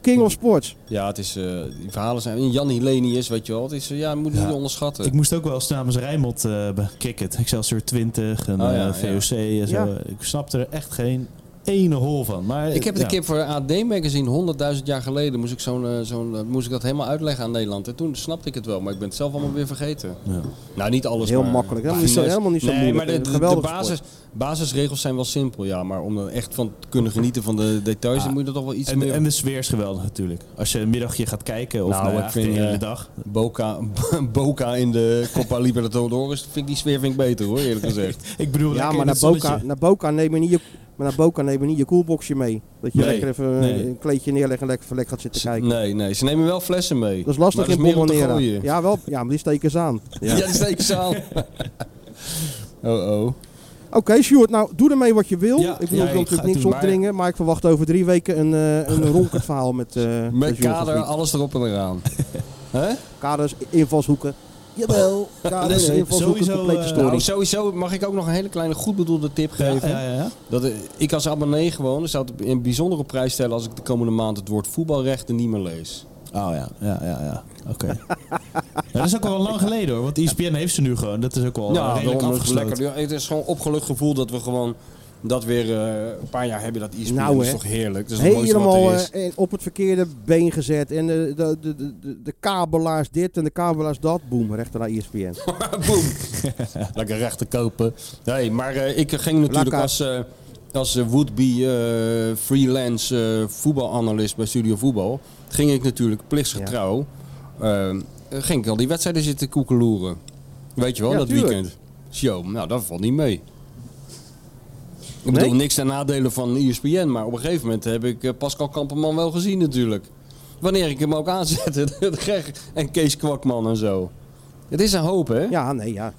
Speaker 5: King of Sports.
Speaker 6: Ja, het is, eh, die verhalen zijn... en Jan Hilenius, weet je wel. Het is, eh, ja, moet je
Speaker 7: Ja.
Speaker 6: niet onderschatten.
Speaker 7: Ik moest ook wel eens namens Rijnmond eh, bij cricket. Excelsior 20 en
Speaker 6: Oh, ja,
Speaker 7: eh, VOC en zo.
Speaker 5: Ja.
Speaker 7: Ik snapte er echt geen ene hol van. Maar,
Speaker 6: Ik heb het
Speaker 7: ja.
Speaker 6: een keer voor AD Magazine, 100.000 jaar geleden, moest ik, zo'n, eh, zo'n, eh, moest ik dat helemaal uitleggen aan Nederland. En toen snapte ik het wel, maar ik ben het zelf allemaal weer vergeten. Nou, niet alles.
Speaker 5: Heel
Speaker 6: maar-
Speaker 5: makkelijk.
Speaker 6: maar
Speaker 5: Helemaal niet zo,
Speaker 6: finesse.
Speaker 5: helemaal niet zo
Speaker 6: nee, maar
Speaker 5: moeilijk.
Speaker 6: de,
Speaker 5: Een
Speaker 6: de, de
Speaker 5: geweldige
Speaker 6: basis,
Speaker 5: sport.
Speaker 6: basisregels zijn wel simpel, ja. Maar om er echt van te kunnen genieten van de details, dan moet je er toch wel iets
Speaker 7: En,
Speaker 6: meer...
Speaker 7: en de sfeer is geweldig natuurlijk. Als je een middagje gaat kijken of
Speaker 6: Nou,
Speaker 7: nou,
Speaker 6: ik
Speaker 7: ja, echt
Speaker 6: vind,
Speaker 7: de hele
Speaker 6: eh,
Speaker 7: dag.
Speaker 6: Boca, Boca in de Copa Libertadores, vind ik die sfeer vind ik beter hoor, eerlijk gezegd.
Speaker 7: Ik bedoel,
Speaker 5: Ja,
Speaker 7: lekker
Speaker 5: maar
Speaker 7: in
Speaker 5: naar
Speaker 7: het
Speaker 5: Boca,
Speaker 7: zonnetje.
Speaker 5: naar Boca neem je niet je... Maar naar Boca neem je niet je koelboxje mee. Dat je
Speaker 7: Nee,
Speaker 5: lekker even eh,
Speaker 7: nee.
Speaker 5: een kleedje neerleggen en lekker even lekker gaat zitten kijken.
Speaker 6: Nee, nee, ze nemen wel flessen mee.
Speaker 5: Dat is lastig
Speaker 6: maar
Speaker 5: in
Speaker 6: meer om te
Speaker 5: Bombonera.
Speaker 6: gooien.
Speaker 5: Ja, wel, ja, maar die steken ze aan.
Speaker 6: Ja, dat steek ze aan. Oh, oh.
Speaker 5: Oké, Sjoerd, nou doe ermee wat je wil.
Speaker 6: Ja,
Speaker 5: ik wil
Speaker 6: ja, ik ga
Speaker 5: natuurlijk
Speaker 6: het
Speaker 5: niks
Speaker 6: doen, maar-
Speaker 5: opdringen, maar ik verwacht over drie weken een, eh een ronkend verhaal met. eh
Speaker 6: Met
Speaker 5: Sjoerd
Speaker 6: kader,
Speaker 5: Gavriet.
Speaker 6: alles erop en eraan. Hè?
Speaker 5: kaders, invalshoeken. Jawel, kaders,
Speaker 6: Dus, eh,
Speaker 5: invalshoeken,
Speaker 7: sowieso,
Speaker 5: complete
Speaker 7: eh,
Speaker 5: story.
Speaker 6: Nou, sowieso mag ik ook nog een hele kleine goed bedoelde tip geven.
Speaker 7: ja, ja, ja.
Speaker 6: Dat, eh, ik als abonnee gewoon zou het een bijzondere prijs stellen als ik de komende maand het woord voetbalrechten niet meer lees.
Speaker 7: Oh ja, ja, ja, ja. Oké. Ja, dat is ook al lang geleden hoor, want E ESPN heeft ze nu gewoon. Dat is ook wel eh,
Speaker 6: Ja, daarom
Speaker 7: redelijk
Speaker 6: Nou, is het,
Speaker 7: afgesloten.
Speaker 6: lekker. Ja, het is gewoon opgelucht gevoel dat we gewoon dat weer eh, een paar jaar hebben. Dat ESPN
Speaker 5: Nou,
Speaker 6: dat is
Speaker 5: hè.
Speaker 6: toch heerlijk. Dat is het mooiste wat
Speaker 5: Helemaal
Speaker 6: er is.
Speaker 5: eh, eh, op het verkeerde been gezet. En eh, de, de, de, de, de kabelaars dit en de kabelaars dat. Boom, rechter naar E ESPN.
Speaker 6: Boom. Lekker recht te kopen. Nee, maar eh, ik ging natuurlijk
Speaker 5: Lekker.
Speaker 6: als, eh, als eh, would-be eh, freelance eh, voetbalanalist bij Studio Voetbal... ging ik natuurlijk plichtsgetrouw... eh, ging ik al die wedstrijden zitten koekeloeren. Weet je wel,
Speaker 5: Ja,
Speaker 6: dat
Speaker 5: tuurlijk.
Speaker 6: weekend. Zo, nou dat valt niet mee. Ik bedoel, niks ten nadele van E ESPN, maar op een gegeven moment heb ik eh, Pascal Kamperman wel gezien natuurlijk. Wanneer ik hem ook aanzette, en Kees Kwakman en zo. Het is een hoop, hè?
Speaker 5: Ja, nee, ja.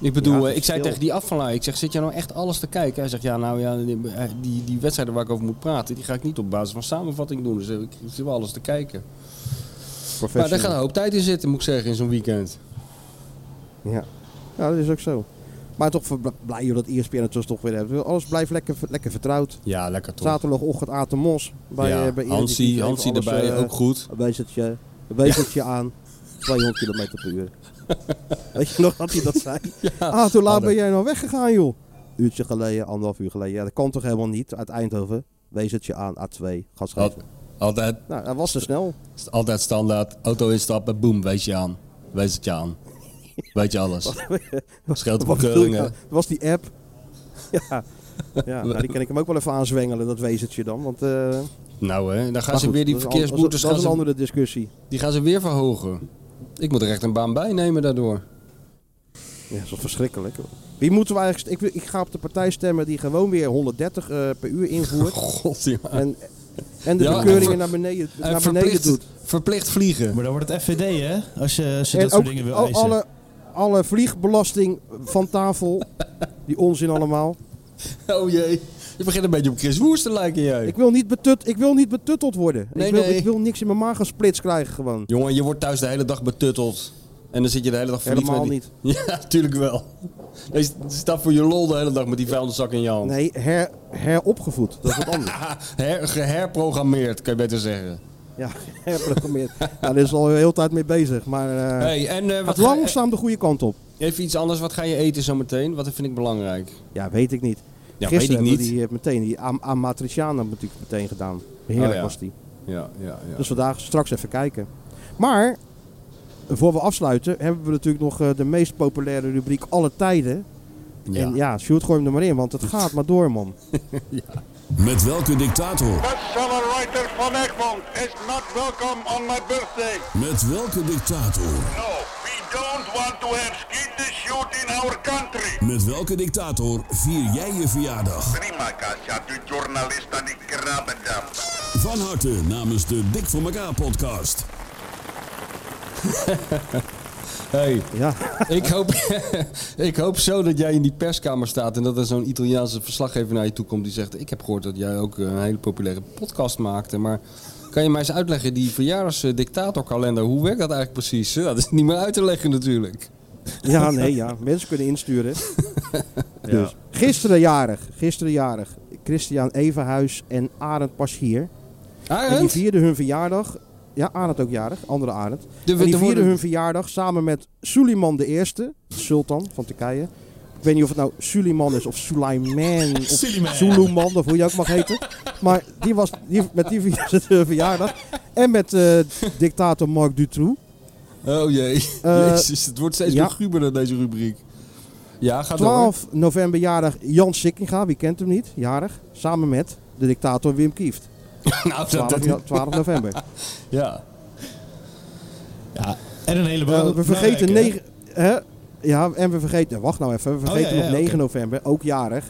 Speaker 6: Ik bedoel,
Speaker 5: Ja, het
Speaker 6: eh,
Speaker 5: is
Speaker 6: ik zei
Speaker 5: veel.
Speaker 6: tegen die afvalaar, ik zeg, zit jij nou echt alles te kijken? Hij zegt, ja, nou ja, die, die, die wedstrijden waar ik over moet praten, die ga ik niet op basis van samenvatting doen. Dus eh, ik zit wel alles te kijken. Maar daar gaat een hoop tijd in zitten, moet ik zeggen, in zo'n weekend.
Speaker 5: Ja. ja, dat is ook zo. Maar toch ver- blij joh, dat ESPN het dus toch weer heeft. Alles blijft lekker, lekker vertrouwd.
Speaker 6: Ja, lekker toch.
Speaker 5: Zaterdagochtend Aten Mos. Bij,
Speaker 6: Ja,
Speaker 5: eh, bij
Speaker 6: Hansie-
Speaker 5: Eredivisie. Even
Speaker 6: Hansie
Speaker 5: alles,
Speaker 6: erbij,
Speaker 5: eh,
Speaker 6: ook goed.
Speaker 5: Een wijzertje, een wijzertje aan. 200 km per uur. Weet je nog dat hij dat zei? ah, hoe laat ben jij nou weggegaan, joh? Uurtje geleden, anderhalf uur geleden. Ja, dat kan toch helemaal niet uit Eindhoven? Wijzertje aan, A2, gas geven.
Speaker 6: Altijd,
Speaker 5: Nou, dat was te snel.
Speaker 6: altijd standaard, auto instappen, boem, wees je aan. Wees het je aan. Weet je alles. Scheelt
Speaker 5: Wat bedoel je nou? Dat was die app. Ja, ja nou, die kan ik hem ook wel even aanzwengelen, dat wezentje dan. Want, eh,
Speaker 6: Nou hè, dan gaan
Speaker 5: maar
Speaker 6: ze
Speaker 5: goed,
Speaker 6: weer die
Speaker 5: dat is een-
Speaker 6: verkeersboetes
Speaker 5: Dat
Speaker 6: gaan
Speaker 5: is een
Speaker 6: ze,
Speaker 5: andere discussie.
Speaker 6: die gaan ze weer verhogen. Ik moet er echt een baan bij nemen daardoor.
Speaker 5: Ja, dat is wel verschrikkelijk. hoor. Wie moeten we eigenlijk... st- Ik, wil- ik ga op de partij stemmen die gewoon weer 130 eh, per uur invoert.
Speaker 6: God, ja.
Speaker 5: en, en de
Speaker 6: Ja, en
Speaker 5: bekeuringen
Speaker 6: ver-
Speaker 5: naar beneden,
Speaker 6: En
Speaker 5: naar beneden doet.
Speaker 6: verplicht vliegen.
Speaker 7: Maar dan wordt het FVD hè, als je, als je
Speaker 5: En
Speaker 7: dat soort
Speaker 5: ook
Speaker 7: dingen wil
Speaker 5: al-
Speaker 7: eisen.
Speaker 5: alle, alle vliegbelasting van tafel. Die onzin allemaal.
Speaker 6: Oh jee. Je begint een beetje op Chris Woers te lijken, jij.
Speaker 5: Ik wil niet, betut, ik wil niet betutteld worden.
Speaker 6: Nee,
Speaker 5: ik, wil,
Speaker 6: nee.
Speaker 5: ik wil niks in mijn maag gesplitst krijgen gewoon.
Speaker 6: Jongen, je wordt thuis de hele dag betutteld. En dan zit je de hele dag verliefd
Speaker 5: Helemaal
Speaker 6: met die... niet. Ja, tuurlijk wel. Nee, je staat voor je lol de hele dag met die vuilniszak in je hand.
Speaker 5: Nee, her, heropgevoed. Dat is wat anders.
Speaker 6: Ah, her, geherprogrammeerd, kan je beter zeggen.
Speaker 5: ja, herprogrammeerd. Nou, daar is al heel de tijd mee bezig. Maar eh,
Speaker 6: hey, en eh, wat
Speaker 5: gaat
Speaker 6: ga je-
Speaker 5: langzaam de goede kant op.
Speaker 6: even iets anders. Wat ga je eten zometeen? Wat vind ik belangrijk?
Speaker 5: Ja, weet ik niet.
Speaker 6: Ja,
Speaker 5: Gisteren
Speaker 6: weet ik
Speaker 5: hebben
Speaker 6: niet.
Speaker 5: we die eh, meteen, die Am- Amatriciana natuurlijk meteen gedaan. Heerlijk
Speaker 6: Oh, ja.
Speaker 5: was die.
Speaker 6: Ja, ja, ja.
Speaker 5: Dus vandaag straks even kijken. Maar, voor we afsluiten, hebben we natuurlijk nog eh, de meest populaire rubriek alle tijden.
Speaker 6: Ja.
Speaker 5: En ja, Sjoerd, gooi hem er maar in, want het gaat maar door, man.
Speaker 9: Met welke dictator?
Speaker 12: Accelerator van Egmond is not welcome on my birthday.
Speaker 9: Met welke dictator?
Speaker 12: No, we don't want to have skeeter shoot in our country.
Speaker 9: Met welke dictator vier jij je verjaardag?
Speaker 12: Prima, Katja, de journalist aan die krabbendam.
Speaker 9: Van harte namens de Dik voor elkaar podcast.
Speaker 6: Hey,
Speaker 5: Ja,
Speaker 6: ik, hoop, ik hoop zo dat jij in die perskamer staat en dat er zo'n Italiaanse verslaggever naar je toe komt die zegt: Ik heb gehoord dat jij ook eh, een hele populaire podcast maakte, maar. Kan je mij eens uitleggen, die verjaardagsdictatorkalender, hoe werkt dat eigenlijk precies? Ja, dat is niet meer uit te leggen natuurlijk.
Speaker 5: ja nee, ja. Mensen kunnen insturen. Dus. Gisteren jarig, gisteren jarig. Christian Evenhuis en Arend Paschier. En die
Speaker 6: Arend?
Speaker 5: vierden hun verjaardag. Ja, Arend ook jarig, andere Arend.
Speaker 6: De-
Speaker 5: en die
Speaker 6: de
Speaker 5: vierden
Speaker 6: woorden-
Speaker 5: hun verjaardag samen met Suleiman de Eerste, sultan van Turkije. Ik weet niet of het nou Suleiman is of Suleiman of
Speaker 7: Suleiman.
Speaker 5: Suleiman, of hoe je ook mag heten. Maar die was, die, met die vierden ze hun verjaardag. En met eh, dictator Marc Dutroux.
Speaker 6: Oh jee.
Speaker 5: Eh,
Speaker 6: Jezus, het wordt steeds
Speaker 5: ja.
Speaker 6: luguberder deze rubriek. Ja, gaat door.
Speaker 5: 12 november jarig Jan Sikkinga, wie kent hem niet, jarig. Samen met de dictator Wim Kieft.
Speaker 6: Nou,
Speaker 5: 12, no- 12 november.
Speaker 6: ja.
Speaker 7: Ja, en een heleboel.
Speaker 5: Eh, we vergeten
Speaker 7: belangrijke, hè?
Speaker 5: 9. Hè? Ja, en we vergeten. Wacht nou even. We vergeten
Speaker 7: ja, ja,
Speaker 5: nog 9
Speaker 7: oké.
Speaker 5: november, ook jarig.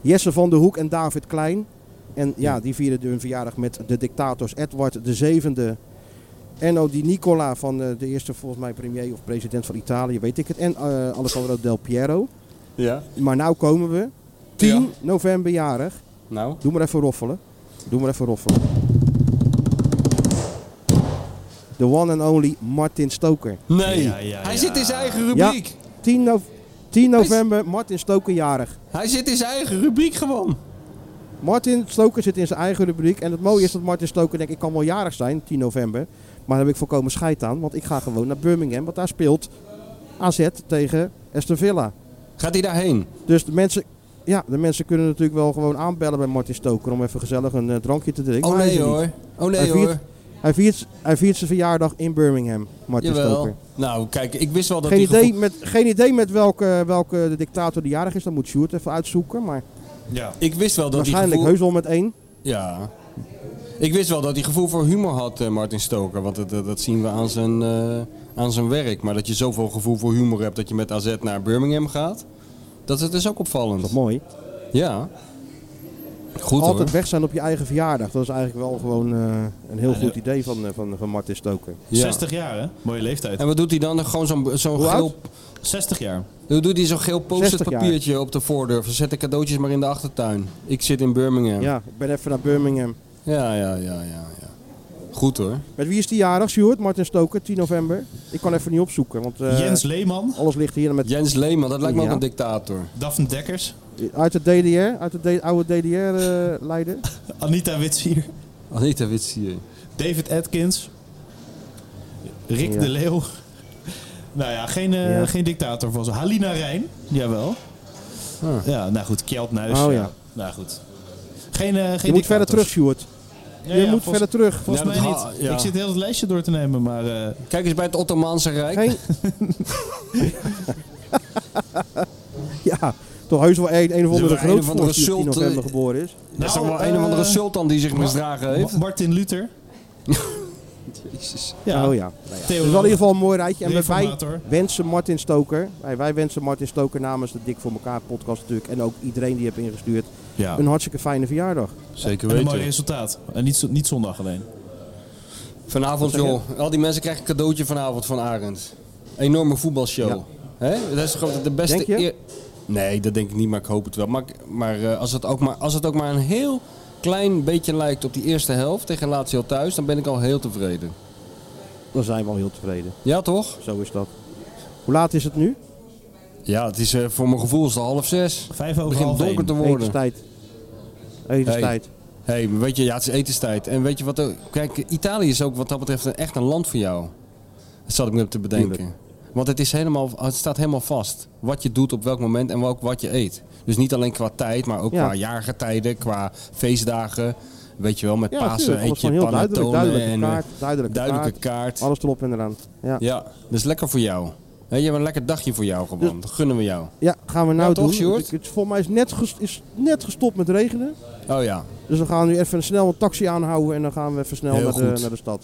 Speaker 5: Jesse van der Hoek en David Klein. En ja, die vierden hun verjaardag met de dictators Edward VII. En ook die Nicola van eh, de eerste, volgens mij, premier of president van Italië, weet ik het. En eh, Alessandro Del Piero.
Speaker 6: Ja.
Speaker 5: Maar nou komen we. 10 november jarig.
Speaker 6: Nou.
Speaker 5: Doe maar even roffelen. Doe maar even roffelen. The one and only Martin Stoker.
Speaker 6: Nee. Ja, ja, Hij ja. zit in zijn eigen rubriek.
Speaker 5: 10, no- 10 november, Martin Stoker jarig.
Speaker 6: Hij zit in zijn eigen rubriek gewoon.
Speaker 5: Martin Stoker zit in zijn eigen rubriek. En het mooie is dat Martin Stoker denkt, ik kan wel jarig zijn, 10 november. Maar daar heb ik volkomen scheid aan, want ik ga gewoon naar Birmingham. Want daar speelt AZ tegen Aston Villa.
Speaker 6: Gaat hij daarheen?
Speaker 5: Dus de mensen, ja, de mensen kunnen natuurlijk wel gewoon aanbellen bij Martin Stoker om even gezellig een eh, drankje te drinken.
Speaker 6: Oh
Speaker 5: maar hij
Speaker 6: nee
Speaker 5: is er
Speaker 6: hoor.
Speaker 5: niet.
Speaker 6: Oh nee
Speaker 5: hij viert,
Speaker 6: hoor.
Speaker 5: Hij viert, hij viert zijn verjaardag in Birmingham, Martin Stoker.
Speaker 6: Jawel. Nou, kijk, ik wist wel dat
Speaker 5: Geen
Speaker 6: hij
Speaker 5: idee,
Speaker 6: gevoel-
Speaker 5: met, geen idee met welke, welke de dictator die jarig is, dat moet Sjoerd even uitzoeken. Maar
Speaker 7: Ja.
Speaker 6: Ik wist wel dat
Speaker 5: waarschijnlijk
Speaker 6: hij gevoel...
Speaker 5: heus wel met één.
Speaker 6: Ja. Ik wist wel dat hij gevoel voor humor had, eh, Martin Stoker. Want dat, dat, dat zien we aan zijn, eh, aan zijn werk. Maar dat je zoveel gevoel voor humor hebt dat je met AZ naar Birmingham gaat. Dat, dat is dus ook opvallend. Dat
Speaker 5: mooi.
Speaker 6: Ja. Goed
Speaker 5: Altijd
Speaker 6: hoor.
Speaker 5: weg zijn op je eigen verjaardag. Dat is eigenlijk wel gewoon eh, een heel
Speaker 6: Ja,
Speaker 5: goed
Speaker 6: de-
Speaker 5: idee van, eh, van, van Martin Stoker.
Speaker 7: 60 jaar, hè? Mooie leeftijd.
Speaker 6: En wat doet hij dan? Gewoon zo'n zo'n
Speaker 5: Hoe oud?
Speaker 6: geel...
Speaker 7: 60 jaar.
Speaker 6: Hoe doet hij zo'n geel
Speaker 5: 60
Speaker 6: post-it
Speaker 5: jaar.
Speaker 6: papiertje op de voordeur? Van, Zet de cadeautjes maar in de achtertuin. Ik zit in Birmingham.
Speaker 5: Ja, ik ben even naar Birmingham.
Speaker 6: Ja, ja, ja, ja. ja. Goed hoor.
Speaker 5: Met wie is die jarig, Sjoerd? Martin Stoker, 10 november. Ik kan even niet opzoeken, want eh,
Speaker 7: Jens Leeman.
Speaker 5: alles ligt hier met...
Speaker 6: Jens Leeman, dat lijkt me
Speaker 5: Ja.
Speaker 6: ook een dictator.
Speaker 7: Daphne Dekkers.
Speaker 5: Uit de DDR, uit de, D- eh, oude DDR-leider.
Speaker 7: Anita Witsier.
Speaker 6: Anita Witsier.
Speaker 7: David Atkins. Rick
Speaker 5: Ja.
Speaker 7: de Leeuw. Nou ja, geen, eh,
Speaker 5: Ja.
Speaker 7: geen dictator van ze. Halina Rijn. Jawel. Ja, nou goed. Kjeld Nuis.
Speaker 5: Oh ja.
Speaker 7: Nou goed. Geen, eh, geen
Speaker 5: je moet verder
Speaker 7: dictators.
Speaker 5: terug, Sjoerd.
Speaker 7: Ja,
Speaker 5: je
Speaker 7: ja,
Speaker 5: moet
Speaker 7: volgens-
Speaker 5: verder terug.
Speaker 7: Volgens
Speaker 6: Ja,
Speaker 7: mij
Speaker 6: dat ha-
Speaker 7: niet.
Speaker 6: ja.
Speaker 7: Ik zit heel het lijstje door te nemen, maar... eh,
Speaker 6: Kijk eens bij het Ottomaanse Rijk.
Speaker 5: Geen... ja, toch heus wel een, een of andere
Speaker 6: Er waren een of
Speaker 5: groot
Speaker 6: andere
Speaker 5: die op 10
Speaker 6: zult, eh,
Speaker 5: november geboren is.
Speaker 6: dat is toch wel
Speaker 7: eh,
Speaker 6: een of andere sultan die zich misdragen heeft.
Speaker 7: Ma- Martin Luther.
Speaker 6: Jezus.
Speaker 7: Ja.
Speaker 5: Oh ja. Nou ja. Dus wel in
Speaker 7: Theoloog.
Speaker 5: ieder geval een mooi rijtje. En wij
Speaker 7: Reformator.
Speaker 5: wensen Martin Stoker, wij, wij wensen Martin Stoker namens de Dik voor elkaar podcast natuurlijk. En ook iedereen die heeft ingestuurd.
Speaker 7: Ja.
Speaker 5: Een hartstikke fijne verjaardag.
Speaker 6: Zeker
Speaker 7: En een mooi resultaat. En niet, zo- niet zondag alleen.
Speaker 6: Vanavond joh, al die mensen krijgen een cadeautje vanavond van Arend. Enorme voetbalshow.
Speaker 5: Ja.
Speaker 6: Hè? Dat is gewoon de beste
Speaker 5: Denk je?
Speaker 6: eer- Nee, dat denk ik niet, maar ik hoop het wel. Maar, maar, eh, als, het ook maar als het ook maar een heel klein beetje lijkt op die eerste helft tegen Lazio thuis, dan ben ik al heel tevreden.
Speaker 5: Dan zijn we al heel tevreden.
Speaker 6: Ja, toch?
Speaker 5: Zo is dat. Hoe laat is het nu?
Speaker 6: Ja, het is eh, voor mijn gevoel is het al half zes.
Speaker 7: Vijf over
Speaker 6: Het begint
Speaker 7: half
Speaker 6: donker
Speaker 7: één.
Speaker 6: te worden.
Speaker 5: Etenstijd. Etenstijd.
Speaker 6: Hé, hey, weet je, ja, het is etenstijd. En weet je wat ook? Kijk, Italië is ook wat dat betreft een- echt een land voor jou. Dat zat ik me te bedenken.
Speaker 5: Tuurlijk.
Speaker 6: Want het, is helemaal, het staat helemaal vast. Wat je doet op welk moment en ook wat je eet. Dus niet alleen qua tijd, maar ook
Speaker 5: Ja.
Speaker 6: qua jaargetijden, qua feestdagen. Weet je wel, met
Speaker 5: Ja,
Speaker 6: Pasen
Speaker 5: tuurlijk, alles
Speaker 6: eet je
Speaker 5: gewoon heel duidelijk.
Speaker 6: panettone
Speaker 5: Duidelijke
Speaker 6: en eh,
Speaker 5: kaart, duidelijke
Speaker 6: duidelijke
Speaker 5: kaart.
Speaker 6: kaart.
Speaker 5: Alles erop en eraan. Ja.
Speaker 6: Ja, dat is lekker voor jou. Hé, je hebt een lekker dagje voor jou gewoon. Dat gunnen we jou.
Speaker 5: Ja, gaan we nou
Speaker 6: Ja,
Speaker 5: doen.
Speaker 6: toch, Sjoerd?
Speaker 5: Het, het, volgens mij is net, ges- is net gestopt met regenen.
Speaker 6: Oh ja,
Speaker 5: Dus we gaan nu even snel een taxi aanhouden en dan gaan we even snel
Speaker 6: Heel
Speaker 5: naar de,
Speaker 6: goed.
Speaker 5: naar de stad.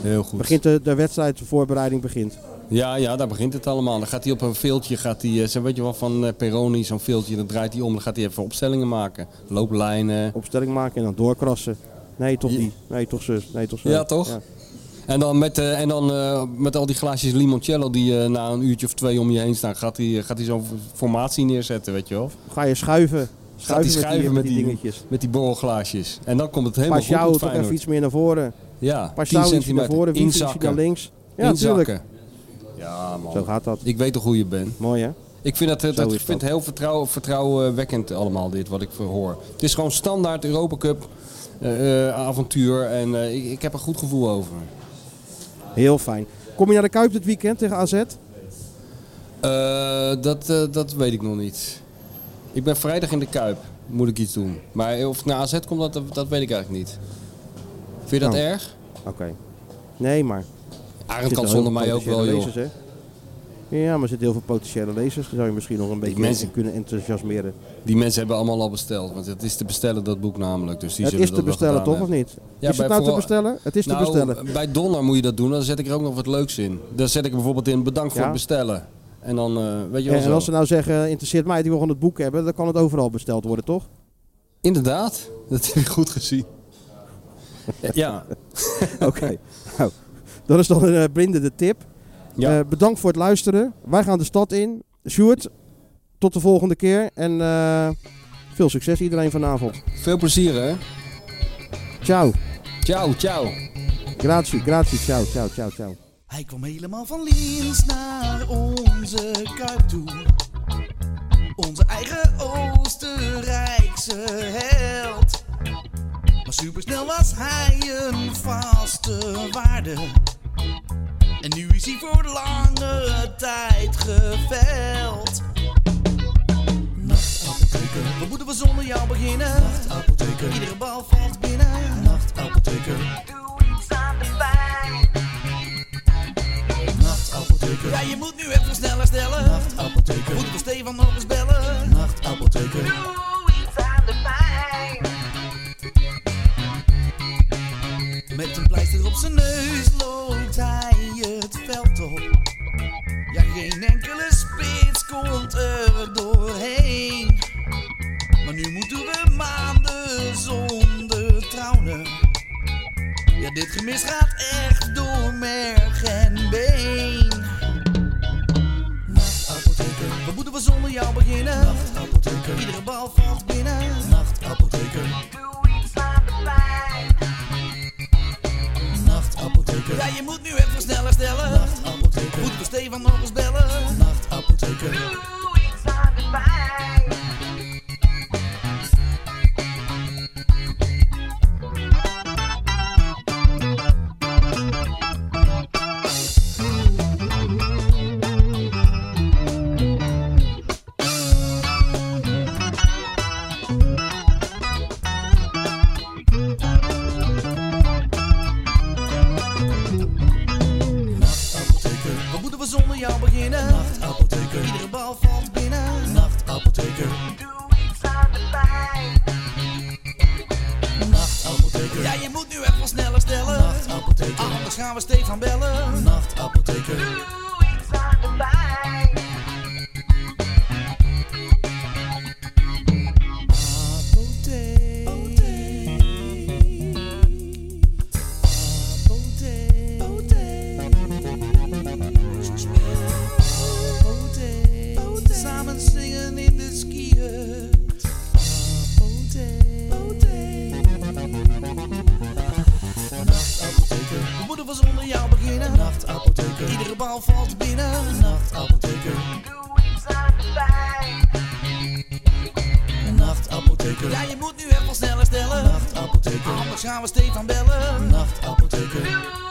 Speaker 6: heel goed.
Speaker 5: Begint de, de wedstrijd, de voorbereiding begint.
Speaker 6: Ja, ja, daar begint het allemaal. Dan gaat hij op een veeltje, gaat hij, eh, zo weet je wel, van eh, Peroni, zo'n veeltje, dan draait hij om, dan gaat hij even opstellingen maken. Looplijnen.
Speaker 5: Opstelling maken en dan doorkrassen. Nee, toch
Speaker 6: Ja.
Speaker 5: die. Nee, toch zus. Nee, toch zo.
Speaker 6: Ja, toch? En dan, met, eh, en dan eh, met al die glaasjes limoncello die eh, na een uurtje of twee om je heen staan, gaat hij, eh, gaat hij zo'n formatie neerzetten, weet je wel.
Speaker 5: Ga je schuiven.
Speaker 6: Gaat hij
Speaker 5: Schuiven,
Speaker 6: schuiven
Speaker 5: met, die, met die dingetjes.
Speaker 6: Met die borrelglaasjes. En dan komt het helemaal
Speaker 5: Pas jou
Speaker 6: goed
Speaker 5: toch
Speaker 6: met Feyenoord.
Speaker 5: even iets meer naar voren.
Speaker 6: Ja,
Speaker 5: Pas
Speaker 6: 10
Speaker 5: jou iets meer naar
Speaker 6: centimeter.
Speaker 5: voren. Wie ietsje
Speaker 6: Inzakken.
Speaker 5: naar links. Ja, natuurlijk.
Speaker 6: Inzakken. Oh. Ja, man.
Speaker 5: Zo gaat dat.
Speaker 6: Ik weet toch hoe je bent.
Speaker 5: Mooi hè?
Speaker 6: Ik vind, dat, eh, dat,
Speaker 5: Zo
Speaker 6: ik
Speaker 5: is
Speaker 6: vind het heel vertrouw, vertrouwenwekkend allemaal dit wat ik verhoor. Het is gewoon standaard Europa Cup eh, eh, avontuur en eh, ik, ik heb er goed gevoel over.
Speaker 5: Heel fijn. Kom je naar de Kuip dit weekend tegen AZ?
Speaker 6: Eh, dat, eh, dat weet ik nog niet. Ik ben vrijdag in de Kuip, moet ik iets doen. Maar of het naar AZ komt, dat, dat weet ik eigenlijk niet. Vind je dat
Speaker 5: Nou.
Speaker 6: erg?
Speaker 5: Oké. Nee, maar...
Speaker 6: Arend
Speaker 5: zitten
Speaker 6: kan
Speaker 5: heel veel
Speaker 6: zonder mij ook wel,
Speaker 5: potentiële
Speaker 6: joh.
Speaker 5: lezers, hè? Ja, maar er zitten heel veel potentiële lezers. Daar zou je misschien nog een beetje
Speaker 6: mensen.
Speaker 5: in kunnen enthousiasmeren.
Speaker 6: Die mensen hebben allemaal al besteld, want het is te bestellen dat boek namelijk. Dus die
Speaker 5: het
Speaker 6: zullen
Speaker 5: is te
Speaker 6: dat wel
Speaker 5: bestellen,
Speaker 6: gedaan
Speaker 5: toch? Of
Speaker 6: hebben.
Speaker 5: niet?
Speaker 6: Ja,
Speaker 5: is
Speaker 6: bij
Speaker 5: het nou te
Speaker 6: vooral-
Speaker 5: bestellen? Het is te
Speaker 6: Nou,
Speaker 5: bestellen.
Speaker 6: Bij Donner moet je dat doen, dan zet ik er ook nog wat leuks in. Dan zet ik er bijvoorbeeld in bedankt voor
Speaker 5: Ja.
Speaker 6: het bestellen. En dan, eh, weet je wel
Speaker 5: En, en
Speaker 6: zo.
Speaker 5: als ze nou zeggen, interesseert mij, die wil gewoon het boek hebben, dan kan het overal besteld worden, toch?
Speaker 6: Inderdaad, dat heb ik goed gezien. ja,
Speaker 5: Oké. Nou, dat is dan een eh, blindende tip.
Speaker 6: Ja.
Speaker 5: Eh, bedankt voor het luisteren. Wij gaan de stad in. Sjoerd, tot de volgende keer. En eh, Veel succes iedereen vanavond.
Speaker 6: Veel plezier, hè?
Speaker 5: Ciao.
Speaker 6: Ciao, ciao.
Speaker 5: Grazie, grazie, ciao, ciao, ciao, ciao.
Speaker 4: Hij kwam helemaal van links naar onze kuip toe. Onze eigen Oostenrijkse held. Maar supersnel was hij een vaste waarde. En nu is hij voor lange tijd geveld. Nachtapotheker, wat moeten we zonder jou beginnen? Nachtapotheker, iedere bal valt binnen. Nachtapotheker, doe iets aan de pijn. Nachtapotheker. Ja, je moet nu even sneller stellen. Nachtapotheker. Moeten we Stefan nog eens bellen? Nachtapotheker. Doe iets aan de pijn. Met een pleister op zijn neus loopt hij het veld op. Ja, geen enkele spits komt er doorheen. Maar nu moeten we maanden zonder trouwen. Ja, dit gemis gaat echt door merg en been. Nachtapotheker, wat moeten we zonder jou beginnen? Nachtapotheker, iedere bal valt binnen. Nachtapotheker, doe iets aan de pijn. Nachtapotheker, ja, je moet nu even sneller stellen. Nachtapotheker, moeten we Stefan nog eens bellen? Nachtapotheker, doe iets aan de pijn. Nachtapotheker, wat moeten we zonder jou beginnen? Nachtapotheker, iedere bal valt binnen. Nachtapotheker, doe iets aan de pijn. Nachtapotheker, ja je moet nu even sneller stellen. Nachtapotheker, anders gaan we Stefan bellen. Nachtapotheker, doe iets aan de pijn. Samen zingen in de skiën. Nachtapotheker, we moeten we zonder jou beginnen. Nachtapotheker, iedere bal valt binnen. Nachtapotheker, doe iets aan de pijn. Nachtapotheker, ja je moet nu even sneller stellen. Nachtapotheker, anders gaan we Stefan bellen. Nachtapotheker, doe